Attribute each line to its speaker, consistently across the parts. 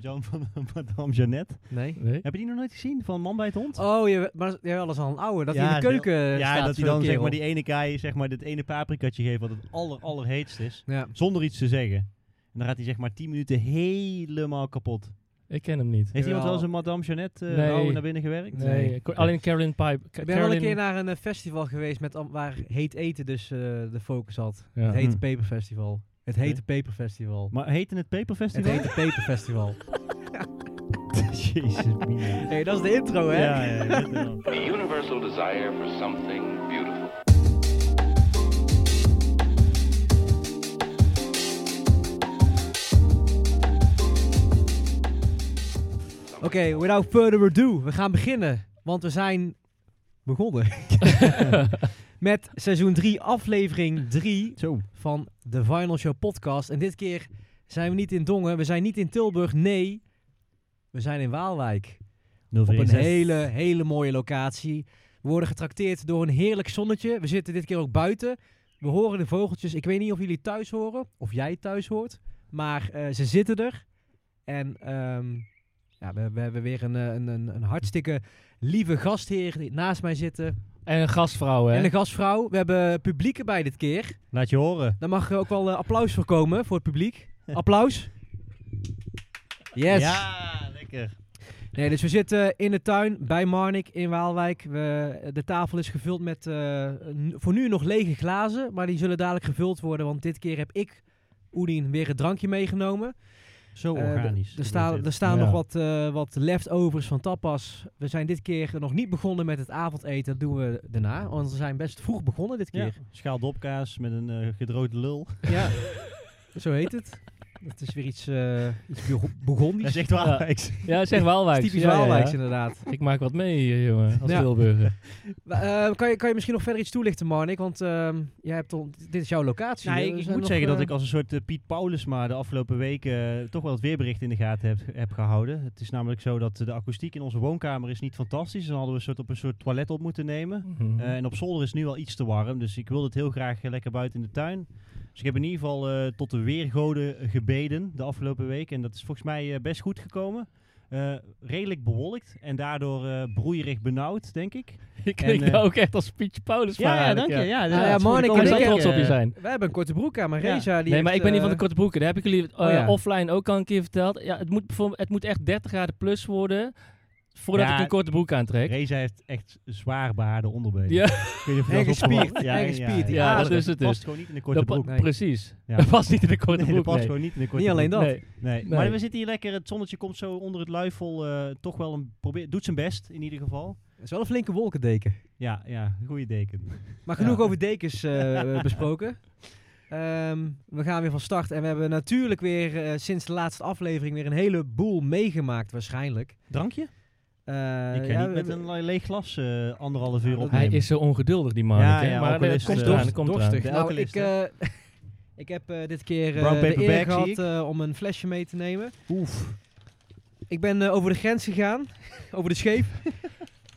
Speaker 1: Joan van Madame Jeannette.
Speaker 2: Nee.
Speaker 3: Nee?
Speaker 1: Heb je die nog nooit gezien? Van Man bij het Hond?
Speaker 2: Oh, je, maar jij wel eens al een oude. Dat hij
Speaker 1: Ja,
Speaker 2: in de keuken eh, staat.
Speaker 1: ja, dat
Speaker 2: zo'n
Speaker 1: hij dan zeg
Speaker 2: kerel.
Speaker 1: maar die ene kaai, zeg maar, dit ene paprikatje geeft wat het aller, allerheetst is.
Speaker 2: Ja.
Speaker 1: Zonder iets te zeggen. En dan gaat hij zeg maar 10 minuten helemaal kapot.
Speaker 3: Ik ken hem niet.
Speaker 1: Heeft iemand
Speaker 2: Jawel.
Speaker 1: wel eens een Madame Jeannette eh
Speaker 3: Nee.
Speaker 1: rouw naar binnen gewerkt?
Speaker 3: Nee, ik- alleen Carolyn Pipe. Ca-
Speaker 2: Ik ben wel een
Speaker 3: Carolyn-
Speaker 2: keer naar een eh, festival geweest met, am- waar heet eten dus eh, de focus had.
Speaker 3: Ja.
Speaker 2: Het hete
Speaker 1: Hm.
Speaker 2: peperfestival. Het hete peperfestival.
Speaker 1: Maar heette het
Speaker 2: Het
Speaker 1: Peperfestival?
Speaker 2: hete peperfestival.
Speaker 1: Jezus, Mina.
Speaker 2: Hé, dat is de intro, hè?
Speaker 1: Ja, ja, dit wel.
Speaker 4: A universal desire for something beautiful.
Speaker 2: Oké, without further ado, we gaan beginnen. Want we zijn begonnen. Met seizoen 3, aflevering 3
Speaker 1: Zo.
Speaker 2: van de Vinyl Show podcast. En dit keer zijn we niet in Dongen, we zijn niet in Tilburg, nee, we zijn in Waalwijk. Op een
Speaker 1: 046.
Speaker 2: hele, hele mooie locatie. We worden getrakteerd door een heerlijk zonnetje. We zitten dit keer ook buiten. We horen de vogeltjes. Ik weet niet of jullie thuis horen, of jij thuis hoort. Maar eh, ze zitten er. En ehm, ja, we, we hebben weer een, eh, een, een, een hartstikke lieve gastheer die naast mij zitten.
Speaker 3: En een gastvrouw, hè?
Speaker 2: En een gastvrouw. We hebben publiek erbij dit keer.
Speaker 1: Laat je horen.
Speaker 2: Daar mag ook wel eh, applaus voor komen, voor het publiek. Applaus. Yes.
Speaker 1: Ja, lekker.
Speaker 2: Nee, dus we zitten in de tuin bij Marnik in Waalwijk. We, eh, de tafel is gevuld met eh, n- voor nu nog lege glazen, maar die zullen dadelijk gevuld worden. Want dit keer heb ik, Oedien, weer een drankje meegenomen.
Speaker 1: Zo
Speaker 2: Eh, d-
Speaker 1: Oh, organisch.
Speaker 2: er staan, er staan
Speaker 3: Ja.
Speaker 2: nog wat, eh, wat leftovers van tapas. We zijn dit keer nog niet begonnen met het avondeten. Dat doen we daarna, want we zijn best vroeg begonnen dit
Speaker 1: ja.
Speaker 2: keer.
Speaker 1: Schaal dopkaas met een eh, gedroogde lul.
Speaker 2: Ja, zo heet het. Dat is weer iets, eh iets Bur-
Speaker 1: Dat is
Speaker 2: Burgondisch.
Speaker 1: echt Waalwijks.
Speaker 3: Ja, zeg Waalwijk.
Speaker 2: Typisch
Speaker 3: ja, ja, ja.
Speaker 2: Waalwijks inderdaad.
Speaker 3: Ik maak wat mee, eh, jongen, als
Speaker 2: Ja.
Speaker 3: Tilburger.
Speaker 2: Eh, kan, je, kan je misschien nog verder iets toelichten, Marnik? Want ehm, jij hebt al- dit is jouw locatie.
Speaker 1: Nou,
Speaker 2: hè?
Speaker 1: ik,
Speaker 2: We
Speaker 1: ik
Speaker 2: zijn
Speaker 1: moet
Speaker 2: nog,
Speaker 1: zeggen dat
Speaker 2: eh,
Speaker 1: ik als een soort eh, Piet Paulus maar de afgelopen weken eh, toch wel het weerbericht in de gaten heb, heb gehouden. Het is namelijk zo dat eh, de akoestiek in onze woonkamer is niet fantastisch. Dan hadden we een soort op een soort toilet op moeten nemen.
Speaker 3: Mhm.
Speaker 1: Eh, en op zolder is het nu al iets te warm, dus ik wilde het heel graag eh, lekker buiten in de tuin. Dus ik heb in ieder geval eh, tot de weergoden eh, gebeden de afgelopen week. En dat is volgens mij eh, best goed gekomen. Eh, redelijk bewolkt en daardoor eh, broeierig benauwd, denk ik.
Speaker 3: Je klinkt
Speaker 1: en, eh,
Speaker 3: nou ook echt als Pietje Paulus van eigenlijk,
Speaker 1: Ja,
Speaker 2: Ah, ja,
Speaker 1: dat is
Speaker 2: Monica,
Speaker 1: goed.
Speaker 2: ik
Speaker 3: Ik kan er zo
Speaker 2: denk ik, eh,
Speaker 3: trots op je zijn.
Speaker 2: We hebben een korte broek aan, maar Reza... Die
Speaker 3: Nee, maar
Speaker 2: heeft,
Speaker 3: ik ben niet van de
Speaker 2: eh,
Speaker 3: korte broeken. Dat heb ik jullie eh,
Speaker 2: Oh, ja.
Speaker 3: offline ook al een keer verteld. Ja, het, moet bijvoorbeeld, het moet echt 30 graden plus worden voordat
Speaker 1: Ja.
Speaker 3: ik een korte broek aantrek.
Speaker 1: Reza heeft echt zwaar behaarde onderbenen.
Speaker 3: Ja.
Speaker 1: Ik weet niet of je
Speaker 2: En
Speaker 1: dat opgevallen
Speaker 2: gespierd,
Speaker 1: is.
Speaker 2: en gespierd.
Speaker 3: Ja, dat is het
Speaker 1: past
Speaker 3: dus.
Speaker 1: gewoon niet in de korte
Speaker 3: Dat pa-
Speaker 1: broek.
Speaker 2: Nee.
Speaker 3: Precies.
Speaker 1: Ja.
Speaker 3: Dat past niet in de korte
Speaker 1: Nee, dat
Speaker 3: broek.
Speaker 1: past
Speaker 3: nee.
Speaker 1: gewoon niet in de korte
Speaker 2: Niet alleen
Speaker 1: broek.
Speaker 2: dat.
Speaker 3: Nee.
Speaker 1: Nee.
Speaker 3: Nee.
Speaker 1: Maar we zitten hier lekker. Het zonnetje komt zo onder het luifel. eh, toch wel een probeer, doet zijn best in ieder geval.
Speaker 2: Het is wel een flinke wolkendeken.
Speaker 1: Ja, ja, goede deken.
Speaker 2: Maar genoeg
Speaker 1: Ja.
Speaker 2: over dekens eh, eh, besproken. Ehm, we gaan weer van start en we hebben natuurlijk weer eh, sinds de laatste aflevering weer een heleboel meegemaakt waarschijnlijk.
Speaker 1: Drankje?
Speaker 2: Eh,
Speaker 1: ik
Speaker 2: ja,
Speaker 1: kan niet
Speaker 2: we-
Speaker 1: met een le- leeg glas eh, anderhalf uur
Speaker 2: dat-
Speaker 1: opnemen.
Speaker 3: Hij is zo ongeduldig, die man.
Speaker 1: Ja,
Speaker 3: maar
Speaker 1: ja,
Speaker 3: dat
Speaker 1: alcoholist,
Speaker 3: komt
Speaker 1: eh,
Speaker 3: eraan.
Speaker 1: dorst-
Speaker 3: Dat komt eraan.
Speaker 2: dorstig.
Speaker 1: De
Speaker 2: Nou, ik,
Speaker 1: alcoholist,
Speaker 2: eh, ik heb eh, dit keer eh,
Speaker 1: Brown
Speaker 2: de
Speaker 1: paper
Speaker 2: eer
Speaker 1: bag, zie
Speaker 2: gehad
Speaker 1: ik.
Speaker 2: eh, om een flesje mee te nemen.
Speaker 1: Oef.
Speaker 2: Ik ben eh, over de grens gegaan, over de scheep.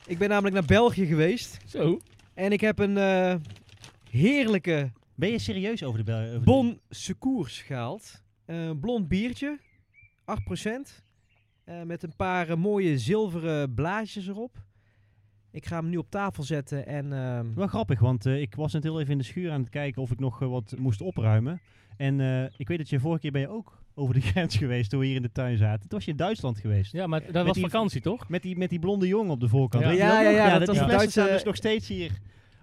Speaker 2: ik ben namelijk naar België geweest.
Speaker 3: Zo.
Speaker 2: En ik heb een eh, heerlijke
Speaker 1: Ben je serieus over de bel? over de-
Speaker 2: Bon Secours gehaald. Eh, Een blond biertje, 8%. eh, met een paar eh, mooie zilveren blaasjes erop. Ik ga hem nu op tafel zetten en... ehm,
Speaker 1: Wel grappig, want eh, ik was net heel even in de schuur aan het kijken of ik nog eh, wat moest opruimen. En eh, ik weet dat je vorige keer ben je ook over de grens geweest toen we hier in de tuin zaten. Toen was je in Duitsland geweest.
Speaker 3: Ja, maar dat
Speaker 1: Met
Speaker 3: was
Speaker 1: die-
Speaker 3: vakantie, toch?
Speaker 1: Met die, met die blonde jongen op de voorkant.
Speaker 3: Ja.
Speaker 1: Weet je
Speaker 2: Ja,
Speaker 1: dat
Speaker 2: ja,
Speaker 1: nog?
Speaker 2: ja, dat
Speaker 1: dat
Speaker 2: was
Speaker 1: die
Speaker 2: een
Speaker 1: flessen
Speaker 2: Duitse-
Speaker 1: staan dus nog steeds hier.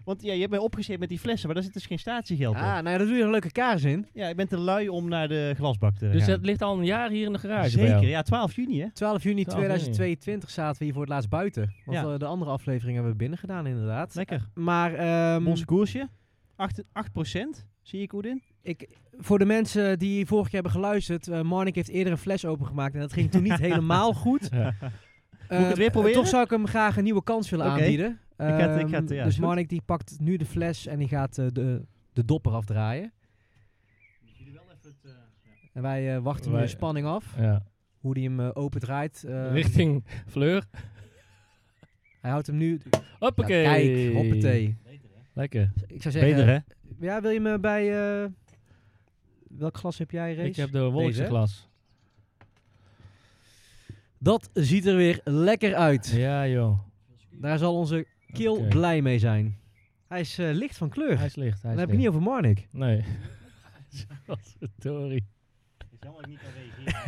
Speaker 1: Want ja, je hebt mij opgeschreven met die flessen, maar daar zit dus geen statiegeld
Speaker 2: ah,
Speaker 1: op.
Speaker 2: nou ja, daar doe je een leuke kaars in.
Speaker 1: Ja, ik ben te lui om naar de glasbak te
Speaker 3: Dus
Speaker 1: gaan.
Speaker 3: dat ligt al een jaar hier in de garage bij jou.
Speaker 1: Zeker, ja, 12 juni hè.
Speaker 2: 12 juni
Speaker 3: 12 juni.
Speaker 2: 2022 zaten we hier voor het laatst buiten. Want
Speaker 1: Ja.
Speaker 2: eh, de andere aflevering hebben we binnen gedaan, inderdaad.
Speaker 1: Lekker.
Speaker 2: Maar ehm,
Speaker 1: Ons koersje, 8%, 8% zie ik goed in.
Speaker 2: ik, voor de mensen die vorig jaar hebben geluisterd, eh Marnik heeft eerder een fles opengemaakt en dat ging toen niet helemaal goed.
Speaker 3: Ja.
Speaker 2: Eh,
Speaker 1: Moet ik het weer proberen?
Speaker 2: Toch zou ik hem graag een nieuwe kans willen
Speaker 1: Oké.
Speaker 2: aanbieden.
Speaker 1: ga het- ik
Speaker 2: Ehm,
Speaker 1: ga het- ja,
Speaker 2: dus
Speaker 1: goed.
Speaker 2: Marnik die pakt nu de fles en die gaat eh, de, de dopper afdraaien. En wij eh, wachten nu
Speaker 3: Wij-
Speaker 2: in spanning af
Speaker 3: Ja.
Speaker 2: hoe die hem eh, opendraait. Ehm,
Speaker 3: Richting Fleur.
Speaker 2: Hij houdt hem nu... Nou,
Speaker 3: Hoppakee.
Speaker 2: kijk, hoppatee. eh,
Speaker 3: Lekker.
Speaker 2: Ik zou zeggen,
Speaker 1: Beter hè?
Speaker 2: Ja, wil je me bij... eh, welk glas heb jij, Race?
Speaker 3: Ik heb de
Speaker 2: Deze,
Speaker 3: wolkse
Speaker 2: hè?
Speaker 3: glas.
Speaker 2: Dat ziet er weer lekker uit.
Speaker 5: Ja, joh.
Speaker 2: Daar zal onze keel
Speaker 5: Oké.
Speaker 2: blij mee zijn. Hij is eh, licht van kleur.
Speaker 5: Hij is licht. Hij
Speaker 2: Dan
Speaker 5: is
Speaker 2: heb ik
Speaker 5: licht.
Speaker 2: niet over Marnik.
Speaker 5: Nee. Sorry.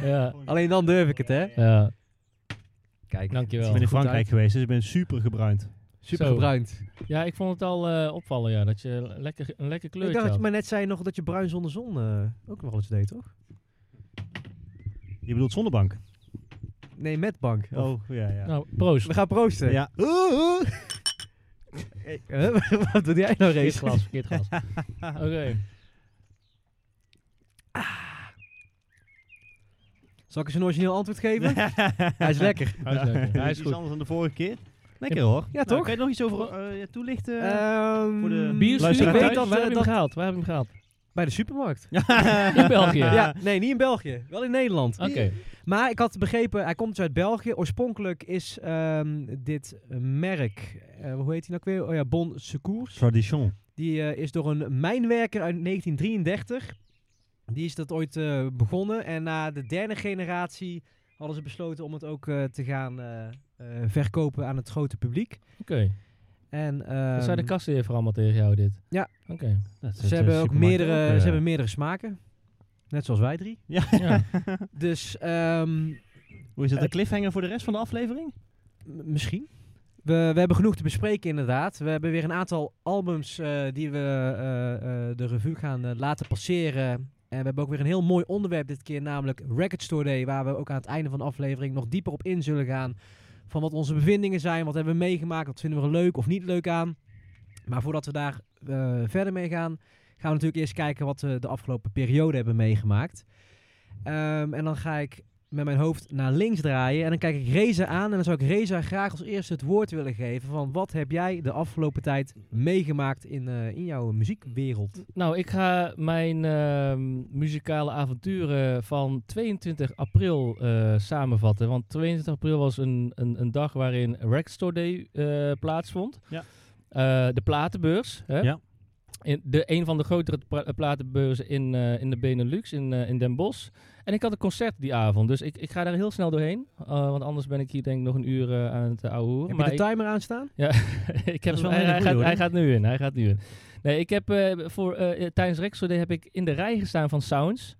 Speaker 5: Ja.
Speaker 2: Alleen dan durf ik het, hè?
Speaker 5: Ja,
Speaker 2: Kijk,
Speaker 1: Ik
Speaker 5: dankjewel.
Speaker 1: ben in
Speaker 2: Goed
Speaker 1: Frankrijk
Speaker 2: uit.
Speaker 1: geweest, dus ik ben super gebruind.
Speaker 2: super
Speaker 5: Zo.
Speaker 2: gebruind.
Speaker 5: Ja, ik vond het al eh, opvallen, ja. Dat je lekker, een lekker
Speaker 2: Ik
Speaker 5: kleurtje
Speaker 2: dacht dat je
Speaker 5: had.
Speaker 2: maar net zei nog dat je bruin zonder zon eh, ook nog wel eens deed, toch?
Speaker 1: Je bedoelt zonnebank?
Speaker 2: Nee, met bank. Of-
Speaker 1: Oh, ja, ja.
Speaker 5: Nou, proost.
Speaker 2: We gaan proosten.
Speaker 1: Ja.
Speaker 2: Hey, huh? Wat doe jij nou,
Speaker 5: Verkeerd
Speaker 2: Race?
Speaker 5: glas, verkeerd glas. Oké.
Speaker 2: Zal ik eens een origineel antwoord geven? Hij is lekker.
Speaker 5: Hij is leuk, ja. Hij is
Speaker 1: Iets
Speaker 5: goed.
Speaker 1: anders dan de vorige keer. Lekker hoor.
Speaker 2: Ja,
Speaker 1: Nou,
Speaker 2: toch?
Speaker 1: Kan je nog iets over eh, toelichten?
Speaker 2: Ehm,
Speaker 1: voor de
Speaker 5: Bier
Speaker 1: Luister,
Speaker 5: ik
Speaker 1: thuis,
Speaker 5: weet dat, waar heb je hem gehaald? Waar heb je hem gehaald?
Speaker 2: eh, Bij de supermarkt.
Speaker 5: In België.
Speaker 2: Ja, nee, niet in België. Wel in Nederland.
Speaker 5: Oké.
Speaker 2: Maar ik had begrepen, hij komt dus uit België. Oorspronkelijk is ehm, dit merk, eh, hoe heet hij nou ook weer? Oh ja, Bon Secours.
Speaker 1: Tradition.
Speaker 2: Die eh, is door een mijnwerker uit 1933. Die is dat ooit eh, begonnen. En na de derde generatie hadden ze besloten om het ook eh, te gaan eh, eh, verkopen aan het grote publiek.
Speaker 5: Oké.
Speaker 2: En,
Speaker 5: Dat zei de
Speaker 2: ehm,
Speaker 5: kastheer vooral allemaal tegen jou dit.
Speaker 2: Ja.
Speaker 5: Oké.
Speaker 2: ze, hebben ook meerdere, ze hebben meerdere smaken. Net zoals wij drie.
Speaker 5: Ja.
Speaker 2: Dus ehm, m-
Speaker 1: Hoe is dat, een
Speaker 5: Eh.
Speaker 1: cliffhanger voor de rest van de aflevering?
Speaker 2: misschien. We, we hebben genoeg te bespreken inderdaad. We hebben weer een aantal albums eh, die we eh, eh, de revue gaan eh, laten passeren. En we hebben ook weer een heel mooi onderwerp dit keer, namelijk Record Store Day. Waar we ook aan het einde van de aflevering nog dieper op in zullen gaan. Van wat onze bevindingen zijn, wat hebben we meegemaakt, wat vinden we er leuk of niet leuk aan. Maar voordat we daar eh, verder mee gaan, gaan we natuurlijk eerst kijken wat we de afgelopen periode hebben meegemaakt. Ehm, en dan ga ik met mijn hoofd naar links draaien en dan kijk ik Reza aan. En dan zou ik Reza graag als eerste het woord willen geven van wat heb jij de afgelopen tijd meegemaakt in, eh, in jouw muziekwereld?
Speaker 5: Nou, ik ga mijn ehm, muzikale avonturen van 22 april eh, samenvatten. Want 22 april was een, een, een dag waarin Record Store Day eh, plaatsvond.
Speaker 1: Ja.
Speaker 5: Eh, de platenbeurs. Hè?
Speaker 1: Ja.
Speaker 5: In de, een van de grotere pra- eh, platenbeurzen in, eh, in de Benelux, in, eh, in Den Bosch. En ik had een concert die avond. Dus ik, ik ga daar heel snel doorheen. eh, want anders ben ik hier denk ik nog een uur eh, aan het uh,
Speaker 2: Heb je
Speaker 5: maar
Speaker 2: de
Speaker 5: ik-
Speaker 2: timer aanstaan?
Speaker 5: ik heb
Speaker 1: is wel
Speaker 5: hem-
Speaker 1: een hele
Speaker 5: eh, hij, hij
Speaker 1: goeie,
Speaker 5: gaat,
Speaker 1: hoor.
Speaker 5: hij gaat nu in. Hij gaat nu in. Nee, ik heb eh, voor, eh, eh, tijdens Rexo Day heb ik in de rij gestaan van Sounds.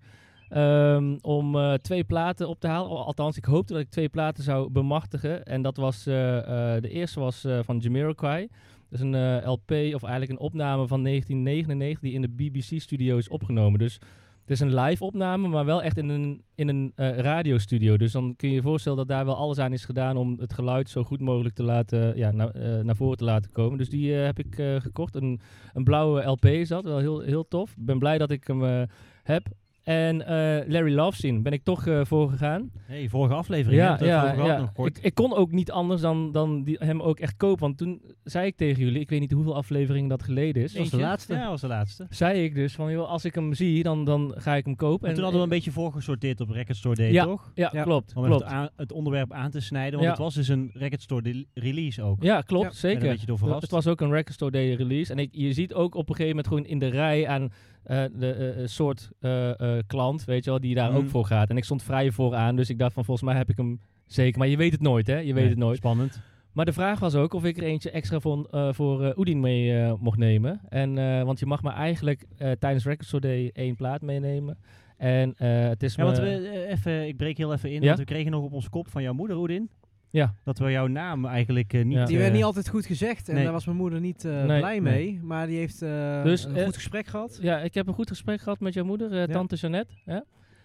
Speaker 5: ehm, om eh, twee platen op te halen. Al- Althans, ik hoopte dat ik twee platen zou bemachtigen. En dat was, eh, eh, de eerste was eh, van Jamiroquai. Dat is een eh, LP, of eigenlijk een opname van 1999 die in de BBC-studio is opgenomen. Dus het is een live opname, maar wel echt in een, in een eh, radiostudio. Dus dan kun je je voorstellen dat daar wel alles aan is gedaan om het geluid zo goed mogelijk te laten, ja, na- eh, naar voren te laten komen. Dus die eh, heb ik eh, gekocht. Een, een blauwe LP is dat, wel heel, heel tof. Ik ben blij dat ik hem eh, heb. En eh, Larry Lovesin ben ik toch eh, voor gegaan.
Speaker 1: hey, vorige aflevering. hè, hebben we het over gehad nog kort.
Speaker 5: Ik, ik kon ook niet anders dan, dan die, hem ook echt kopen. Want toen zei ik tegen jullie, ik weet niet hoeveel afleveringen dat geleden is.
Speaker 2: was de
Speaker 1: Eentje?
Speaker 2: laatste.
Speaker 1: Ja, was de laatste. En,
Speaker 5: Zei ik dus van, joh, als ik hem zie, dan, dan ga ik hem kopen.
Speaker 1: toen hadden we een beetje voorgesorteerd op Record Store Day,
Speaker 5: Ja,
Speaker 1: toch?
Speaker 5: Ja,
Speaker 2: Ja.
Speaker 5: klopt.
Speaker 1: Om
Speaker 5: klopt.
Speaker 1: Even het, aan- het onderwerp aan te snijden, want
Speaker 5: Ja.
Speaker 1: het was dus een Record Store de- release ook.
Speaker 5: Ja,
Speaker 2: Ja.
Speaker 5: klopt,
Speaker 2: En
Speaker 1: Ik ben
Speaker 5: zeker.
Speaker 1: een beetje door
Speaker 5: Het
Speaker 1: verrast.
Speaker 5: was ook een Record Store Day release. En ik, je ziet ook op een gegeven moment gewoon in de rij aan eh, de eh, eh, soort eh, eh, klant, weet je wel, die daar
Speaker 1: Mm.
Speaker 5: ook voor gaat. En ik stond vrij vooraan, dus ik dacht van volgens mij heb ik hem zeker. Maar je weet het nooit, hè? Je weet
Speaker 1: Nee,
Speaker 5: het nooit. Dus
Speaker 1: Spannend.
Speaker 5: Maar de vraag was ook of ik er eentje extra van, eh, voor eh Oedin mee eh, mocht nemen. En, eh, want je mag maar eigenlijk eh, tijdens Record Store Day één plaat meenemen. En eh, het is
Speaker 1: Ja,
Speaker 5: me-
Speaker 1: want we, eh, even, ik breek heel even in,
Speaker 5: Ja?
Speaker 1: want we kregen nog op ons kop van jouw moeder, Oedin,
Speaker 5: Ja,
Speaker 1: dat we jouw naam eigenlijk eh, niet...
Speaker 5: Ja.
Speaker 2: Die
Speaker 1: eh,
Speaker 2: werd niet altijd goed gezegd en
Speaker 1: nee.
Speaker 2: daar was mijn moeder niet eh,
Speaker 5: Nee,
Speaker 2: blij mee. Maar die heeft eh,
Speaker 5: Dus,
Speaker 2: een
Speaker 5: eh,
Speaker 2: goed gesprek gehad.
Speaker 5: ja, ik heb een goed gesprek gehad met jouw moeder, eh, tante Jeannette. Hè?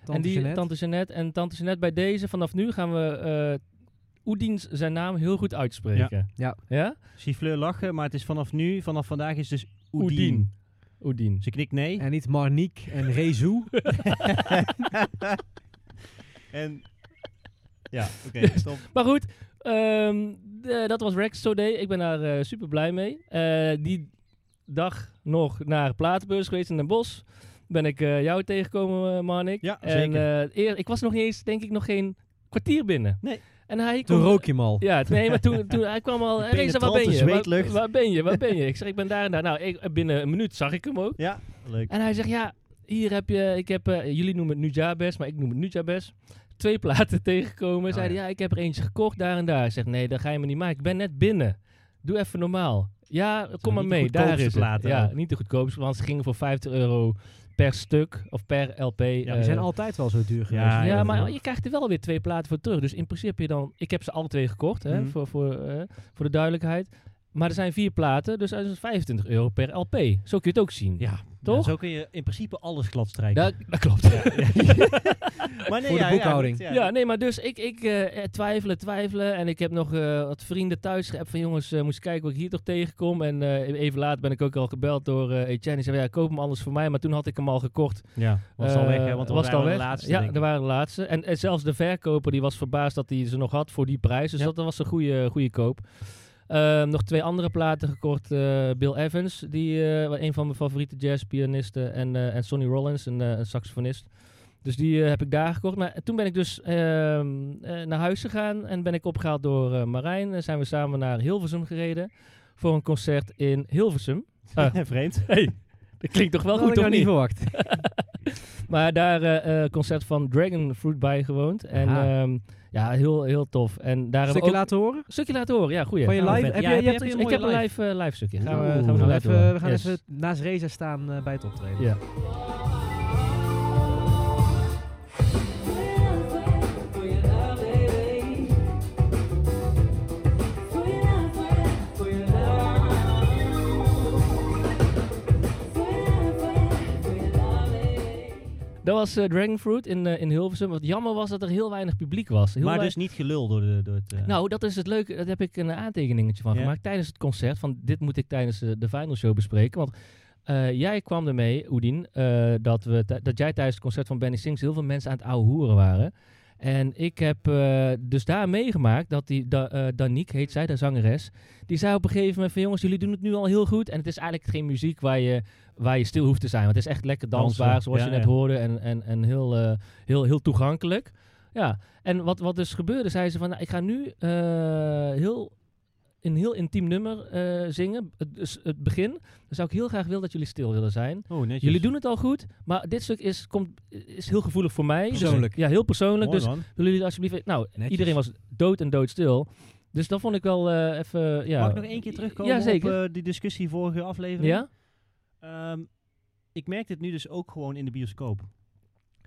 Speaker 2: Tante
Speaker 5: en die
Speaker 2: Jeannette.
Speaker 5: Tante Jeannette en Tante Jeannette bij deze, vanaf nu gaan we eh Oedins zijn naam heel goed uitspreken.
Speaker 2: Ja.
Speaker 5: Ja?
Speaker 1: Siffleur lachen, maar het is vanaf nu, vanaf vandaag is dus Oedien.
Speaker 5: Oedien. Oedien.
Speaker 1: Ze knikt nee.
Speaker 2: En niet Marniek en Rezu.
Speaker 1: En... Ja, oké, stop.
Speaker 5: Maar goed, ehm, de- dat was Rex So Day. Ik ben daar eh, super blij mee. Eh, die dag nog naar Platenbeurs geweest in Den Bosch. Ben ik eh, jou tegengekomen, eh, Marnik.
Speaker 1: Ja,
Speaker 5: en,
Speaker 1: zeker.
Speaker 5: eh, eer, ik was nog niet eens, denk ik, nog geen kwartier binnen.
Speaker 1: Nee.
Speaker 5: En hij
Speaker 2: Toen
Speaker 5: kon-
Speaker 2: rook je hem al.
Speaker 5: Ja, t- nee, maar toen, toen hij kwam al. Reza, waar ben je?
Speaker 1: penetrante
Speaker 5: Waar,
Speaker 1: zweetlucht.
Speaker 5: waar ben je? Waar ben je? Ik zeg, ik ben daar en daar. Nou, ik, binnen een minuut zag ik hem ook.
Speaker 1: Ja, leuk.
Speaker 5: En hij zegt, ja, hier heb je, ik heb, eh, jullie noemen het Nujabes, maar ik noem het Nujabes. twee platen tegengekomen.
Speaker 2: Oh,
Speaker 5: Zeiden, ja. ik heb er eentje gekocht, daar en daar. Ik Zeg, nee, dat ga je me niet maken. Ik ben net binnen. Doe even normaal. Ja, kom maar
Speaker 1: niet de
Speaker 5: mee, daar
Speaker 1: goedkoopste
Speaker 5: is het.
Speaker 1: platen
Speaker 5: Ja,
Speaker 1: ook.
Speaker 5: niet de goedkoopste, want ze gingen voor 50 euro per stuk of per LP.
Speaker 1: die
Speaker 2: Die
Speaker 5: eh,
Speaker 2: zijn altijd wel zo duur geweest.
Speaker 1: Ja,
Speaker 5: ja,
Speaker 1: ja,
Speaker 5: maar
Speaker 1: ja.
Speaker 5: je krijgt er wel weer twee platen voor terug. Dus in principe heb je dan... Ik heb ze alle twee gekocht, hè,
Speaker 1: Mhm.
Speaker 5: voor, voor, eh, voor de duidelijkheid. Maar er zijn vier platen, dus dat is 25 euro per LP. Zo kun je het ook zien.
Speaker 1: Ja,
Speaker 5: Toch?
Speaker 1: zo kun je in principe alles gladstrijken.
Speaker 5: Dat, dat klopt. Ja,
Speaker 1: maar nee,
Speaker 2: Voor de boekhouding.
Speaker 1: Ja, ja,
Speaker 5: nee, maar dus ik, ik eh, eh, twijfelen, twijfelen. En ik heb nog eh, wat vrienden thuis geappt van... jongens, eh, moet eens kijken wat ik hier toch tegenkom. En eh, even later ben ik ook al gebeld door eh Etienne. Die zei, ja, koop hem anders voor mij. Maar toen had ik hem al gekocht.
Speaker 1: ja, was al weg,
Speaker 5: Eh,
Speaker 1: hè, want we
Speaker 5: was het
Speaker 1: waren
Speaker 5: al
Speaker 1: de
Speaker 5: weg?
Speaker 1: laatste.
Speaker 5: Ja,
Speaker 1: denk
Speaker 5: er
Speaker 1: ik.
Speaker 5: waren de laatste. En, en zelfs de verkoper die was verbaasd dat hij ze nog had voor die prijs. Dus
Speaker 1: Ja.
Speaker 5: dat was een goede, goede koop. Ehm, nog twee andere platen gekocht. eh, Bill Evans, die, eh, een van mijn favoriete jazzpianisten. En, eh, en Sonny Rollins, een, eh, een saxofonist. Dus die eh, heb ik daar gekocht. Maar toen ben ik dus ehm, eh, naar huis gegaan en ben ik opgehaald door eh, Marijn. En zijn we samen naar Hilversum gereden voor een concert in Hilversum. Ah.
Speaker 1: Vreemd.
Speaker 5: Dat klinkt toch wel
Speaker 2: dat had ik
Speaker 5: goed, toch
Speaker 2: nou niet
Speaker 5: niet?
Speaker 2: verwacht.
Speaker 5: Maar daar eh, eh, concert van Dragon Fruit bij gewoond. En
Speaker 2: Aha.
Speaker 5: ehm, ja, heel, heel tof. En daar
Speaker 2: Stukje
Speaker 5: hebben we ook...
Speaker 2: laten horen?
Speaker 5: Stukje laten horen, ja, goeie.
Speaker 2: Van je
Speaker 5: Gaan we
Speaker 2: live?
Speaker 5: verder.
Speaker 2: Heb
Speaker 1: Ja,
Speaker 2: je,
Speaker 1: heb
Speaker 2: je
Speaker 1: je-
Speaker 2: hebt
Speaker 1: heb
Speaker 2: een
Speaker 1: je
Speaker 5: ik heb
Speaker 2: mooie
Speaker 5: een
Speaker 2: live.
Speaker 5: live, eh, live stukje. Gaan we,
Speaker 2: Oeh.
Speaker 5: gaan we,
Speaker 2: We gaan
Speaker 5: laten horen.
Speaker 2: even, we gaan
Speaker 5: Yes.
Speaker 2: even naast Reza staan eh, bij het optreden.
Speaker 5: Ja. Dat was eh, Dragon Fruit in, eh, in Hilversum. Wat jammer was dat er heel weinig publiek was. Heel
Speaker 1: Maar
Speaker 5: wei-
Speaker 1: dus niet gelul door, de, door het... eh,
Speaker 5: Nou, dat is het leuke. Daar heb ik een aantekeningetje van
Speaker 1: Ja.
Speaker 5: gemaakt tijdens het concert. Van dit moet ik tijdens eh, de final show bespreken. Want eh, jij kwam ermee, Oedien, eh, dat, we tij- dat jij tijdens het concert van Benny Sings heel veel mensen aan het ouwe hoeren waren. En ik heb eh, dus daar meegemaakt dat die da, eh, Danique, heet zij, de zangeres, die zei op een gegeven moment van jongens, jullie doen het nu al heel goed. En het is eigenlijk geen muziek waar je, waar je stil hoeft te zijn. Want het is echt lekker
Speaker 1: Dansen,
Speaker 5: dansbaar, zoals
Speaker 1: ja,
Speaker 5: je net
Speaker 1: ja.
Speaker 5: hoorde. En, en, en heel, eh, heel, heel toegankelijk. Ja, en wat, wat dus gebeurde, zei ze van, nou, ik ga nu eh, heel, een heel intiem nummer eh, zingen, het, dus het begin. Dan zou ik heel graag willen dat jullie stil willen zijn.
Speaker 1: oh, netjes.
Speaker 5: Jullie doen het al goed, maar dit stuk is, komt, is heel gevoelig voor mij. Dus-
Speaker 2: Persoonlijk.
Speaker 5: ja, heel persoonlijk.
Speaker 1: Mooi,
Speaker 5: dus
Speaker 1: man.
Speaker 5: willen jullie alsjeblieft... Nou,
Speaker 2: Netjes.
Speaker 5: iedereen was dood en doodstil. Dus dat vond ik wel eh, even... Ja.
Speaker 1: Mag ik nog één keer terugkomen
Speaker 5: Ja, zeker.
Speaker 1: op eh, die discussie vorige aflevering?
Speaker 5: ja?
Speaker 1: Ehm, ik merk dit nu dus ook gewoon in de bioscoop.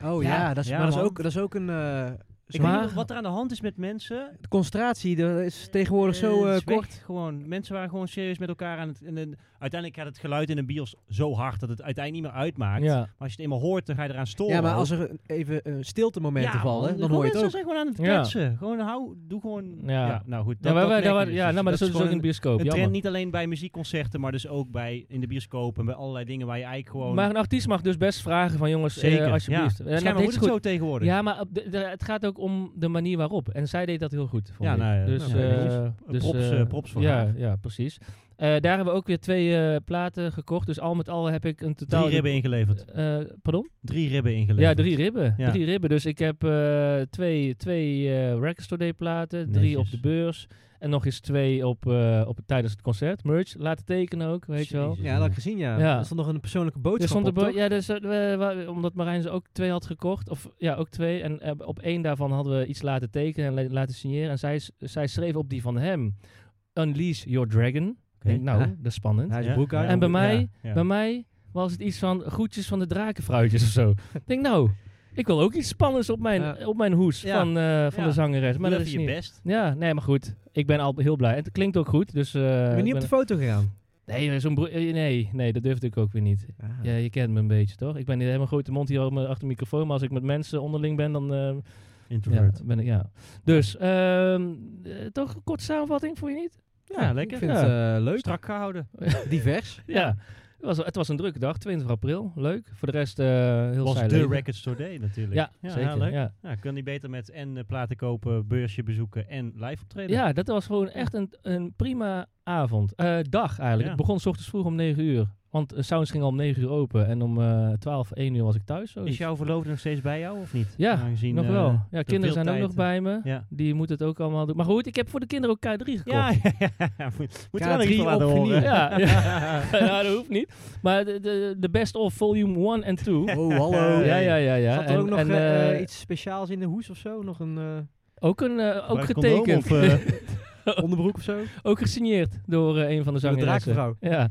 Speaker 2: Oh ja, dat, is,
Speaker 1: Ja,
Speaker 2: maar dat, is
Speaker 1: man.
Speaker 2: ook, dat is ook een... eh,
Speaker 1: Ik
Speaker 2: zo'n-
Speaker 1: weet
Speaker 5: Maar-
Speaker 1: niet wat er aan de hand is met mensen.
Speaker 2: de concentratie dat is tegenwoordig
Speaker 1: Eh,
Speaker 2: zo
Speaker 1: het
Speaker 2: eh,
Speaker 1: is weg,
Speaker 2: kort.
Speaker 1: Gewoon. Mensen waren gewoon serieus met elkaar aan het... En, en uiteindelijk gaat het geluid in een bios zo hard dat het uiteindelijk niet meer uitmaakt.
Speaker 5: ja.
Speaker 1: Maar als je het eenmaal hoort, dan ga je eraan storen.
Speaker 2: Ja, maar
Speaker 1: ook.
Speaker 2: als er een- even eh, stiltemomenten
Speaker 1: Ja,
Speaker 2: vallen,
Speaker 1: man,
Speaker 2: dan
Speaker 1: gewoon
Speaker 2: hoor je het
Speaker 1: mensen
Speaker 2: ook.
Speaker 1: zijn gewoon aan het
Speaker 5: Ja.
Speaker 1: kletsen. Gewoon hou, doe gewoon... Ja,
Speaker 5: Ja.
Speaker 1: nou goed.
Speaker 5: ja, maar, wij-
Speaker 1: merk
Speaker 5: daar
Speaker 1: je
Speaker 5: wa-
Speaker 1: dus.
Speaker 5: ja,
Speaker 1: Dus
Speaker 5: nou, maar dat, is
Speaker 1: gewoon
Speaker 5: ook in de bioscoop.
Speaker 1: een
Speaker 5: jammer.
Speaker 1: trend niet alleen bij muziekconcerten, maar dus ook bij, in de bioscoop en bij allerlei dingen waar je eigenlijk gewoon...
Speaker 5: Maar een artiest mag dus best vragen van jongens, eh,
Speaker 1: Zeker,
Speaker 5: alsjeblieft.
Speaker 1: ja.
Speaker 5: En dat
Speaker 1: Schijnbaar
Speaker 5: deed
Speaker 1: moet
Speaker 5: ze
Speaker 1: het
Speaker 5: goed.
Speaker 1: zo tegenwoordig.
Speaker 5: Ja, maar op de- de- het gaat ook om de manier waarop. En zij deed dat heel goed. Vond
Speaker 1: Ja,
Speaker 5: ik.
Speaker 1: nou ja,
Speaker 5: dus,
Speaker 1: nou,
Speaker 5: eh,
Speaker 1: netjes.
Speaker 5: dus,
Speaker 1: Props,
Speaker 5: eh,
Speaker 1: eh, props voor
Speaker 5: ja,
Speaker 1: haar.
Speaker 5: Ja, precies. Eh, daar hebben we ook weer twee eh, platen gekocht. Dus al met al heb ik een totaal...
Speaker 1: Drie ribben ingeleverd.
Speaker 5: Eh, pardon?
Speaker 1: Drie ribben ingeleverd.
Speaker 5: Ja, drie ribben.
Speaker 1: Ja.
Speaker 5: Drie ribben. Dus ik heb eh, twee, twee eh, Record Store Day platen, drie op
Speaker 1: Netjes.
Speaker 5: de beurs en nog eens twee op, eh, op, tijdens het concert. Merch, laten tekenen ook, weet je wel.
Speaker 1: Jezus.
Speaker 2: Ja, dat had ik gezien, ja.
Speaker 5: Ja.
Speaker 2: Er stond nog een persoonlijke
Speaker 5: Er
Speaker 2: boodschap
Speaker 5: stond er
Speaker 2: op,
Speaker 5: bo-
Speaker 2: toch?
Speaker 5: ja, dus, eh, we- wa- omdat Marijn ze ook twee had gekocht. Of ja, ook twee. En eh, op één daarvan hadden we iets laten tekenen en la- laten signeren. En zij, s- zij schreef op die van hem: Unleash your dragon. Ik denk, nou,
Speaker 2: Ja.
Speaker 5: dat is spannend.
Speaker 2: Hij is
Speaker 1: Ah. Ja.
Speaker 2: broek uit.
Speaker 5: En bij mij-
Speaker 1: ja.
Speaker 5: Bij mij was het iets van groetjes van de drakenfruitjes of zo. Ik denk, nou, ik wil ook iets spannends op mijn,
Speaker 2: Ja.
Speaker 5: op mijn hoes
Speaker 1: Ja.
Speaker 5: van, eh, van
Speaker 1: Ja.
Speaker 5: de zangeres.
Speaker 1: maar
Speaker 5: Maar
Speaker 1: Doe
Speaker 5: dat
Speaker 1: even
Speaker 5: is
Speaker 1: je
Speaker 5: niet.
Speaker 1: best.
Speaker 5: Ja, nee, maar goed. Ik ben al heel blij. En het klinkt ook goed. Dus, eh,
Speaker 2: Ik ben
Speaker 5: ik
Speaker 2: niet op
Speaker 5: ben-
Speaker 2: de foto gegaan.
Speaker 5: nee, zo'n broer- eh, nee, nee, dat durfde ik ook weer niet.
Speaker 2: Ah.
Speaker 5: Ja, je kent me een beetje, toch? Ik ben niet helemaal grote mond hier achter achter de microfoon, maar als ik met mensen onderling ben, dan eh, ja,
Speaker 1: Introvert.
Speaker 5: ben ik, ja. Dus, ehm, eh, toch een korte samenvatting, vond je niet?
Speaker 1: Ja, lekker.
Speaker 2: Ik vind het eh, leuk.
Speaker 1: Strak gehouden.
Speaker 2: Divers.
Speaker 5: Ja. Het, was, het was een drukke dag, 20 april, leuk. Voor de rest eh heel
Speaker 1: was
Speaker 5: saai
Speaker 1: de
Speaker 5: leven.
Speaker 1: Record Store Day natuurlijk.
Speaker 5: Ja, zeker.
Speaker 1: heel leuk.
Speaker 5: Ja.
Speaker 1: Ja, kan die beter met en eh, platen kopen, beursje bezoeken en live optreden.
Speaker 5: ja, dat was gewoon echt een, een prima avond. Eh, dag eigenlijk.
Speaker 1: Ja.
Speaker 5: Het begon 's ochtends vroeg om 9 uur. Want eh, Sounds ging al om 9 uur open en om eh 12, 1 uur was ik thuis. zoiets.
Speaker 1: Is jouw verloofde nog steeds bij jou of niet?
Speaker 5: Ja,
Speaker 1: Aangezien,
Speaker 5: nog
Speaker 1: eh,
Speaker 5: wel.
Speaker 1: de
Speaker 5: Ja, kinderen zijn ook
Speaker 1: speeltijd,
Speaker 5: nog bij me.
Speaker 1: eh, Ja.
Speaker 5: Die moeten het ook allemaal doen. Maar goed, ik heb voor de kinderen ook K3 gekocht.
Speaker 1: Ja, ja, ja, ja. Moet, moet je wel
Speaker 2: K3
Speaker 1: even laten horen.
Speaker 2: opgenieuwd.
Speaker 5: Ja, ja. Ja, dat hoeft niet. Maar de, de, de best of volume 1 en 2.
Speaker 2: Oh, hallo.
Speaker 1: Ja,
Speaker 5: Ja, ja, ja. ja.
Speaker 2: Zat er
Speaker 5: en,
Speaker 2: ook nog
Speaker 5: en,
Speaker 2: eh,
Speaker 5: eh,
Speaker 2: iets speciaals in de hoes of zo? Nog een eh,
Speaker 5: ook, een, eh, ook
Speaker 1: Maar een condoom
Speaker 5: getekend.
Speaker 1: Of, eh,
Speaker 2: onderbroek of zo?
Speaker 5: ook gesigneerd door eh, een van de
Speaker 2: Door de
Speaker 5: zangeressen.
Speaker 2: draakvrouw.
Speaker 5: Ja.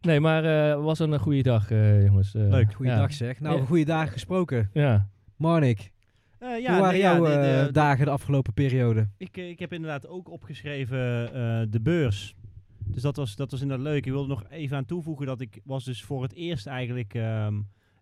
Speaker 5: Nee, maar eh was een goede dag, eh, jongens. Eh,
Speaker 1: Leuk.
Speaker 2: Goeiedag
Speaker 5: Ja.
Speaker 2: zeg. Nou,
Speaker 5: Ja.
Speaker 2: goede dagen gesproken.
Speaker 5: ja.
Speaker 2: Marnik,
Speaker 1: eh,
Speaker 2: hoe
Speaker 1: ja,
Speaker 2: waren
Speaker 1: nee, ja,
Speaker 2: jouw
Speaker 1: nee, de-
Speaker 2: eh, dagen de afgelopen periode?
Speaker 1: Ik, eh, ik heb inderdaad ook opgeschreven eh, de beurs. Dus dat was, dat was inderdaad leuk. Ik wilde nog even aan toevoegen dat ik was dus voor het eerst eigenlijk ehm,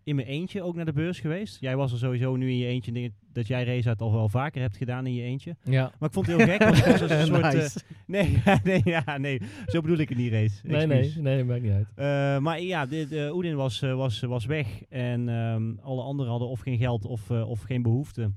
Speaker 1: in mijn eentje ook naar de beurs geweest. Jij was er sowieso nu in je eentje. Ik denk dat jij race uit al wel vaker hebt gedaan in je eentje.
Speaker 5: ja.
Speaker 1: Maar ik vond het heel gek. Want ik was als een soort, eh,
Speaker 2: Nice.
Speaker 1: nee, nee, ja, nee, zo bedoel ik het niet race.
Speaker 5: Nee, nee, nee, maakt niet uit.
Speaker 1: Eh, maar ja, dit, eh, Oedin was, eh, was, was weg. En ehm, alle anderen hadden of geen geld of, eh, of geen behoefte.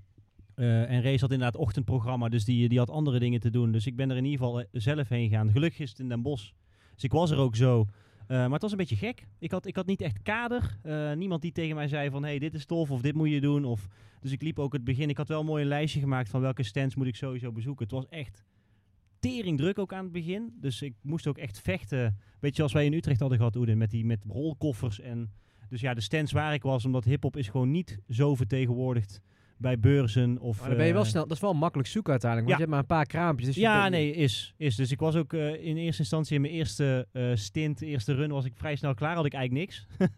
Speaker 1: Eh, en Race had inderdaad ochtendprogramma, dus die, die had andere dingen te doen. Dus ik ben er in ieder geval eh, zelf heen gegaan. Gelukkig is het in Den Bosch. Dus ik was er ook zo. Eh, maar het was een beetje gek. Ik had, ik had niet echt kader. Eh, niemand die tegen mij zei van, hey, dit is tof of dit moet je doen. Of, dus ik liep ook het begin. Ik had wel mooi een lijstje gemaakt van welke stands moet ik sowieso bezoeken. Het was echt tering druk ook aan het begin. Dus ik moest ook echt vechten Weet je, als wij in Utrecht hadden gehad, Oedin, met die met rolkoffers en. Dus ja, de stands waar ik was, omdat hip-hop is gewoon niet zo vertegenwoordigd bij beurzen of.
Speaker 2: Maar dan ben je wel
Speaker 1: eh,
Speaker 2: snel. Dat is wel makkelijk zoeken uiteindelijk. Want
Speaker 1: Ja.
Speaker 2: je hebt maar een paar kraampjes. Dus je
Speaker 1: Ja,
Speaker 2: kunt-
Speaker 1: nee, is, is. Dus ik was ook eh, in eerste instantie in mijn eerste eh, stint, eerste run, was ik vrij snel klaar, had ik eigenlijk niks.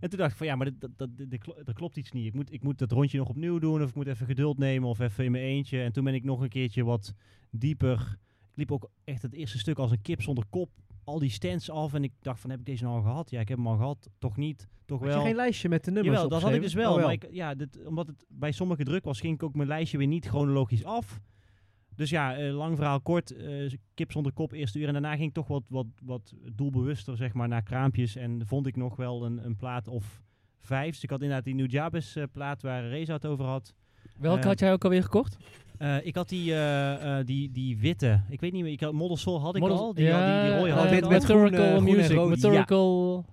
Speaker 1: en toen dacht ik van ja, maar dit- dat, dat, dit- dit klo- er klopt iets niet. Ik moet, ik moet dat rondje nog opnieuw doen of ik moet even geduld nemen of even in mijn eentje. En toen ben ik nog een keertje wat dieper. Ik liep ook echt het eerste stuk als een kip zonder kop. Al die stands af en ik dacht van heb ik deze nou al gehad? Ja, ik heb hem al gehad. Toch niet, toch
Speaker 2: Had je
Speaker 1: wel.
Speaker 2: geen lijstje met de nummers
Speaker 1: Jawel, dat had ik dus
Speaker 2: opgeschreven?
Speaker 1: wel.
Speaker 2: Oh,
Speaker 1: Maar ik, ja, dit, omdat het bij sommige druk was, ging ik ook mijn lijstje weer niet chronologisch af. Dus ja, eh, lang verhaal kort. eh, kip zonder kop, eerste uur. En daarna ging ik toch wat, wat, wat doelbewuster zeg maar, naar kraampjes. En vond ik nog wel een, een plaat of vijf. Dus ik had inderdaad die New Jabes eh, plaat waar Reza het over had.
Speaker 5: Welke
Speaker 1: Eh,
Speaker 5: had jij ook alweer gekocht?
Speaker 1: Eh, ik had die, eh, eh, die, die witte. Ik weet niet meer. Ik had, Model Soul had ik
Speaker 5: Models-
Speaker 1: al. Die,
Speaker 5: ja,
Speaker 1: die, die rode
Speaker 5: eh,
Speaker 1: had ik
Speaker 2: met-
Speaker 1: al.
Speaker 2: met groen, eh,
Speaker 5: Methodical
Speaker 2: groen en
Speaker 5: Music.
Speaker 2: rood.
Speaker 5: Methodical...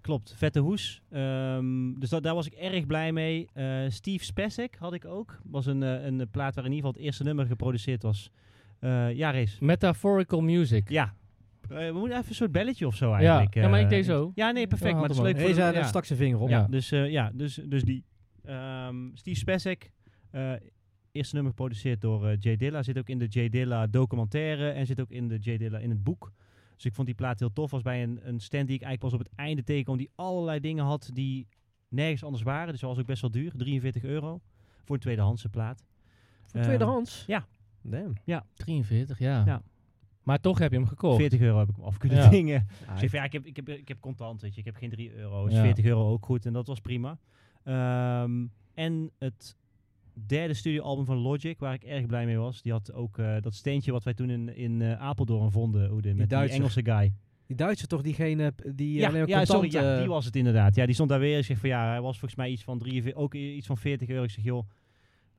Speaker 1: Klopt, vette hoes. Ehm, dus dat, daar was ik erg blij mee. Eh, Steve Spacek had ik ook. Was een, eh, een eh, plaat waar in ieder geval het eerste nummer geproduceerd was. Eh, ja, Race.
Speaker 5: Metaphorical Music.
Speaker 1: Ja. Eh, we moeten even een soort belletje of zo
Speaker 5: Ja,
Speaker 1: eigenlijk.
Speaker 5: ja, maar
Speaker 1: eh,
Speaker 5: ik deed zo.
Speaker 1: Ja, nee, perfect.
Speaker 5: Ja,
Speaker 1: maar dat is
Speaker 5: had
Speaker 1: leuk
Speaker 5: hem
Speaker 1: voor de-
Speaker 2: Reza
Speaker 1: ja.
Speaker 2: stak zijn vinger op.
Speaker 5: Ja.
Speaker 1: Dus, eh, ja, dus, dus die. Ehm, Steve Spacek. eh, eerste nummer geproduceerd door eh, Jay Dilla. Zit ook in de Jay Dilla documentaire. En zit ook in de Jay Dilla in het boek. Dus ik vond die plaat heel tof. Was bij een, een stand die ik eigenlijk pas op het einde tegenkwam. Die allerlei dingen had die nergens anders waren. Dus dat was ook best wel duur. 43 euro. Voor een tweedehandse plaat.
Speaker 2: Voor
Speaker 1: Ehm,
Speaker 2: tweedehands?
Speaker 1: ja.
Speaker 2: Damn.
Speaker 5: 43, ja.
Speaker 1: Ja.
Speaker 5: Maar toch heb je hem gekocht.
Speaker 1: 40 euro heb ik hem af kunnen
Speaker 5: Ja.
Speaker 1: dingen. Dus ik,
Speaker 2: Ah,
Speaker 1: van, ja, ik, heb, ik, heb, ik heb contant, weet je. Ik heb geen 3 euro. Dus
Speaker 5: Ja.
Speaker 1: 40 euro ook goed. En dat was prima. Ehm, en het derde studioalbum van Logic, waar ik erg blij mee was. Die had ook eh, dat steentje wat wij toen in, in eh, Apeldoorn vonden, Oedin. Met die
Speaker 2: Duitser.
Speaker 1: Engelse guy.
Speaker 2: Die Duitser toch, diegene p- die
Speaker 1: ja,
Speaker 2: alleen maar
Speaker 1: ja, sorry,
Speaker 2: contant...
Speaker 1: ja,
Speaker 2: eh,
Speaker 1: die was het inderdaad. Ja, die stond daar weer. Ik zeg van ja, hij was volgens mij iets van, 43, ook i- iets van 40 euro. Ik zeg joh,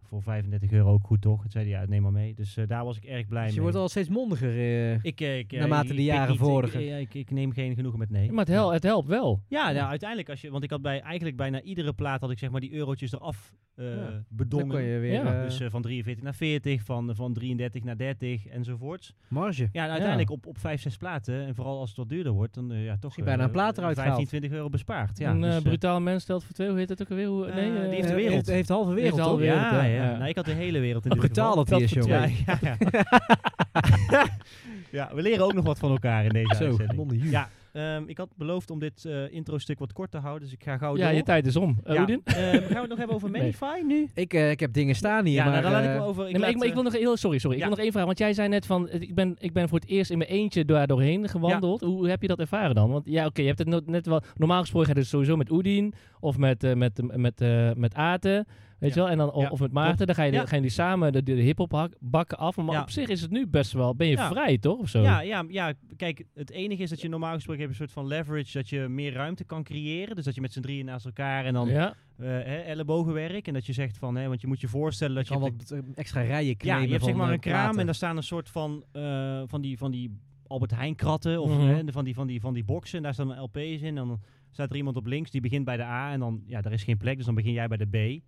Speaker 1: voor 35 euro ook goed toch? Toen zei hij ja, neem maar mee. Dus eh, daar was ik erg blij
Speaker 2: dus je
Speaker 1: mee.
Speaker 2: wordt al steeds mondiger. eh.
Speaker 1: ik, eh, ik, eh,
Speaker 2: naarmate
Speaker 1: ik
Speaker 2: de
Speaker 1: pik
Speaker 2: jaren
Speaker 1: niet. Ik-
Speaker 2: vorderen.
Speaker 1: eh, Ik, ik neem geen genoegen met nee.
Speaker 5: Ja, maar het, hel het helpt wel.
Speaker 1: Ja, nou, uiteindelijk als je, want ik had bij eigenlijk bijna iedere plaat had ik zeg maar die eurotjes eraf eh,
Speaker 2: Ja, dan
Speaker 1: bedongen.
Speaker 2: kan je weer
Speaker 5: Ja.
Speaker 2: eh,
Speaker 1: dus eh, van 43 naar 40, van, eh, van 33 naar 30 enzovoorts.
Speaker 2: marge.
Speaker 1: Ja, en uiteindelijk Op, op 5, 6 platen. En vooral als het wat duurder wordt, dan eh, ja, toch
Speaker 2: Misschien bijna een
Speaker 1: eh,
Speaker 2: plaat eruit
Speaker 1: 15,
Speaker 2: gehaald.
Speaker 1: 20 euro bespaard. Ja,
Speaker 5: een eh,
Speaker 1: dus, eh,
Speaker 5: brutaal mens stelt voor twee. Hoe heet dat ook alweer? Hoe,
Speaker 1: Eh,
Speaker 5: nee,
Speaker 1: die
Speaker 5: eh,
Speaker 1: heeft de
Speaker 2: Eh,
Speaker 1: wereld.
Speaker 2: Heeft, heeft de halve wereld,
Speaker 5: Heeft de
Speaker 2: toch?
Speaker 5: halve
Speaker 2: Ja.
Speaker 5: wereld.
Speaker 1: ja, ja,
Speaker 5: hè? Ja.
Speaker 1: Nou, ik had de hele wereld in
Speaker 2: Wat
Speaker 1: dit
Speaker 2: brutaal
Speaker 1: geval.
Speaker 2: dat hij is,
Speaker 1: voor
Speaker 2: jongen.
Speaker 1: twee. Ja, ja, ja. Ja, we leren ook nog wat van elkaar in deze
Speaker 2: Zo,
Speaker 1: uitzending.
Speaker 2: non
Speaker 1: Ja, ehm, ik had beloofd om dit eh intro-stuk wat kort te houden, dus ik ga gauw
Speaker 5: ja,
Speaker 1: door.
Speaker 5: je tijd is om. Eh,
Speaker 1: Ja,
Speaker 5: Oedin?
Speaker 1: eh, gaan we het nog hebben over
Speaker 5: Nee.
Speaker 1: Manify nu?
Speaker 2: Ik, eh, ik heb dingen staan hier,
Speaker 1: ja,
Speaker 2: maar...
Speaker 1: nou, dan laat ik
Speaker 2: eh,
Speaker 1: hem over. Ik,
Speaker 5: Nee, maar
Speaker 1: laat, eh,
Speaker 5: ik, maar ik wil nog heel sorry, sorry.
Speaker 1: ja.
Speaker 5: Ik wil nog één vraag, want jij zei net van eh, ik ben, ik ben voor het eerst in mijn eentje daar doorheen gewandeld. Hoe heb je dat ervaren dan? Want ja, oké, je hebt het no- net wel normaal gesproken ga je dus sowieso met Oedien of met eh, met met met, eh, met Aten, weet je
Speaker 1: Ja.
Speaker 5: wel? En dan of,
Speaker 1: Ja,
Speaker 5: of met Maarten, dan ga je
Speaker 1: Ja.
Speaker 5: gaan jullie samen de, de hip-hop hak- bakken af. Maar
Speaker 1: Ja.
Speaker 5: op zich is het nu best wel ben je
Speaker 1: Ja.
Speaker 5: vrij toch of zo?
Speaker 1: ja, ja, ja, kijk, het enige is dat je normaal gesproken hebt een soort van leverage dat je meer ruimte kan creëren. Dus dat je met z'n drieën naast elkaar en dan
Speaker 5: Ja.
Speaker 1: eh, hè, ellebogenwerk. En dat je zegt van, hè, want je moet je voorstellen dat
Speaker 2: Ik kan
Speaker 1: je.
Speaker 2: wat eh, extra rijen
Speaker 1: Ja,
Speaker 2: claimen
Speaker 1: je hebt
Speaker 2: van,
Speaker 1: zeg maar
Speaker 2: eh,
Speaker 1: een kraam
Speaker 2: platen.
Speaker 1: en daar staan een soort van, eh, van, die, van die Albert Heijn kratten of
Speaker 5: Mhm.
Speaker 1: hè, de- van, die, van, die, van die boxen. En daar staan LP's in. En dan staat er iemand op links die begint bij de A. En dan, ja, daar is geen plek, dus dan begin jij bij de B.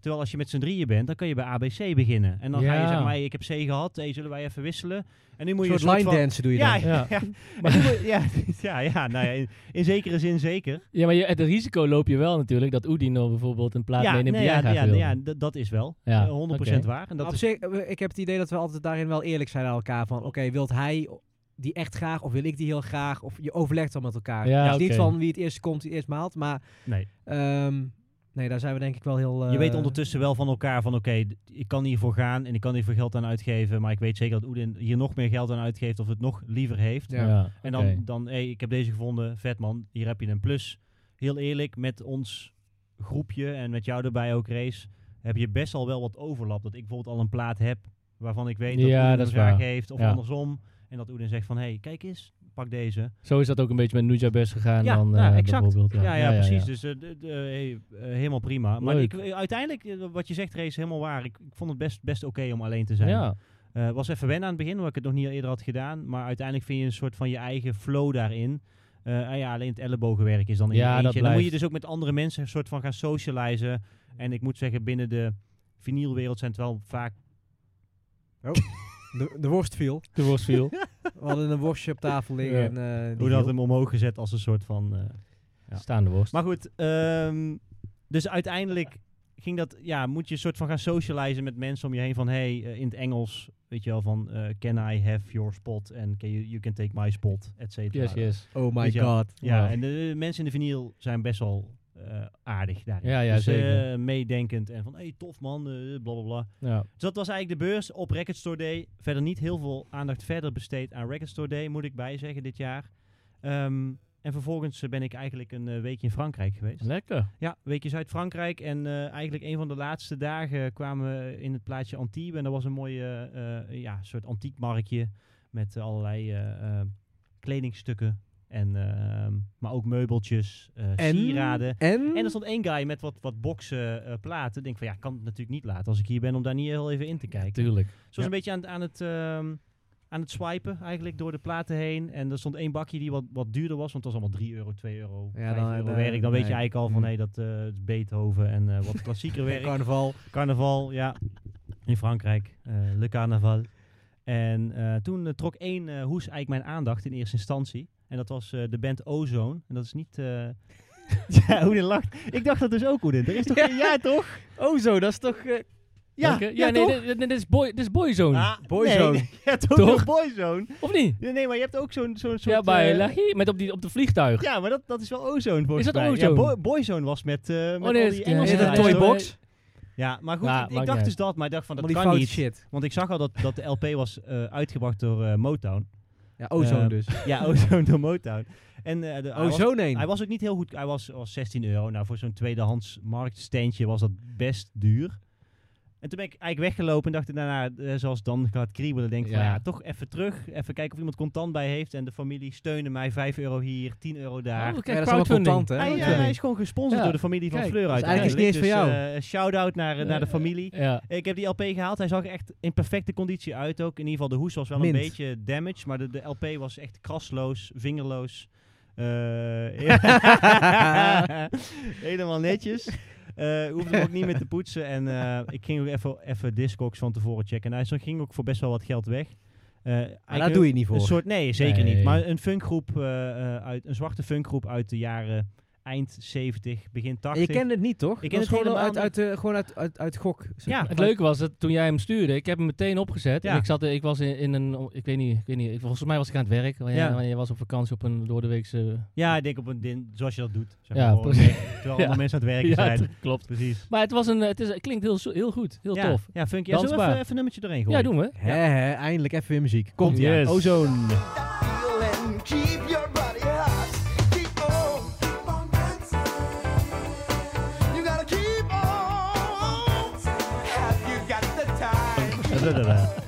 Speaker 1: Terwijl als je met z'n drieën bent, dan kan je bij ABC beginnen. En dan ga je
Speaker 5: Ja.
Speaker 1: zeg maar, hey, ik heb C gehad, hey, zullen wij even wisselen? En nu moet
Speaker 2: Een
Speaker 1: je
Speaker 2: soort
Speaker 1: een soort
Speaker 2: line
Speaker 1: van...
Speaker 2: dansen doe je
Speaker 1: Ja,
Speaker 2: dan.
Speaker 1: ja, ja.
Speaker 5: Ja.
Speaker 1: En nu moet- ja, ja, ja, nou ja, in, in zekere zin zeker.
Speaker 5: Ja, maar je, het risico loop je wel natuurlijk dat Oedino bijvoorbeeld een plaat meeneemt
Speaker 1: nee,
Speaker 5: die jij
Speaker 1: ja,
Speaker 5: graag
Speaker 1: ja,
Speaker 5: wilde.
Speaker 1: ja, d- dat is wel.
Speaker 5: Ja,
Speaker 1: Eh, 100%
Speaker 5: oké.
Speaker 1: waar. En dat
Speaker 2: Op
Speaker 1: is,
Speaker 2: zich, eh, ik heb het idee dat we altijd daarin wel eerlijk zijn aan elkaar. Van oké, wilt hij die echt graag of wil ik die heel graag? Of je overlegt dan met elkaar.
Speaker 5: Ja,
Speaker 2: Het is niet
Speaker 5: oké.
Speaker 2: van wie het eerst komt, die het eerst maalt. Maar
Speaker 1: nee.
Speaker 2: ehm, nee, daar zijn we denk ik wel heel...
Speaker 1: Je weet
Speaker 2: eh,
Speaker 1: ondertussen wel van elkaar van oké, d- ik kan hiervoor gaan en ik kan hiervoor geld aan uitgeven. Maar ik weet zeker dat Oedin hier nog meer geld aan uitgeeft of het nog liever heeft.
Speaker 2: Ja.
Speaker 1: En
Speaker 5: oké.
Speaker 1: dan, dan hé, ik heb deze gevonden, vet man, hier heb je een plus. Heel eerlijk, met ons groepje en met jou erbij ook, Race, heb je best al wel wat overlap. Dat ik bijvoorbeeld al een plaat heb waarvan ik weet dat
Speaker 5: Ja,
Speaker 1: Oedin
Speaker 5: dat
Speaker 1: een
Speaker 5: is
Speaker 1: vraag
Speaker 5: waar.
Speaker 1: heeft of
Speaker 5: Ja.
Speaker 1: andersom. En dat Oedin zegt van hé, hey, kijk eens, pak deze.
Speaker 5: Zo is dat ook een beetje met Nuja Best gegaan
Speaker 1: Ja,
Speaker 5: dan,
Speaker 1: ja,
Speaker 5: eh,
Speaker 1: exact.
Speaker 5: bijvoorbeeld.
Speaker 1: Ja, ja, precies. Dus eh, d- d- eh, hey, eh, helemaal prima. Maar
Speaker 5: Leuk.
Speaker 1: ik, eh, uiteindelijk, eh, wat je zegt, Race, helemaal waar. Ik, ik vond het best, best oké om alleen te zijn.
Speaker 5: Ja,
Speaker 1: Eh, was even wennen aan het begin, omdat ik het nog niet eerder had gedaan. Maar uiteindelijk vind je een soort van je eigen flow daarin. Eh, ah ja, alleen het ellebogenwerk is dan in
Speaker 5: Ja,
Speaker 1: je
Speaker 5: dat
Speaker 1: eentje. En dan moet je
Speaker 5: blijft.
Speaker 1: dus ook met andere mensen een soort van gaan socializen. En ik moet zeggen, binnen de vinylwereld zijn het wel vaak...
Speaker 2: De, de worst viel.
Speaker 5: de worst viel.
Speaker 2: We hadden een worstje op tafel liggen.
Speaker 5: Ja.
Speaker 2: En, eh, die
Speaker 1: Hoe dat
Speaker 2: viel.
Speaker 1: hem omhoog gezet als een soort van... eh, Ja.
Speaker 5: Staande worst.
Speaker 1: Maar goed, ehm, dus uiteindelijk ging dat, ja, moet je een soort van gaan socializen met mensen om je heen van, hey, eh, in het Engels, weet je wel, van, eh, can I have your spot en can you, you can take my spot, et cetera.
Speaker 5: yes, yes.
Speaker 2: Oh my
Speaker 1: Weet je-
Speaker 2: god.
Speaker 1: Ja,
Speaker 5: Wow.
Speaker 1: en de, de mensen in de vinyl zijn best wel eh, aardig daarin.
Speaker 5: Ja, ja,
Speaker 1: dus, eh,
Speaker 5: zeker.
Speaker 1: meedenkend en van, hey, tof man, eh, bla bla bla.
Speaker 5: Ja.
Speaker 1: Dus dat was eigenlijk de beurs op Record Store Day. Verder niet heel veel aandacht verder besteed aan Record Store Day, moet ik bijzeggen, dit jaar. Ehm, en vervolgens eh, ben ik eigenlijk een eh, weekje in Frankrijk geweest.
Speaker 5: Lekker.
Speaker 1: Ja, weekjes uit Frankrijk. En eh, eigenlijk een van de laatste dagen kwamen we in het plaatsje Antibes. En dat was een mooie eh, ja, soort antiekmarktje met eh, allerlei eh, eh, kledingstukken. En, ehm, maar ook meubeltjes, eh, sieraden.
Speaker 2: En?
Speaker 1: En er stond één guy met wat, wat boksen eh, platen. Ik denk van ja, ik kan het natuurlijk niet laten als ik hier ben om daar niet heel even in te kijken.
Speaker 5: Tuurlijk.
Speaker 1: Ze was een beetje aan, het- aan het... ehm, aan het swipen eigenlijk door de platen heen. En er stond één bakje die wat, wat duurder was. Want het was allemaal 3 euro, 2 euro,
Speaker 2: Ja,
Speaker 1: 5
Speaker 2: dan-
Speaker 1: euro
Speaker 2: dan-
Speaker 1: werk. Dan weet je
Speaker 2: nee.
Speaker 1: eigenlijk al van...
Speaker 2: Mm.
Speaker 1: nee, dat eh, is Beethoven en eh, wat klassieker werk.
Speaker 2: Carnaval.
Speaker 1: Carnaval, ja. In Frankrijk. eh Le Carnaval. En eh, toen eh, trok één eh, hoes eigenlijk mijn aandacht in eerste instantie. En dat was eh, de band Ozone. En dat is niet... eh ja, Hoedin lacht. Ik dacht dat dus ook, Hoedin. Er is toch...
Speaker 2: Ja.
Speaker 1: geen- Ja, toch?
Speaker 2: Oh zo, dat is toch... eh,
Speaker 1: Ja,
Speaker 5: Oké. ja, nee, dit- dit, dit is boy, dit is boyzone.
Speaker 1: Ah,
Speaker 2: Boyzone.
Speaker 1: Nee, je hebt ook
Speaker 5: Toch?
Speaker 1: nog Boyzone.
Speaker 5: Of niet?
Speaker 1: Nee, nee, maar je hebt ook zo'n zo'n soort...
Speaker 5: Ja, bij
Speaker 1: eh,
Speaker 5: Lagie, met op, die, op de vliegtuig.
Speaker 1: Ja, maar dat, dat is wel Ozone volgens
Speaker 5: dat
Speaker 1: mij.
Speaker 5: Ozone?
Speaker 1: Ja, Boy- Boyzone was met, eh met
Speaker 5: Oh, nee,
Speaker 1: al
Speaker 5: dat
Speaker 1: die
Speaker 5: is-
Speaker 2: Is
Speaker 1: Engelse
Speaker 2: het een
Speaker 1: guys, hoor.
Speaker 2: toybox?
Speaker 1: Ja, maar goed,
Speaker 5: Ja,
Speaker 1: ik, ik
Speaker 5: maakt
Speaker 1: dacht
Speaker 5: niet
Speaker 1: dus dat, maar ik dacht van, dat
Speaker 2: Allemaal die
Speaker 1: kan
Speaker 2: fout
Speaker 1: niet.
Speaker 2: shit.
Speaker 1: Want ik zag al dat, dat de LP was eh, uitgebracht door eh, Motown.
Speaker 2: Ja, ozone
Speaker 1: Eh,
Speaker 2: dus.
Speaker 1: Ja, Ozone door Motown. En eh,
Speaker 5: Oh,
Speaker 1: de, hij, was,
Speaker 2: Ozone heen.
Speaker 1: hij was ook niet heel goed. Hij was, was 16 euro. Nou, voor zo'n tweedehands marktsteentje was dat best duur. En toen ben ik eigenlijk weggelopen en dacht ik daarna, eh, zoals dan gaat kriebelen, denk ik van
Speaker 5: Ja.
Speaker 1: ja, toch even terug. Even kijken of iemand contant bij heeft. En de familie steunde mij 5 euro hier, 10 euro daar.
Speaker 5: Oh,
Speaker 2: Ja,
Speaker 5: kijk,
Speaker 2: dat is allemaal
Speaker 5: crowdfunding.
Speaker 2: contant, hè?
Speaker 1: Hij,
Speaker 5: Ja,
Speaker 1: eh,
Speaker 5: ja.
Speaker 1: hij is gewoon gesponsord
Speaker 5: Ja.
Speaker 1: door de familie van
Speaker 5: Kijk,
Speaker 1: Fleur uit.
Speaker 2: eigenlijk is het niet eens voor jou.
Speaker 1: shout-out naar, eh, naar de
Speaker 5: Eh,
Speaker 1: familie.
Speaker 5: Ja.
Speaker 1: Ik heb die LP gehaald. Hij zag er echt in perfecte conditie uit ook. In ieder geval, de hoes was wel
Speaker 2: Mint.
Speaker 1: een beetje damaged. Maar de, de LP was echt krasloos, vingerloos. Eh, ja. Helemaal netjes. Eh hoefde hem ook niet meer te poetsen. En eh, ik ging ook even, even Discogs van tevoren checken. En hij zag- ging ook voor best wel wat geld weg. Eh,
Speaker 2: Maar
Speaker 1: eigenlijk
Speaker 2: daar doe je niet voor.
Speaker 1: een soort, nee, zeker
Speaker 5: Nee.
Speaker 1: niet. Maar een funkgroep eh, eh, uit een zwarte funkgroep uit de jaren eind 70, begin
Speaker 2: En
Speaker 1: 80.
Speaker 2: je kende het niet, toch?
Speaker 1: Ik
Speaker 2: Dat
Speaker 1: ken
Speaker 2: is
Speaker 1: het
Speaker 2: gewoon uit,
Speaker 1: helemaal
Speaker 2: uit, eh, gewoon uit, uit, uit gok. zeg
Speaker 1: Ja,
Speaker 2: maar.
Speaker 5: Het leuke was dat toen jij hem stuurde, ik heb hem meteen opgezet.
Speaker 1: Ja.
Speaker 5: En ik, zat, ik was in, in een, ik weet niet, ik weet niet, ik- volgens mij was ik aan het werk. want
Speaker 1: Ja.
Speaker 5: Jij, jij was op vakantie op een doordeweekse...
Speaker 1: ja, ik denk op een din, zoals je dat doet. Zeg
Speaker 5: Ja,
Speaker 1: maar, gewoon
Speaker 5: precies.
Speaker 1: weg, terwijl allemaal mensen aan het werken zijn.
Speaker 5: dat klopt.
Speaker 1: Precies.
Speaker 5: Maar het, was een, eh, het, is, het klinkt heel, zo- heel goed, heel
Speaker 1: ja,
Speaker 5: tof.
Speaker 1: Ja, funky. Ja, zullen we
Speaker 5: Dansbaar.
Speaker 1: even, even een nummertje erheen
Speaker 5: Ja,
Speaker 1: gooien?
Speaker 5: doen we.
Speaker 2: Hè, hè, eindelijk even weer muziek. Komt Oh,
Speaker 1: Komt ie.
Speaker 5: Yes.
Speaker 1: Ozone.
Speaker 6: and keep your body hot. Keep on, keep on dancing. You gotta keep on. Have you got the time?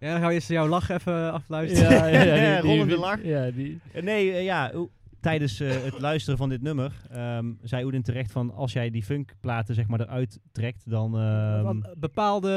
Speaker 2: Ja, dan gaan we eerst jouw lach even afluisteren.
Speaker 5: Ja, ja,
Speaker 1: Ja, rollende lach.
Speaker 5: Ja, die,
Speaker 1: Eh, Nee, eh, ja, oe- tijdens eh, het luisteren van dit nummer ehm, zei Oedin terecht van als jij die funkplaten zeg maar eruit trekt, dan... ehm,
Speaker 2: Want, eh, bepaalde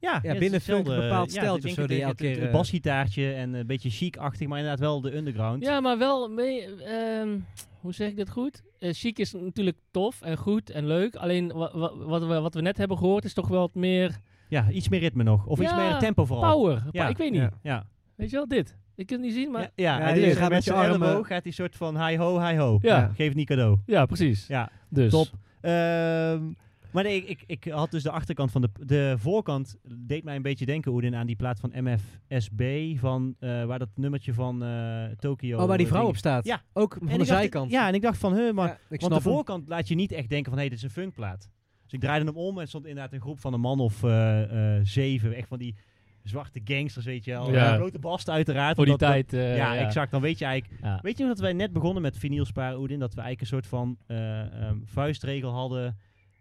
Speaker 1: Ja,
Speaker 2: binnen een filmpje
Speaker 1: filmpje
Speaker 2: bepaald stijltje of zo die elke
Speaker 1: keer.
Speaker 2: keer,
Speaker 1: Een
Speaker 2: eh,
Speaker 1: basgitaartje en een beetje chic-achtig, maar inderdaad wel de underground.
Speaker 5: Ja, maar wel mee. ehm, hoe zeg ik dit goed? Eh chic is natuurlijk tof en goed en leuk. Alleen wa- wa- wat, we, wat we net hebben gehoord is toch wel wat meer
Speaker 1: Ja, iets meer ritme nog. Of iets
Speaker 5: Ja,
Speaker 1: meer tempo vooral.
Speaker 5: power.
Speaker 1: Oh. Ja,
Speaker 5: Pa- ik weet niet.
Speaker 2: ja.
Speaker 1: Ja,
Speaker 5: Weet je wel, dit. Ik kan het niet zien, maar.
Speaker 1: ja,
Speaker 5: Ja,
Speaker 1: ja,
Speaker 2: Ja,
Speaker 1: en
Speaker 2: die
Speaker 1: dus
Speaker 2: gaat met
Speaker 1: met
Speaker 2: je
Speaker 1: zijn
Speaker 2: armen-
Speaker 1: elleboog gaat die soort van hi-ho, hi-ho.
Speaker 5: Ja.
Speaker 1: Geef niet cadeau.
Speaker 5: precies.
Speaker 1: Ja,
Speaker 5: dus.
Speaker 1: top. Ehm, maar nee, ik, ik, ik had dus de achterkant van de... De voorkant deed mij een beetje denken, Oedin, aan die plaat van MFSB, van, eh, waar dat nummertje van eh Tokio...
Speaker 2: Oh, waar die vrouw op
Speaker 1: staat.
Speaker 2: staat.
Speaker 1: Ja.
Speaker 2: Ook van de zijkant.
Speaker 1: Ja, en ik dacht van, huh, maar...
Speaker 2: Ja, ik
Speaker 1: Want de
Speaker 2: snap hem.
Speaker 1: voorkant laat je niet echt denken van, hé, dit is een funkplaat. Dus ik draaide hem om en er stond inderdaad een groep van een man of eh, eh, zeven. Echt van die zwarte gangsters, weet je wel.
Speaker 5: Ja.
Speaker 1: Ja. Blote basten uiteraard.
Speaker 5: Voor die
Speaker 1: omdat dat-
Speaker 5: tijd. eh,
Speaker 1: ja, exact. Dan weet je eigenlijk...
Speaker 5: Ja.
Speaker 1: Weet je nog dat wij net begonnen met vinylsparen, Oedin? Dat we eigenlijk een soort van eh, ehm, vuistregel hadden.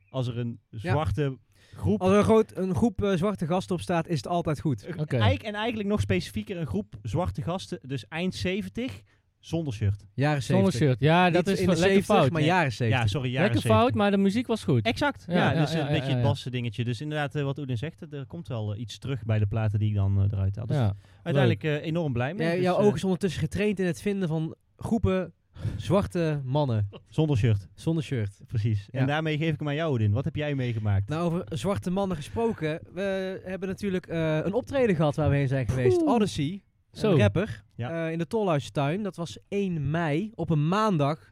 Speaker 1: Als er een zwarte groep...
Speaker 2: Als er een, groot, een groep eh, zwarte gasten op staat, is het altijd goed.
Speaker 1: eh,
Speaker 5: Oké.
Speaker 1: eigenlijk- en eigenlijk nog specifieker een groep zwarte gasten. Dus eind 70, zonder shirt.
Speaker 2: Jaren 70.
Speaker 5: Zonder shirt. Ja, dat
Speaker 2: Niet
Speaker 5: is
Speaker 2: in
Speaker 5: wel
Speaker 2: de
Speaker 5: lekker
Speaker 2: 70,
Speaker 5: fout.
Speaker 2: maar
Speaker 5: Nee.
Speaker 2: jaren 70.
Speaker 1: Ja, sorry, jaren
Speaker 5: lekker
Speaker 1: 70.
Speaker 5: fout, maar de muziek was goed.
Speaker 1: Exact, ja,
Speaker 5: Ja, ja,
Speaker 1: dus
Speaker 5: ja,
Speaker 1: een
Speaker 5: ja,
Speaker 1: beetje
Speaker 5: ja,
Speaker 1: het
Speaker 5: ja.
Speaker 1: bassen dingetje. Dus inderdaad, eh, wat Oedin zegt, eh, er komt wel eh, iets terug bij de platen die ik dan eh, eruit haal. Dus
Speaker 5: Ja.
Speaker 1: uiteindelijk eh, enorm blij mee.
Speaker 2: Ja,
Speaker 1: Dus,
Speaker 2: jouw
Speaker 1: eh,
Speaker 2: ogen is ondertussen getraind in het vinden van groepen zwarte mannen
Speaker 1: Zonder shirt,
Speaker 2: zonder shirt.
Speaker 1: precies.
Speaker 2: Ja.
Speaker 1: En daarmee geef ik hem aan jou, Oedin. Wat heb jij meegemaakt?
Speaker 2: Nou, over zwarte mannen gesproken. We hebben natuurlijk eh, een optreden gehad waar we heen zijn geweest. Odyssey,
Speaker 5: Zo.
Speaker 2: een rapper,
Speaker 1: Ja.
Speaker 2: eh, in de Tolhuistuin. Dat was 1 mei, op een maandag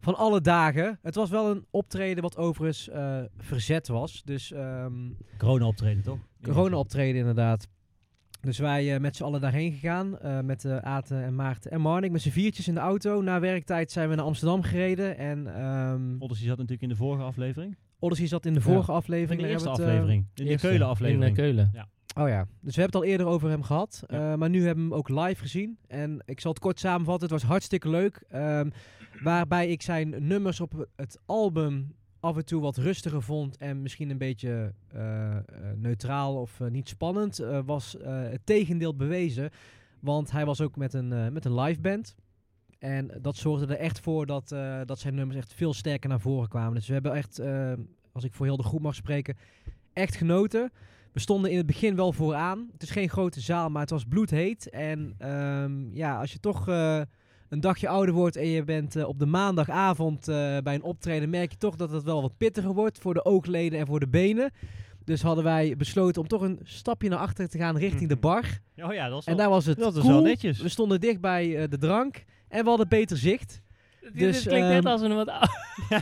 Speaker 2: van alle dagen. Het was wel een optreden wat overigens eh, verzet was. Dus ehm,
Speaker 1: corona optreden, toch?
Speaker 2: Corona optreden inderdaad. Dus wij eh, met z'n allen daarheen gegaan. eh, met eh Aten en Maarten en Marnik. Met z'n viertjes in de auto. Na werktijd zijn we naar Amsterdam gereden. En ehm
Speaker 1: Odyssey zat natuurlijk in de vorige aflevering.
Speaker 2: Odyssey zat in de vorige aflevering.
Speaker 1: Of in de
Speaker 2: daar
Speaker 1: eerste
Speaker 2: hebben we het, eh,
Speaker 1: aflevering. In de
Speaker 5: Eerste,
Speaker 1: Keulen
Speaker 5: In
Speaker 1: aflevering.
Speaker 5: eh, Keulen.
Speaker 2: Oh ja, dus we hebben het al eerder over hem gehad.
Speaker 1: Ja.
Speaker 2: eh, maar nu hebben we hem ook live gezien. En ik zal het kort samenvatten. Het was hartstikke leuk. ehm, waarbij ik zijn nummers op het album af en toe wat rustiger vond. En misschien een beetje eh, eh, neutraal of eh, niet spannend. eh, was eh, het tegendeel bewezen. Want hij was ook met een, eh, met een live band. En dat zorgde er echt voor dat, eh, dat zijn nummers echt veel sterker naar voren kwamen. Dus we hebben echt, eh, als ik voor heel de groep mag spreken, echt genoten. We stonden in het begin wel vooraan. Het is geen grote zaal, maar het was bloedheet. En ehm, ja, als je toch eh, een dagje ouder wordt en je bent eh, op de maandagavond eh, bij een optreden, merk je toch dat het wel wat pittiger wordt voor de oogleden en voor de benen. Dus hadden wij besloten om toch een stapje naar achteren te gaan richting de bar.
Speaker 1: Oh ja, dat was
Speaker 2: En
Speaker 1: wel-
Speaker 2: daar was het
Speaker 1: dat is
Speaker 2: cool.
Speaker 1: wel netjes.
Speaker 2: We stonden dicht bij eh, de drank en we hadden beter zicht.
Speaker 5: Dit-
Speaker 2: Dus,
Speaker 5: dit klinkt
Speaker 2: ehm,
Speaker 5: net als een wat oude-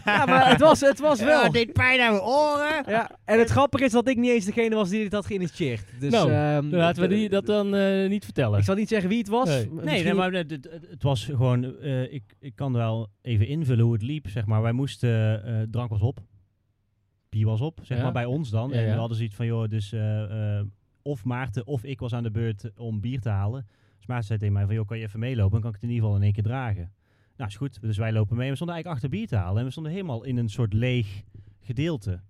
Speaker 2: Ja, maar het was, het was wel.
Speaker 1: Ja, dit pijn aan mijn oren.
Speaker 2: Ja, en het grappige is dat ik niet eens degene was die dit had geïnitieerd. Dus,
Speaker 5: Nou,
Speaker 2: ehm,
Speaker 5: Laten we
Speaker 2: het-
Speaker 5: die, dat dan eh, niet vertellen.
Speaker 2: Ik zal niet zeggen wie het was.
Speaker 5: Nee.
Speaker 2: M-
Speaker 1: Nee,
Speaker 2: misschien-
Speaker 1: nee, maar het, het- het- het was gewoon... eh, ik, ik kan wel even invullen hoe het liep, zeg maar. Wij moesten... eh, drank was op. Bier was op, zeg
Speaker 5: Ja.
Speaker 1: maar, bij ons dan.
Speaker 5: Ja,
Speaker 1: En
Speaker 5: ja.
Speaker 1: we hadden zoiets van, joh, dus... eh, eh, of Maarten of ik was aan de beurt om bier te halen. Dus Maarten zei tegen mij van, joh, kan je even meelopen? Dan kan ik het in ieder geval in één keer dragen. Nou, is goed. Dus wij lopen mee. We stonden eigenlijk achter bier te halen. En we stonden helemaal in een soort leeg gedeelte.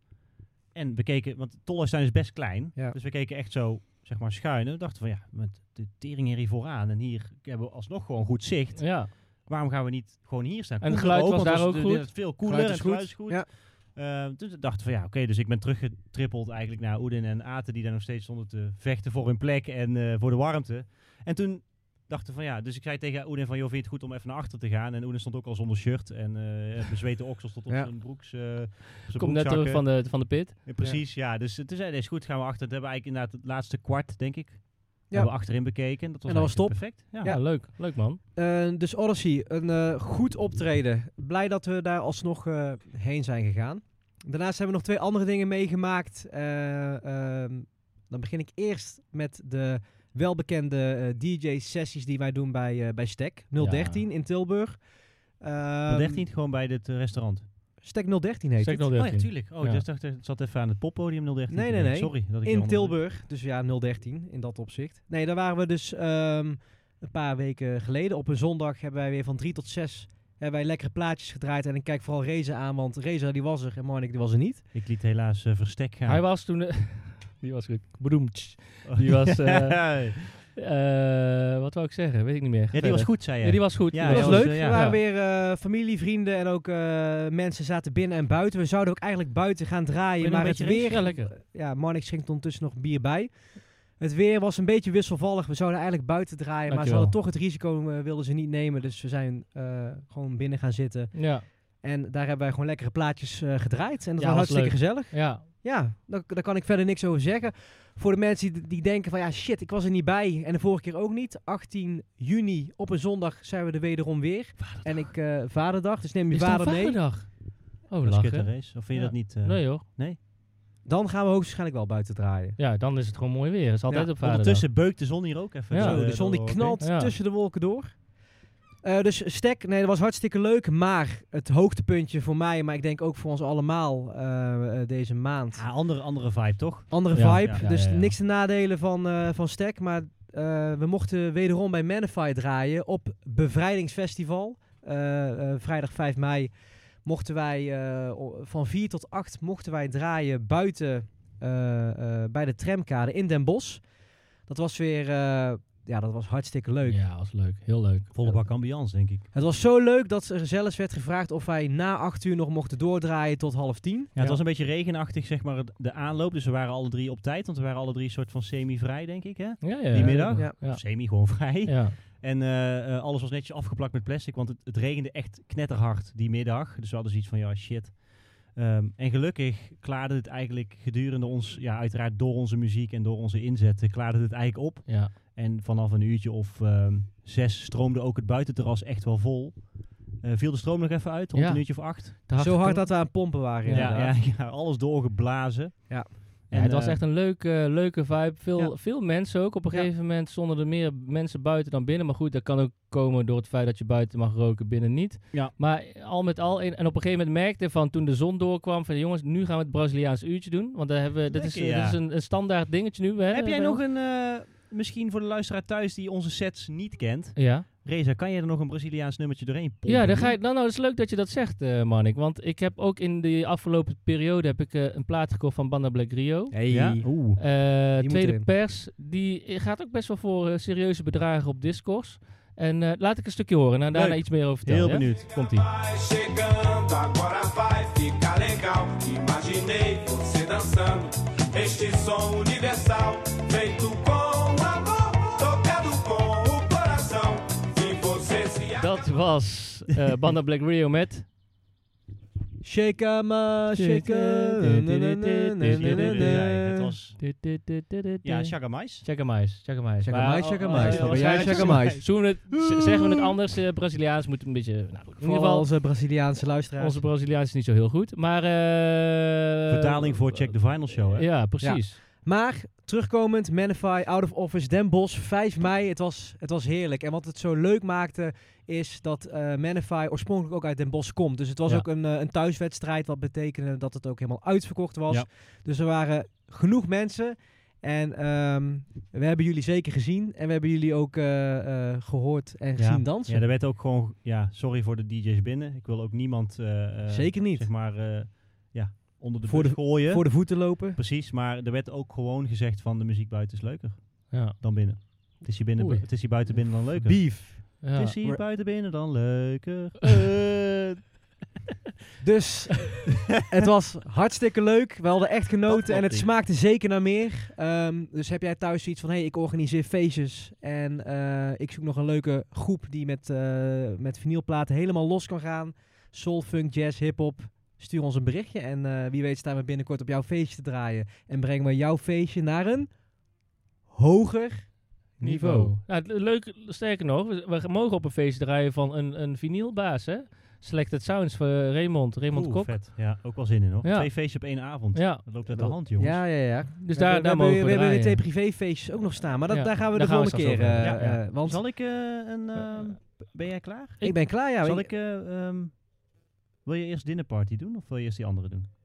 Speaker 1: En we keken, want Tolhuistuin is best klein.
Speaker 2: Ja.
Speaker 1: Dus we keken echt zo, zeg maar, schuin. En we dachten van, ja, met de tering hier vooraan. En hier hebben we alsnog gewoon goed zicht.
Speaker 5: Ja.
Speaker 1: Waarom gaan we niet gewoon hier staan?
Speaker 5: En het
Speaker 1: Koelen we
Speaker 5: geluid was
Speaker 1: want
Speaker 5: daar
Speaker 1: dat is
Speaker 5: ook
Speaker 1: de-
Speaker 5: goed?
Speaker 1: de- Veel cooler en
Speaker 2: Geluid
Speaker 1: het
Speaker 2: is
Speaker 1: geluid is goed.
Speaker 2: Ja.
Speaker 1: Eh, toen dachten we van, ja, oké. dus ik ben teruggetrippeld eigenlijk naar Oedin en Aten. Die daar nog steeds stonden te vechten voor hun plek en eh, voor de warmte. En toen dachten we van, ja. Dus ik zei tegen Oedin van, joh, vind je het goed om even naar achter te gaan? En Oedin stond ook al zonder shirt. En eh bezweten oksels tot op
Speaker 2: Ja.
Speaker 1: zijn broeks... eh, op zijn
Speaker 5: Komt net terug
Speaker 1: broekzakken.
Speaker 5: van de, van de pit.
Speaker 1: Ja, precies, ja. Dus eh, toen zei hij, is goed, gaan we achter. Dat hebben we eigenlijk inderdaad het laatste kwart, denk ik, hebben we achterin bekeken. Dat was,
Speaker 2: En dat was
Speaker 1: eigenlijk perfect. Ja.
Speaker 5: Ja, leuk. Leuk man.
Speaker 2: Eh, dus Odyssey, een eh, goed optreden. Blij dat we daar alsnog eh, heen zijn gegaan. Daarnaast hebben we nog twee andere dingen meegemaakt. Eh, ehm, dan begin ik eerst met de welbekende eh, DJ-sessies die wij doen bij, eh, bij Stek 013 in Tilburg.
Speaker 1: Dat
Speaker 2: Ehm,
Speaker 1: deed niet gewoon bij dit eh, restaurant.
Speaker 2: Stek 013 heet
Speaker 5: Stek
Speaker 2: het.
Speaker 1: Oh ja,
Speaker 5: 013.
Speaker 1: tuurlijk. Oh,
Speaker 5: Ja.
Speaker 1: dus dacht, ik, het zat even aan het poppodium 013.
Speaker 2: Nee, nee, nee.
Speaker 1: Sorry. Dat ik je
Speaker 2: In
Speaker 1: onderbreek.
Speaker 2: Tilburg, dus ja, 013 in dat opzicht. Nee, daar waren we dus ehm, een paar weken geleden. Op een zondag hebben wij weer van 3 tot 6 hebben wij lekkere plaatjes gedraaid. En ik kijk vooral Reza aan, want Reza die was er en Marnik die was er niet.
Speaker 1: Ik liet helaas eh, verstek gaan.
Speaker 5: Hij was toen... eh, die was goed. Beroemd. die was, eh,
Speaker 1: Ja.
Speaker 5: Eh, wat wou ik zeggen? Weet ik niet meer.
Speaker 1: Ja, die
Speaker 5: Verder.
Speaker 1: was goed, zei
Speaker 5: Ja,
Speaker 1: jij.
Speaker 5: die was goed.
Speaker 1: Ja,
Speaker 5: Die
Speaker 1: ja, dat
Speaker 2: dat was
Speaker 1: was,
Speaker 2: leuk.
Speaker 1: eh, ja.
Speaker 2: Er waren
Speaker 5: Ja.
Speaker 2: weer eh, familie, vrienden en ook eh, mensen zaten binnen en buiten. We zouden ook eigenlijk buiten gaan draaien,
Speaker 5: Vind je
Speaker 2: maar
Speaker 5: een
Speaker 2: het
Speaker 5: beetje
Speaker 2: weer...
Speaker 5: Ja, lekker.
Speaker 2: Ja, Marnix schenkt ondertussen nog bier bij. Het weer was een beetje wisselvallig. We zouden eigenlijk buiten draaien, maar ze
Speaker 5: Dankjewel.
Speaker 2: hadden toch het risico eh, wilden ze niet nemen. Dus we zijn eh, gewoon binnen gaan zitten.
Speaker 5: Ja,
Speaker 2: En daar hebben wij gewoon lekkere plaatjes eh, gedraaid. En dat
Speaker 5: Ja,
Speaker 2: was
Speaker 5: was
Speaker 2: hartstikke
Speaker 5: leuk.
Speaker 2: gezellig.
Speaker 5: ja.
Speaker 2: Ja, daar, daar kan ik verder niks over zeggen. Voor de mensen die, die denken van ja shit, ik was er niet bij. En de vorige keer ook niet. 18 juni op een zondag zijn we er wederom weer. En ik, eh, vaderdag, dus neem je
Speaker 5: Is het
Speaker 2: vader
Speaker 5: een
Speaker 2: mee.
Speaker 5: vaderdag? Oh,
Speaker 1: Dat is kut,
Speaker 5: lachen.
Speaker 1: een race. Of vind je
Speaker 5: Ja.
Speaker 1: dat niet? eh,
Speaker 5: Nee hoor.
Speaker 2: Dan gaan we hoogstwaarschijnlijk wel buiten draaien.
Speaker 5: Ja, dan is het gewoon mooi weer. Het is altijd
Speaker 2: Ja,
Speaker 5: op vaderdag.
Speaker 1: Ondertussen beukt de zon hier ook even.
Speaker 5: Ja.
Speaker 2: Zo,
Speaker 1: eh,
Speaker 2: de zon die
Speaker 1: door, oké.
Speaker 2: knalt
Speaker 5: Ja.
Speaker 2: tussen de wolken door. Eh, dus stek, nee, dat was hartstikke leuk. Maar het hoogtepuntje voor mij, maar ik denk ook voor ons allemaal eh, eh, deze maand.
Speaker 1: Ja, andere, andere vibe, toch?
Speaker 2: Andere
Speaker 5: Ja,
Speaker 2: vibe,
Speaker 1: ja, ja,
Speaker 2: dus
Speaker 5: ja, ja.
Speaker 2: niks te nadelen van, eh, van stek. Maar eh, we mochten wederom bij Manify draaien op Bevrijdingsfestival. Eh, eh, vrijdag 5 mei mochten wij eh, o- van 4 tot 8 mochten wij draaien buiten eh, eh, bij de tramkade in Den Bosch. Dat was weer, eh, ja, dat was hartstikke leuk.
Speaker 5: Ja, was leuk. Heel leuk.
Speaker 1: Volle bak ambiance, denk ik.
Speaker 2: Het was zo leuk dat er zelfs werd gevraagd of wij na 8 uur nog mochten doordraaien tot half 10.
Speaker 1: Ja, het
Speaker 5: Ja.
Speaker 1: was een beetje regenachtig, zeg maar, het- de aanloop. Dus we waren alle drie op tijd, want we waren alle drie soort van semi-vrij, denk ik, hè?
Speaker 5: Ja, ja.
Speaker 1: Die middag?
Speaker 2: Ja.
Speaker 5: Ja.
Speaker 1: Of Semi, gewoon vrij.
Speaker 5: Ja.
Speaker 1: En eh, eh, alles was netjes afgeplakt met plastic, want het, het regende echt knetterhard die middag. Dus we hadden zoiets van, ja, shit. Ehm, en gelukkig klaarde het eigenlijk gedurende ons, ja, uiteraard door onze muziek en door onze inzetten, klaarde het eigenlijk op.
Speaker 5: ja.
Speaker 1: En vanaf een uurtje of ehm, zes stroomde ook het buitenterras echt wel vol. Eh, viel de stroom nog even uit, rond
Speaker 5: Ja.
Speaker 1: een uurtje of acht.
Speaker 5: Te
Speaker 2: Zo hard
Speaker 5: gekomen.
Speaker 2: dat we aan het pompen waren
Speaker 1: Ja,
Speaker 2: inderdaad.
Speaker 1: ja, ja, alles doorgeblazen.
Speaker 2: Ja.
Speaker 5: Ja, het was
Speaker 1: eh,
Speaker 5: echt een leuke, leuke vibe. Veel,
Speaker 1: Ja.
Speaker 5: veel mensen ook. Op een
Speaker 2: Ja.
Speaker 5: gegeven moment stonden er meer mensen buiten dan binnen. Maar goed, dat kan ook komen door het feit dat je buiten mag roken, binnen niet.
Speaker 1: Ja.
Speaker 5: Maar al met al. En op een gegeven moment merkte van toen de zon doorkwam: van jongens, nu gaan we het Braziliaans uurtje doen. Want daar hebben we, dit, is, eh,
Speaker 1: Lekker, ja.
Speaker 5: dit is een, een standaard dingetje nu. Hè,
Speaker 1: Heb jij
Speaker 5: bij
Speaker 1: nog
Speaker 5: ons.
Speaker 1: een, eh, misschien voor de luisteraar thuis die onze sets niet kent.
Speaker 5: Ja.
Speaker 1: Reza, kan jij er nog een Braziliaans nummertje doorheen pompen?
Speaker 5: Ja, dan ga je, nou, nou, het is leuk dat je dat zegt, eh Manik. Want ik heb ook in de afgelopen periode heb ik, eh, een plaat gekocht van Banda Black Rio.
Speaker 2: Hey.
Speaker 1: Ja? Oeh.
Speaker 5: Eh,
Speaker 2: Die moet
Speaker 5: tweede
Speaker 2: erin.
Speaker 5: pers, die gaat ook best wel voor eh, serieuze bedragen op Discourse. En eh, laat ik een stukje horen en daarna
Speaker 1: Leuk.
Speaker 5: iets meer over vertellen.
Speaker 1: Heel
Speaker 5: ja?
Speaker 1: benieuwd.
Speaker 5: Komt-ie.
Speaker 7: Vai chegando, agora vai ficar legal. Imaginei você dançando este som universal, feito com amor, tocado com o coração. E você se
Speaker 6: Então,
Speaker 5: Dat was eh, Banda Black Rio met...
Speaker 2: Shake 'em, uh, shake 'em. Na, na, na, na, na, na, na.
Speaker 1: Het was... Ja, Chagamais.
Speaker 5: Chagamais, Chagamais.
Speaker 2: Shake 'em,
Speaker 5: Maar-
Speaker 2: ice, shake 'em,
Speaker 5: oh, oh,
Speaker 2: ice.
Speaker 5: oh,
Speaker 2: Ben jij
Speaker 5: oh,
Speaker 2: shake 'em,
Speaker 5: oh,
Speaker 2: ice?
Speaker 5: Zullen we het, z- zeggen we het anders? eh, Braziliaans moet een beetje... Nou, in ieder
Speaker 2: Voor
Speaker 5: geval,
Speaker 2: onze Braziliaanse luisteraars.
Speaker 5: onze Braziliaans is niet zo heel goed. Maar... eh,
Speaker 1: Vertaling voor Check the Final Show, hè?
Speaker 5: Ja, precies.
Speaker 2: Maar terugkomend, Manify, Out of Office, Den Bosch, 5 mei. Het was, het was heerlijk. En wat het zo leuk maakte, is dat eh Manify oorspronkelijk ook uit Den Bosch komt. Dus het was
Speaker 5: Ja.
Speaker 2: ook een, eh, een thuiswedstrijd. Wat betekende dat het ook helemaal uitverkocht was.
Speaker 1: Ja.
Speaker 2: Dus er waren genoeg mensen. En ehm, we hebben jullie zeker gezien. En we hebben jullie ook eh, eh, gehoord en gezien dansen.
Speaker 1: Ja, er werd ook gewoon... Ja, sorry voor de DJ's binnen. Ik wil ook niemand... eh, eh,
Speaker 2: zeker niet.
Speaker 1: Zeg maar, eh, ja, onder de
Speaker 2: Voor
Speaker 1: voor
Speaker 2: de-
Speaker 1: gooien.
Speaker 2: Voor de voeten lopen.
Speaker 1: Precies, maar er werd ook gewoon gezegd van de muziek buiten is leuker
Speaker 5: Ja.
Speaker 1: dan binnen. Het is hier, binnen,
Speaker 5: Oei.
Speaker 1: het is hier buiten binnen dan leuker.
Speaker 2: Beef.
Speaker 5: ja.
Speaker 1: Het is hier buiten binnen dan leuker. Eh,
Speaker 2: Dus het was hartstikke leuk. We hadden
Speaker 1: Dat
Speaker 2: echt genoten
Speaker 1: klopt
Speaker 2: en het
Speaker 1: niet.
Speaker 2: smaakte zeker naar meer. Ehm, dus heb jij thuis zoiets van, hé, hey, ik organiseer feestjes en eh, ik zoek nog een leuke groep die met, eh met vinylplaten helemaal los kan gaan. Soul, funk, jazz, hip-hop. Stuur ons een berichtje en eh, wie weet staan we binnenkort op jouw feestje te draaien. En brengen we jouw feestje naar een hoger niveau.
Speaker 5: niveau. Ja, het- leuk, sterker nog, we, we mogen op een feest draaien van een, een vinylbaas, hè? Selected Sounds van eh, Raymond, Raymond
Speaker 1: Oeh,
Speaker 5: Kok.
Speaker 1: vet. Ja, ook wel zin in hoor.
Speaker 5: Ja.
Speaker 1: Twee feestjes op één avond.
Speaker 5: Ja,
Speaker 1: Dat loopt uit de hand, jongens.
Speaker 2: Ja, ja, ja.
Speaker 5: dus
Speaker 2: We- we- we
Speaker 5: daar, daar
Speaker 2: hebben-
Speaker 5: mogen we,
Speaker 2: We hebben weer twee
Speaker 5: draaien.
Speaker 2: privéfeestjes ook nog staan, maar dat,
Speaker 5: Ja,
Speaker 2: daar gaan we de
Speaker 5: daar gaan we
Speaker 2: volgende keer.
Speaker 5: straks over
Speaker 2: eh,
Speaker 5: hebben. Ja, ja.
Speaker 2: eh, want
Speaker 1: Zal ik eh, een...
Speaker 5: Eh, nou,
Speaker 1: ehm, b- ben jij klaar?
Speaker 2: ik ben klaar, ja.
Speaker 1: Zal
Speaker 2: Ik-
Speaker 1: ik... eh, ehm, wil je eerst dinnerparty doen of wil je eerst die andere doen?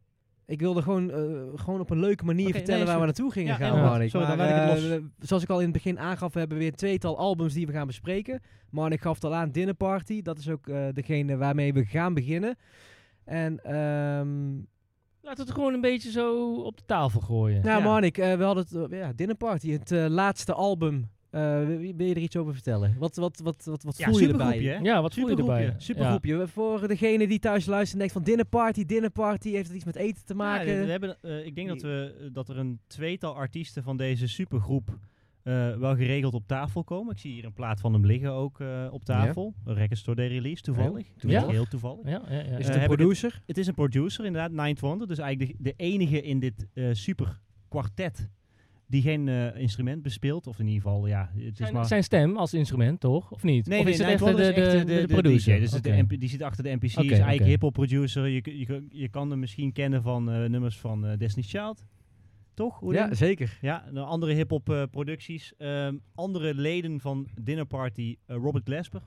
Speaker 2: Ik wilde gewoon, eh, gewoon op een leuke manier
Speaker 1: Oké,
Speaker 2: vertellen
Speaker 1: nee,
Speaker 2: waar we
Speaker 1: zo-
Speaker 2: naartoe gingen
Speaker 1: Ja,
Speaker 2: gaan,
Speaker 1: inderdaad.
Speaker 2: Marnik.
Speaker 1: Sorry,
Speaker 2: Maar,
Speaker 1: dan laat ik het
Speaker 2: eh, zoals ik al in het begin aangaf, we hebben weer tweetal albums die we gaan bespreken. Marnik gaf het al aan, Dinner Party. Dat is ook eh, degene waarmee we gaan beginnen. En ehm
Speaker 5: Laten we het gewoon een beetje zo op de tafel gooien.
Speaker 2: nou,
Speaker 1: Ja.
Speaker 2: Marnik, eh, we hadden het, eh, ja, Dinner Party, het eh, laatste album Eh, wil, wil je er iets over vertellen? Wat, wat, wat, wat, wat
Speaker 1: Ja,
Speaker 2: voel je erbij?
Speaker 1: supergroepje, hè?
Speaker 5: Ja, wat voel je erbij?
Speaker 1: Supergroepje.
Speaker 2: Supergroepje. Voor degene die thuis luistert en denkt van dinnerparty, dinnerparty, heeft het iets met eten te maken?
Speaker 1: Ja, we hebben, eh, ik denk dat, we, dat er een tweetal artiesten van deze supergroep eh, wel geregeld op tafel komen. Ik zie hier een plaat van hem liggen ook eh, op tafel. Records Store Day Release, toevallig.
Speaker 2: toevallig.
Speaker 1: Heel toevallig.
Speaker 5: Ja, ja, ja.
Speaker 2: Is
Speaker 1: Eh,
Speaker 2: het een
Speaker 1: heb ik
Speaker 2: producer?
Speaker 1: Het is een producer, inderdaad, Nine Wonder. Dus eigenlijk de, de enige in dit eh super kwartet die geen eh, instrument bespeelt. Of in ieder geval, ja, het is
Speaker 5: Zijn,
Speaker 1: maar...
Speaker 5: zijn stem als instrument, toch? Of niet?
Speaker 1: Nee,
Speaker 5: of
Speaker 1: nee,
Speaker 5: is het
Speaker 1: Nine
Speaker 5: echt
Speaker 1: Wonder
Speaker 5: de,
Speaker 1: is
Speaker 5: de,
Speaker 1: echt, eh,
Speaker 5: de producer?
Speaker 1: DJ, dus het-
Speaker 5: Oké.
Speaker 1: de MP die zit achter de NPC, is
Speaker 5: Oké,
Speaker 1: eigenlijk
Speaker 5: oké.
Speaker 1: hip-hop producer. Je, kun- je, kun- je kan hem misschien kennen van eh, nummers van eh, Destiny's Child. Toch? Hoe
Speaker 2: Ja, zeker.
Speaker 1: Ja, de andere hip-hop eh, producties. Ehm, andere leden van Dinner Party, eh, Robert Glasper.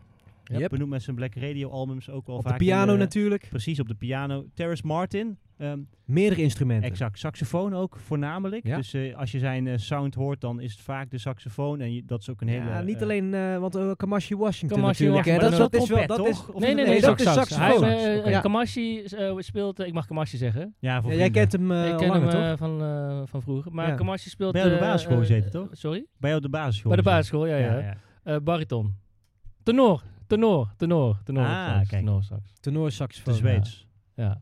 Speaker 2: Yep.
Speaker 1: Benoemd met zijn Black Radio albums ook wel
Speaker 2: Op
Speaker 1: vaak.
Speaker 2: de
Speaker 1: in
Speaker 2: piano natuurlijk.
Speaker 1: Precies, op de piano. Terrace Martin, ehm,
Speaker 2: Meerdere instrumenten.
Speaker 1: exact. Saxofoon ook voornamelijk.
Speaker 2: Ja.
Speaker 1: Dus eh, als je zijn eh, sound hoort, dan is het vaak de saxofoon. En je- dat is ook een hele...
Speaker 2: Ja, niet
Speaker 1: eh,
Speaker 2: alleen, eh, want eh, Kamashi Washington
Speaker 5: Kamashi
Speaker 2: natuurlijk. hè.
Speaker 5: Washington,
Speaker 2: dat, is,
Speaker 5: maar
Speaker 2: dat is
Speaker 1: trompet,
Speaker 2: wel, dat is,
Speaker 1: toch? Of
Speaker 5: Nee, nee,
Speaker 1: niet?
Speaker 5: nee,
Speaker 2: Nee,
Speaker 5: dat
Speaker 2: dat is saxofoon.
Speaker 5: Hij, eh,
Speaker 2: Oké.
Speaker 5: eh,
Speaker 2: Ja.
Speaker 5: Kamashi eh, speelt, eh, ik mag Kamashi zeggen.
Speaker 1: Ja, voor
Speaker 2: Ja,
Speaker 1: vrienden.
Speaker 2: jij kent hem eh,
Speaker 5: ik
Speaker 2: al
Speaker 5: ken
Speaker 2: langer,
Speaker 5: hem
Speaker 2: toch?
Speaker 5: eh, van, eh, van vroeger. Maar
Speaker 2: Ja.
Speaker 5: Kamashi speelt...
Speaker 1: Bij jou op de
Speaker 5: eh,
Speaker 1: basisschool
Speaker 5: eh,
Speaker 1: gezeten, toch?
Speaker 5: Sorry?
Speaker 1: Bij jou op de basisschool.
Speaker 5: Bij de
Speaker 1: gezeten.
Speaker 5: basisschool, ja, ja.
Speaker 1: Ja, ja.
Speaker 5: Eh, bariton. Tenor. Tenor. Tenor. Tenor.
Speaker 1: Ah,
Speaker 5: sax,
Speaker 1: kijk.
Speaker 5: Tenor sax.
Speaker 1: De
Speaker 2: Tenorsaxofoon.
Speaker 1: Zweeds.
Speaker 5: Ja.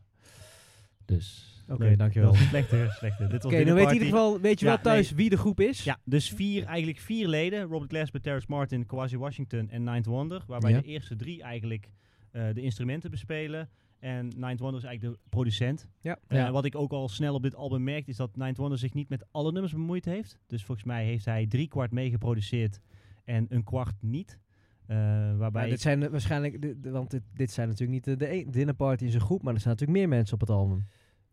Speaker 5: Dus...
Speaker 2: Oké,
Speaker 1: Leuk.
Speaker 2: dankjewel.
Speaker 1: Wel, Slechter, slechter. Dit was
Speaker 2: Oké,
Speaker 1: Dinner
Speaker 2: dan weet je in
Speaker 1: Party.
Speaker 2: ieder geval, weet je
Speaker 1: Ja,
Speaker 2: wel thuis wie de groep is.
Speaker 1: Ja, dus vier, eigenlijk vier leden. Robert Glasper, Terrence Martin, Kwasi Washington en Ninth Wonder. Waarbij
Speaker 2: Ja.
Speaker 1: de eerste drie eigenlijk eh, de instrumenten bespelen. En Ninth Wonder is eigenlijk de producent.
Speaker 2: Ja.
Speaker 1: Eh,
Speaker 5: Ja.
Speaker 1: Wat ik ook al snel op dit album merk, is dat Ninth Wonder zich niet met alle nummers bemoeid heeft. Dus volgens mij heeft hij drie kwart meegeproduceerd en een kwart niet. Eh, waarbij
Speaker 2: Maar dit zijn eh, waarschijnlijk, de- de- want dit, dit zijn natuurlijk niet eh, de e- dinnerparty in zijn groep, maar er staan natuurlijk meer mensen op het album.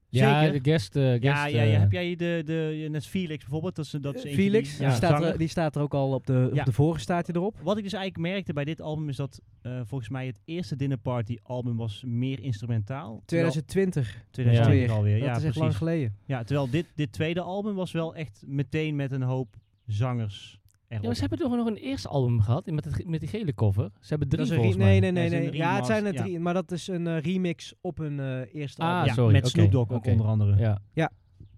Speaker 5: Ja,
Speaker 1: Zeker.
Speaker 5: de guest... eh, guest
Speaker 1: ja, ja, ja,
Speaker 5: eh,
Speaker 1: heb jij de, de, net Felix bijvoorbeeld? Dat is, dat is
Speaker 2: Eh,
Speaker 1: eentje die-
Speaker 2: Felix,
Speaker 1: ja,
Speaker 2: die, staat
Speaker 1: zanger.
Speaker 2: er, die staat er ook al op de,
Speaker 1: Ja.
Speaker 2: op de vorige staat hij erop.
Speaker 1: Wat ik dus eigenlijk merkte bij dit album is dat eh, volgens mij het eerste Dinner Party album was meer instrumentaal. terwijl-
Speaker 2: 2020
Speaker 1: 2020
Speaker 2: alweer.
Speaker 1: alweer,
Speaker 2: dat
Speaker 1: ja
Speaker 2: is echt
Speaker 1: precies.
Speaker 2: lang geleden.
Speaker 1: ja, terwijl dit, dit tweede album was wel echt meteen met een hoop zangers erop.
Speaker 5: Ja, maar ze hebben toch nog een eerste album gehad met, het, ge- met die gele cover. Ze hebben drie
Speaker 2: Dat is een re-
Speaker 5: volgens
Speaker 2: nee,
Speaker 5: mij.
Speaker 1: Ja,
Speaker 2: nee, nee,
Speaker 1: ze
Speaker 2: nee.
Speaker 1: hebben
Speaker 2: Ja, het zijn er
Speaker 1: remastered,
Speaker 2: drie, maar dat is een eh, remix op hun eh, eerste
Speaker 5: Ah,
Speaker 2: album.
Speaker 1: ja,
Speaker 5: sorry,
Speaker 1: met
Speaker 5: oké,
Speaker 1: Snoop Dogg ook
Speaker 5: oké.
Speaker 1: onder andere.
Speaker 5: Ja.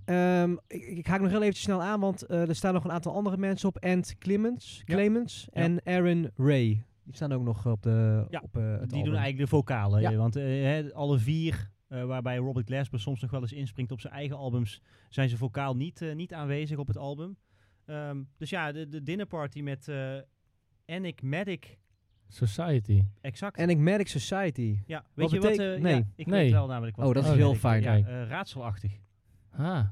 Speaker 2: Ehm, ik, ik haak nog heel even snel aan, want eh, er staan nog een aantal andere mensen op. Ant Clemens,
Speaker 1: Ja.
Speaker 2: Clemens
Speaker 1: Ja.
Speaker 2: en Aaron Ray. Die staan ook nog op, de,
Speaker 1: Ja,
Speaker 2: op eh, het
Speaker 1: Die
Speaker 2: album.
Speaker 1: doen eigenlijk de vocalen.
Speaker 2: Ja.
Speaker 1: eh, Want eh, hè, alle vier, eh, waarbij Robert Glasper soms nog wel eens inspringt op zijn eigen albums, zijn ze vocaal niet, eh, niet aanwezig op het album. Ehm, dus ja, de, de Dinner Party met eh Enigmatic,
Speaker 5: Society.
Speaker 1: exact.
Speaker 2: Enigmatic Society.
Speaker 1: Ja, weet je wat?
Speaker 2: betekent-
Speaker 1: eh,
Speaker 2: nee.
Speaker 1: ja, ik
Speaker 5: Nee.
Speaker 1: weet wel namelijk wat.
Speaker 2: Oh, dat
Speaker 1: het
Speaker 2: is
Speaker 1: is.
Speaker 2: heel fijn.
Speaker 1: Ja,
Speaker 5: Kijk.
Speaker 1: eh, raadselachtig.
Speaker 5: Ah.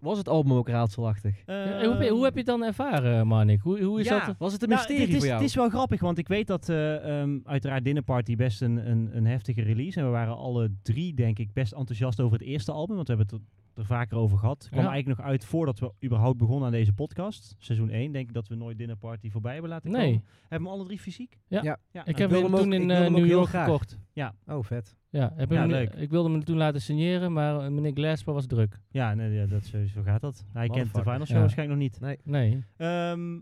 Speaker 2: Was het album ook raadselachtig?
Speaker 5: Ja, hoe, heb
Speaker 1: Ehm,
Speaker 5: je, hoe heb je het dan ervaren, eh, Manik? Hoe, hoe is
Speaker 1: ja,
Speaker 5: dat?
Speaker 2: Was het een
Speaker 1: Nou,
Speaker 2: mysterie
Speaker 1: dit is,
Speaker 2: voor jou?
Speaker 1: Het is wel grappig, want ik weet dat eh, ehm, uiteraard Dinner Party best een, een, een heftige release. En we waren alle drie, denk ik, best enthousiast over het eerste album. Want we hebben het er, er vaker over gehad. Het kwam
Speaker 5: Ja.
Speaker 1: eigenlijk nog uit voordat we überhaupt begonnen aan deze podcast. Seizoen 1, denk ik dat we nooit Dinner Party voorbij hebben laten komen.
Speaker 5: Nee.
Speaker 1: Hebben we hem alle drie fysiek?
Speaker 5: Ik
Speaker 2: Ik
Speaker 5: heb
Speaker 2: wil
Speaker 5: hem
Speaker 2: hem ook-
Speaker 5: toen
Speaker 2: ik
Speaker 5: in
Speaker 2: wil
Speaker 5: eh,
Speaker 2: hem ook
Speaker 5: New
Speaker 2: heel
Speaker 5: York
Speaker 2: graag.
Speaker 5: gekocht.
Speaker 2: Oh, vet.
Speaker 5: Ja, heb
Speaker 1: Ja,
Speaker 5: hem,
Speaker 1: leuk.
Speaker 5: ik wilde hem toen laten signeren, maar eh, meneer Glasper was druk.
Speaker 1: Ja, nee, ja dat, zo, zo gaat dat. Hij kent de
Speaker 2: Motherfucker.
Speaker 1: final show
Speaker 5: Ja.
Speaker 1: waarschijnlijk nog niet.
Speaker 5: Nee.
Speaker 1: Ehm,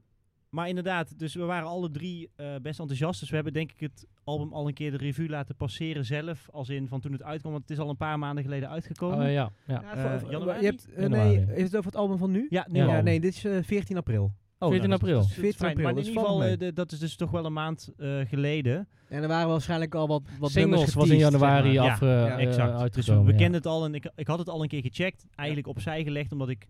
Speaker 1: maar inderdaad, dus we waren alle drie eh, best enthousiast. Dus we hebben denk ik het album al een keer de revue laten passeren zelf. Als in van toen het uitkwam, want het is al een paar maanden geleden uitgekomen.
Speaker 5: Oh, ja, ja.
Speaker 1: Eh,
Speaker 2: voor-
Speaker 1: januari?
Speaker 2: Je hebt, eh, nee,
Speaker 5: Januari.
Speaker 2: is het over het album van nu?
Speaker 1: Ja, nu
Speaker 5: Ja.
Speaker 1: al.
Speaker 2: Ja, nee, dit is eh, 14 april.
Speaker 1: Oh,
Speaker 5: 14
Speaker 1: nou, dat is-
Speaker 5: april.
Speaker 1: dat is- dat is
Speaker 2: 14
Speaker 1: fijn.
Speaker 2: april,
Speaker 1: Maar in
Speaker 2: dat
Speaker 1: ieder
Speaker 2: valt
Speaker 1: geval,
Speaker 2: mee.
Speaker 1: eh, de- dat is dus toch wel een maand eh, geleden.
Speaker 2: En er waren waarschijnlijk al wat, wat nummers
Speaker 5: Singles was in
Speaker 2: geteased,
Speaker 5: januari
Speaker 2: zeg maar.
Speaker 1: Ja,
Speaker 5: af, eh,
Speaker 2: ja,
Speaker 5: eh,
Speaker 1: exact. dus we
Speaker 5: uitgekomen. ja.
Speaker 1: kenden het al en ik, ik had het al een keer gecheckt. Eigenlijk opzij gelegd, omdat ik